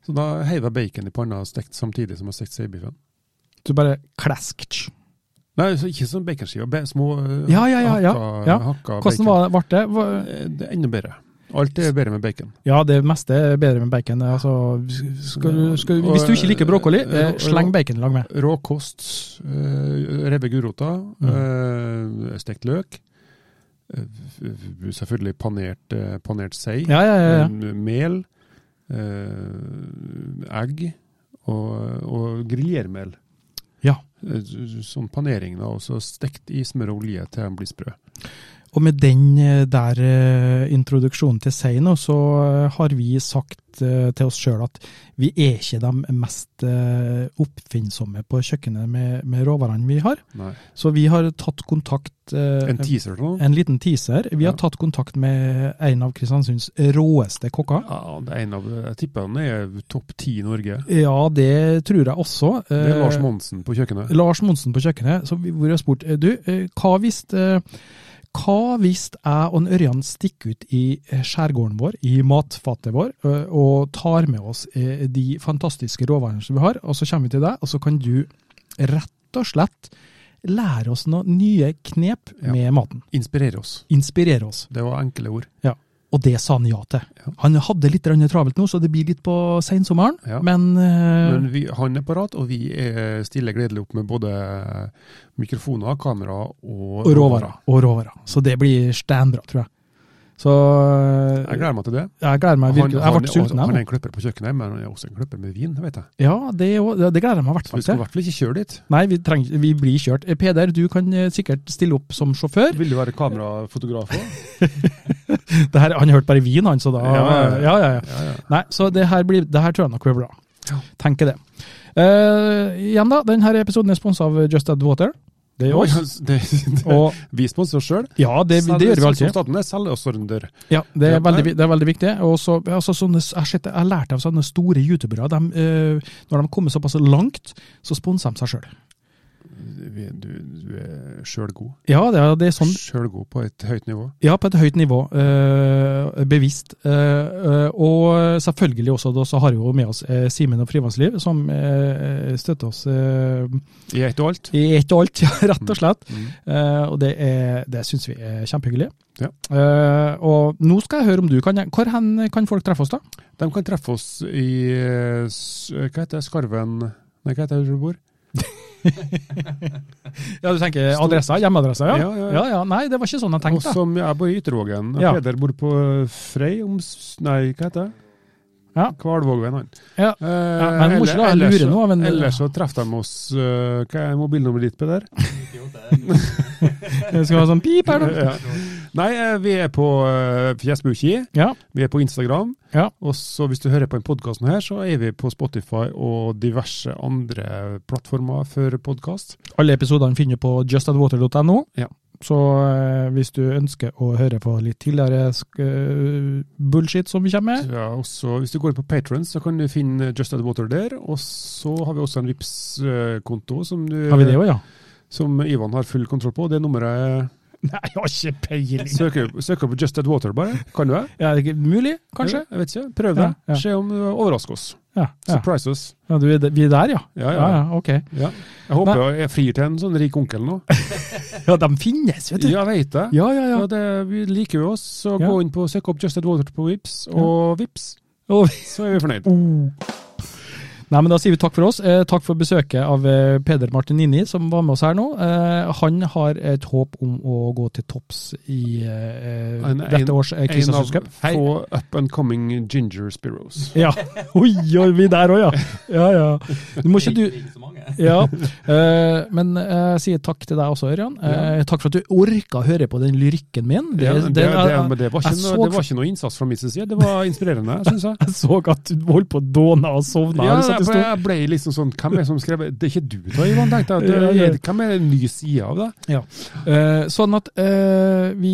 C: Så da heiv jeg bacon i panna og stekte samtidig som jeg stekte seibiffen.
B: Du bare klask.
C: Nei, så ikke sånn baconskiver, be- små eh,
B: Ja, ja, ja, ja,
C: hakka,
B: ja.
C: hakka
B: Hvordan
C: bacon.
B: var, ble det? Hva-
C: Eh, Det er enda bedre. Alt er bedre med bacon.
B: Ja, det meste er bedre med bacon. Altså, skal du, skal,
C: Og,
B: hvis du ikke liker brokkoli,
C: eh,
B: eh, sleng bacon i lag med.
C: Råkost, uh, rebbe gulrota,
B: Mm.
C: eh, stekt løk. eh, f- f- selvfølgelig panert, eh, panert sei.
B: Ja, ja, ja. ja.
C: eh, Mel. eh, egg. Og, og griljermel.
B: Ja.
C: Eh, s- s- Sånn panering, da. Og så stekt i smør og olje til de blir sprø.
B: Og med den eh, der eh, introduksjonen til seg nå, så eh, har vi sagt eh, til oss sjøl at vi er ikke de mest eh, oppfinnsomme på kjøkkenet med, med råvarene vi har.
C: Nei.
B: Så vi har tatt kontakt eh,
C: En teaser til noe?
B: en liten teaser. Vi
C: Ja.
B: har tatt kontakt med en av Kristiansunds råeste kokker.
C: Ja, det er en av, jeg tipper han er topp ti i Norge.
B: Ja, det tror jeg også.
C: Det er Lars
B: Eh,
C: Monsen på kjøkkenet.
B: Lars Monsen på kjøkkenet, så vi- hvor jeg spurte eh, du, eh, hva hvis eh, hva hvis jeg og en Ørjan stikker ut i eh, skjærgården vår, i matfatet vår, eh, og tar med oss eh, de fantastiske råvarene som vi har, og så kommer vi til deg, og så kan du rett og slett lære oss noen nye knep
C: Ja.
B: med maten.
C: Inspirerer oss.
B: Inspirere oss.
C: Det var enkle ord.
B: Og det sa han ja til.
C: Ja.
B: Han hadde litt grann travelt nå, så det blir litt på sensommeren,
C: Ja.
B: men, eh,
C: Men vi, han er parat, og vi er stiller gledelig opp med både mikrofoner, kamera og,
B: og råvarer. Og råvarer. Så det blir steinbra, tror jeg. Så
C: Jeg gleder meg til det.
B: Jeg gleder meg virkelig. Jeg
C: han,
B: ble sulten
C: han,
B: her
C: han er
B: nå.
C: en kløpper på kjøkkenet, men han er også en kløpper med vin, vet jeg.
B: Ja, det, er jo- det gleder jeg meg i hvert
C: Så
B: fall
C: vi skal i
B: til.
C: hvert fall ikke kjøre dit.
B: Nei, vi, trenger, vi blir kjørt. Eh, Peder, du kan eh, sikkert stille opp som sjåfør.
C: Vil du være kamerafotograf òg?
B: Det her, han hørte bare vin, han, så da
C: Ja, ja, ja.
B: ja, ja, ja.
C: Ja, ja.
B: Nei, så det her, blir, det her tror jeg nok blir bra.
C: Ja.
B: Tenker det. Eh, igjen, da. Denne episoden er sponsa av Just Add Water. Det er oss.
C: altså, Det, det,
B: Og
C: vi sponser oss sjøl.
B: ja, det, det gjør vi alltid.
C: Selger oss runder.
B: Ja, det er
C: Ja,
B: veldig,
C: nei.
B: det er veldig viktig. Og så, altså, sånne, jeg, har sett- jeg har lært av sånne store youtubere. De, eh, når de kommer såpass langt, så sponser de seg sjøl.
C: Vi- Du, du er sjøl god.
B: Ja, det er, det er sånn.
C: Sjøl god på et høyt nivå.
B: Ja, på et høyt nivå. eh, bevisst. eh, eh, og selvfølgelig også, da så har vi jo med oss eh, Simen og Frivannsliv, som eh, støtter oss eh,
C: I ett og alt.
B: i ett og alt, ja, rett og slett.
C: Mm.
B: Eh, og det, er- det syns vi er kjempehyggelig.
C: Ja.
B: Eh, og nå skal jeg høre om du kan Hvor hen kan folk treffe oss, da?
C: De kan treffe oss i eh, s- Hva heter det? Skarven Nei, hva heter det du bor?
B: Ja, Du tenker adressa? Hjemmeadressa, ja?
C: Ja, ja, ja.
B: ja, ja. Nei, det var ikke sånn jeg
C: Og
B: tenkte.
C: som jeg bor i Yttervågen. og
B: Ja.
C: Peder bor på Frei om s- Nei, hva heter det?
B: Ja.
C: Kvalvågen, han.
B: Ja.
C: Eh,
B: men du må ikke la jeg lure
C: ellers-
B: nå, men-
C: Ellers så treffer de oss eh, Hva er mobilnummeret ditt, Peder?
B: Det skal være sånn pip her, da.
C: Ja. Nei, eh, vi er på eh, Fjesbuki,
B: Ja.
C: vi er på Instagram.
B: Ja.
C: Og så hvis du hører på den podkasten her, så er vi på Spotify og diverse andre plattformer for podkast.
B: Alle episodene finner du på justadwater.no.
C: Ja.
B: Så eh, hvis du ønsker å høre på litt tidligere sk eh, bullshit som vi kommer med
C: Ja, og så hvis du går inn på Patrons, så kan du finne Just Add Water der. Og så har vi også en vips konto som du
B: Har vi det òg, ja?
C: som Ivan har full kontroll på. Det nummeret
B: Nei, jeg har ikke peiling.
C: Søker søker på Just Add Water, bare. Kan du det?
B: Ja, det er ikke mulig, kanskje?
C: Jeg vet ikke. Prøv det.
B: Ja, ja.
C: Se om du overrasker oss.
B: Ja, ja.
C: Surprise oss.
B: ja du, er de- vi er der, ja?
C: Ja, ja.
B: Ja, ja, ok.
C: ja. Jeg håper jeg frir til en sånn rik onkel nå.
B: Ja, de finnes, vet du.
C: Ja, jeg vet det.
B: Ja, ja, ja.
C: Ja, det, vi liker jo oss, så
B: Ja.
C: gå inn på søk opp Just Add Water på Vips, og vips,
B: Og
C: så er vi
B: Oh,
C: fornøyd.
B: Nei, men Da sier vi takk for oss. Eh, takk for besøket av eh, Peder Martinini, som var med oss her nå. Eh, han har et håp om å gå til topps i eh,
C: En- en-
B: dette års eh,
C: En av
B: Kristiansunds Cup. Hei.
C: få up and coming ginger sparrows.
B: Ja. Oi, oi, vi der òg, ja. ja, ja. Du må ikke du
E: Ikke så mange.
B: ja, eh, men eh, jeg sier takk til deg også, Ørjan. Eh, takk for at du orka å høre på den lyrikken min.
C: Det, det, det, men det, var ikke
B: jeg
C: noe,
B: så-
C: det var ikke noe innsats fra min side. Det var inspirerende, syns jeg.
B: jeg så at du holdt på å dåne og sovne.
C: Ja,
B: liksom. at det
C: jeg,
B: står
C: jeg ble liksom sånn Hvem er det som skrev det? Det er ikke du, da, Ivan? tenkte jeg. Det er- Hvem er det en ny side av det?
B: Ja. Eh, sånn at eh, vi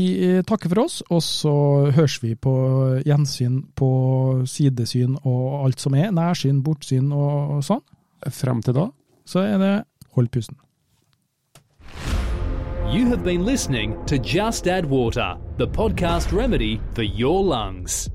B: takker for oss, og så høres vi på gjensyn på sidesyn og alt som er. Nærsyn, bortsyn og og sånn.
C: Frem til da
B: Så er det hold pusten.
A: You have been listening to Just Add Water, the podcast remedy for your lungs.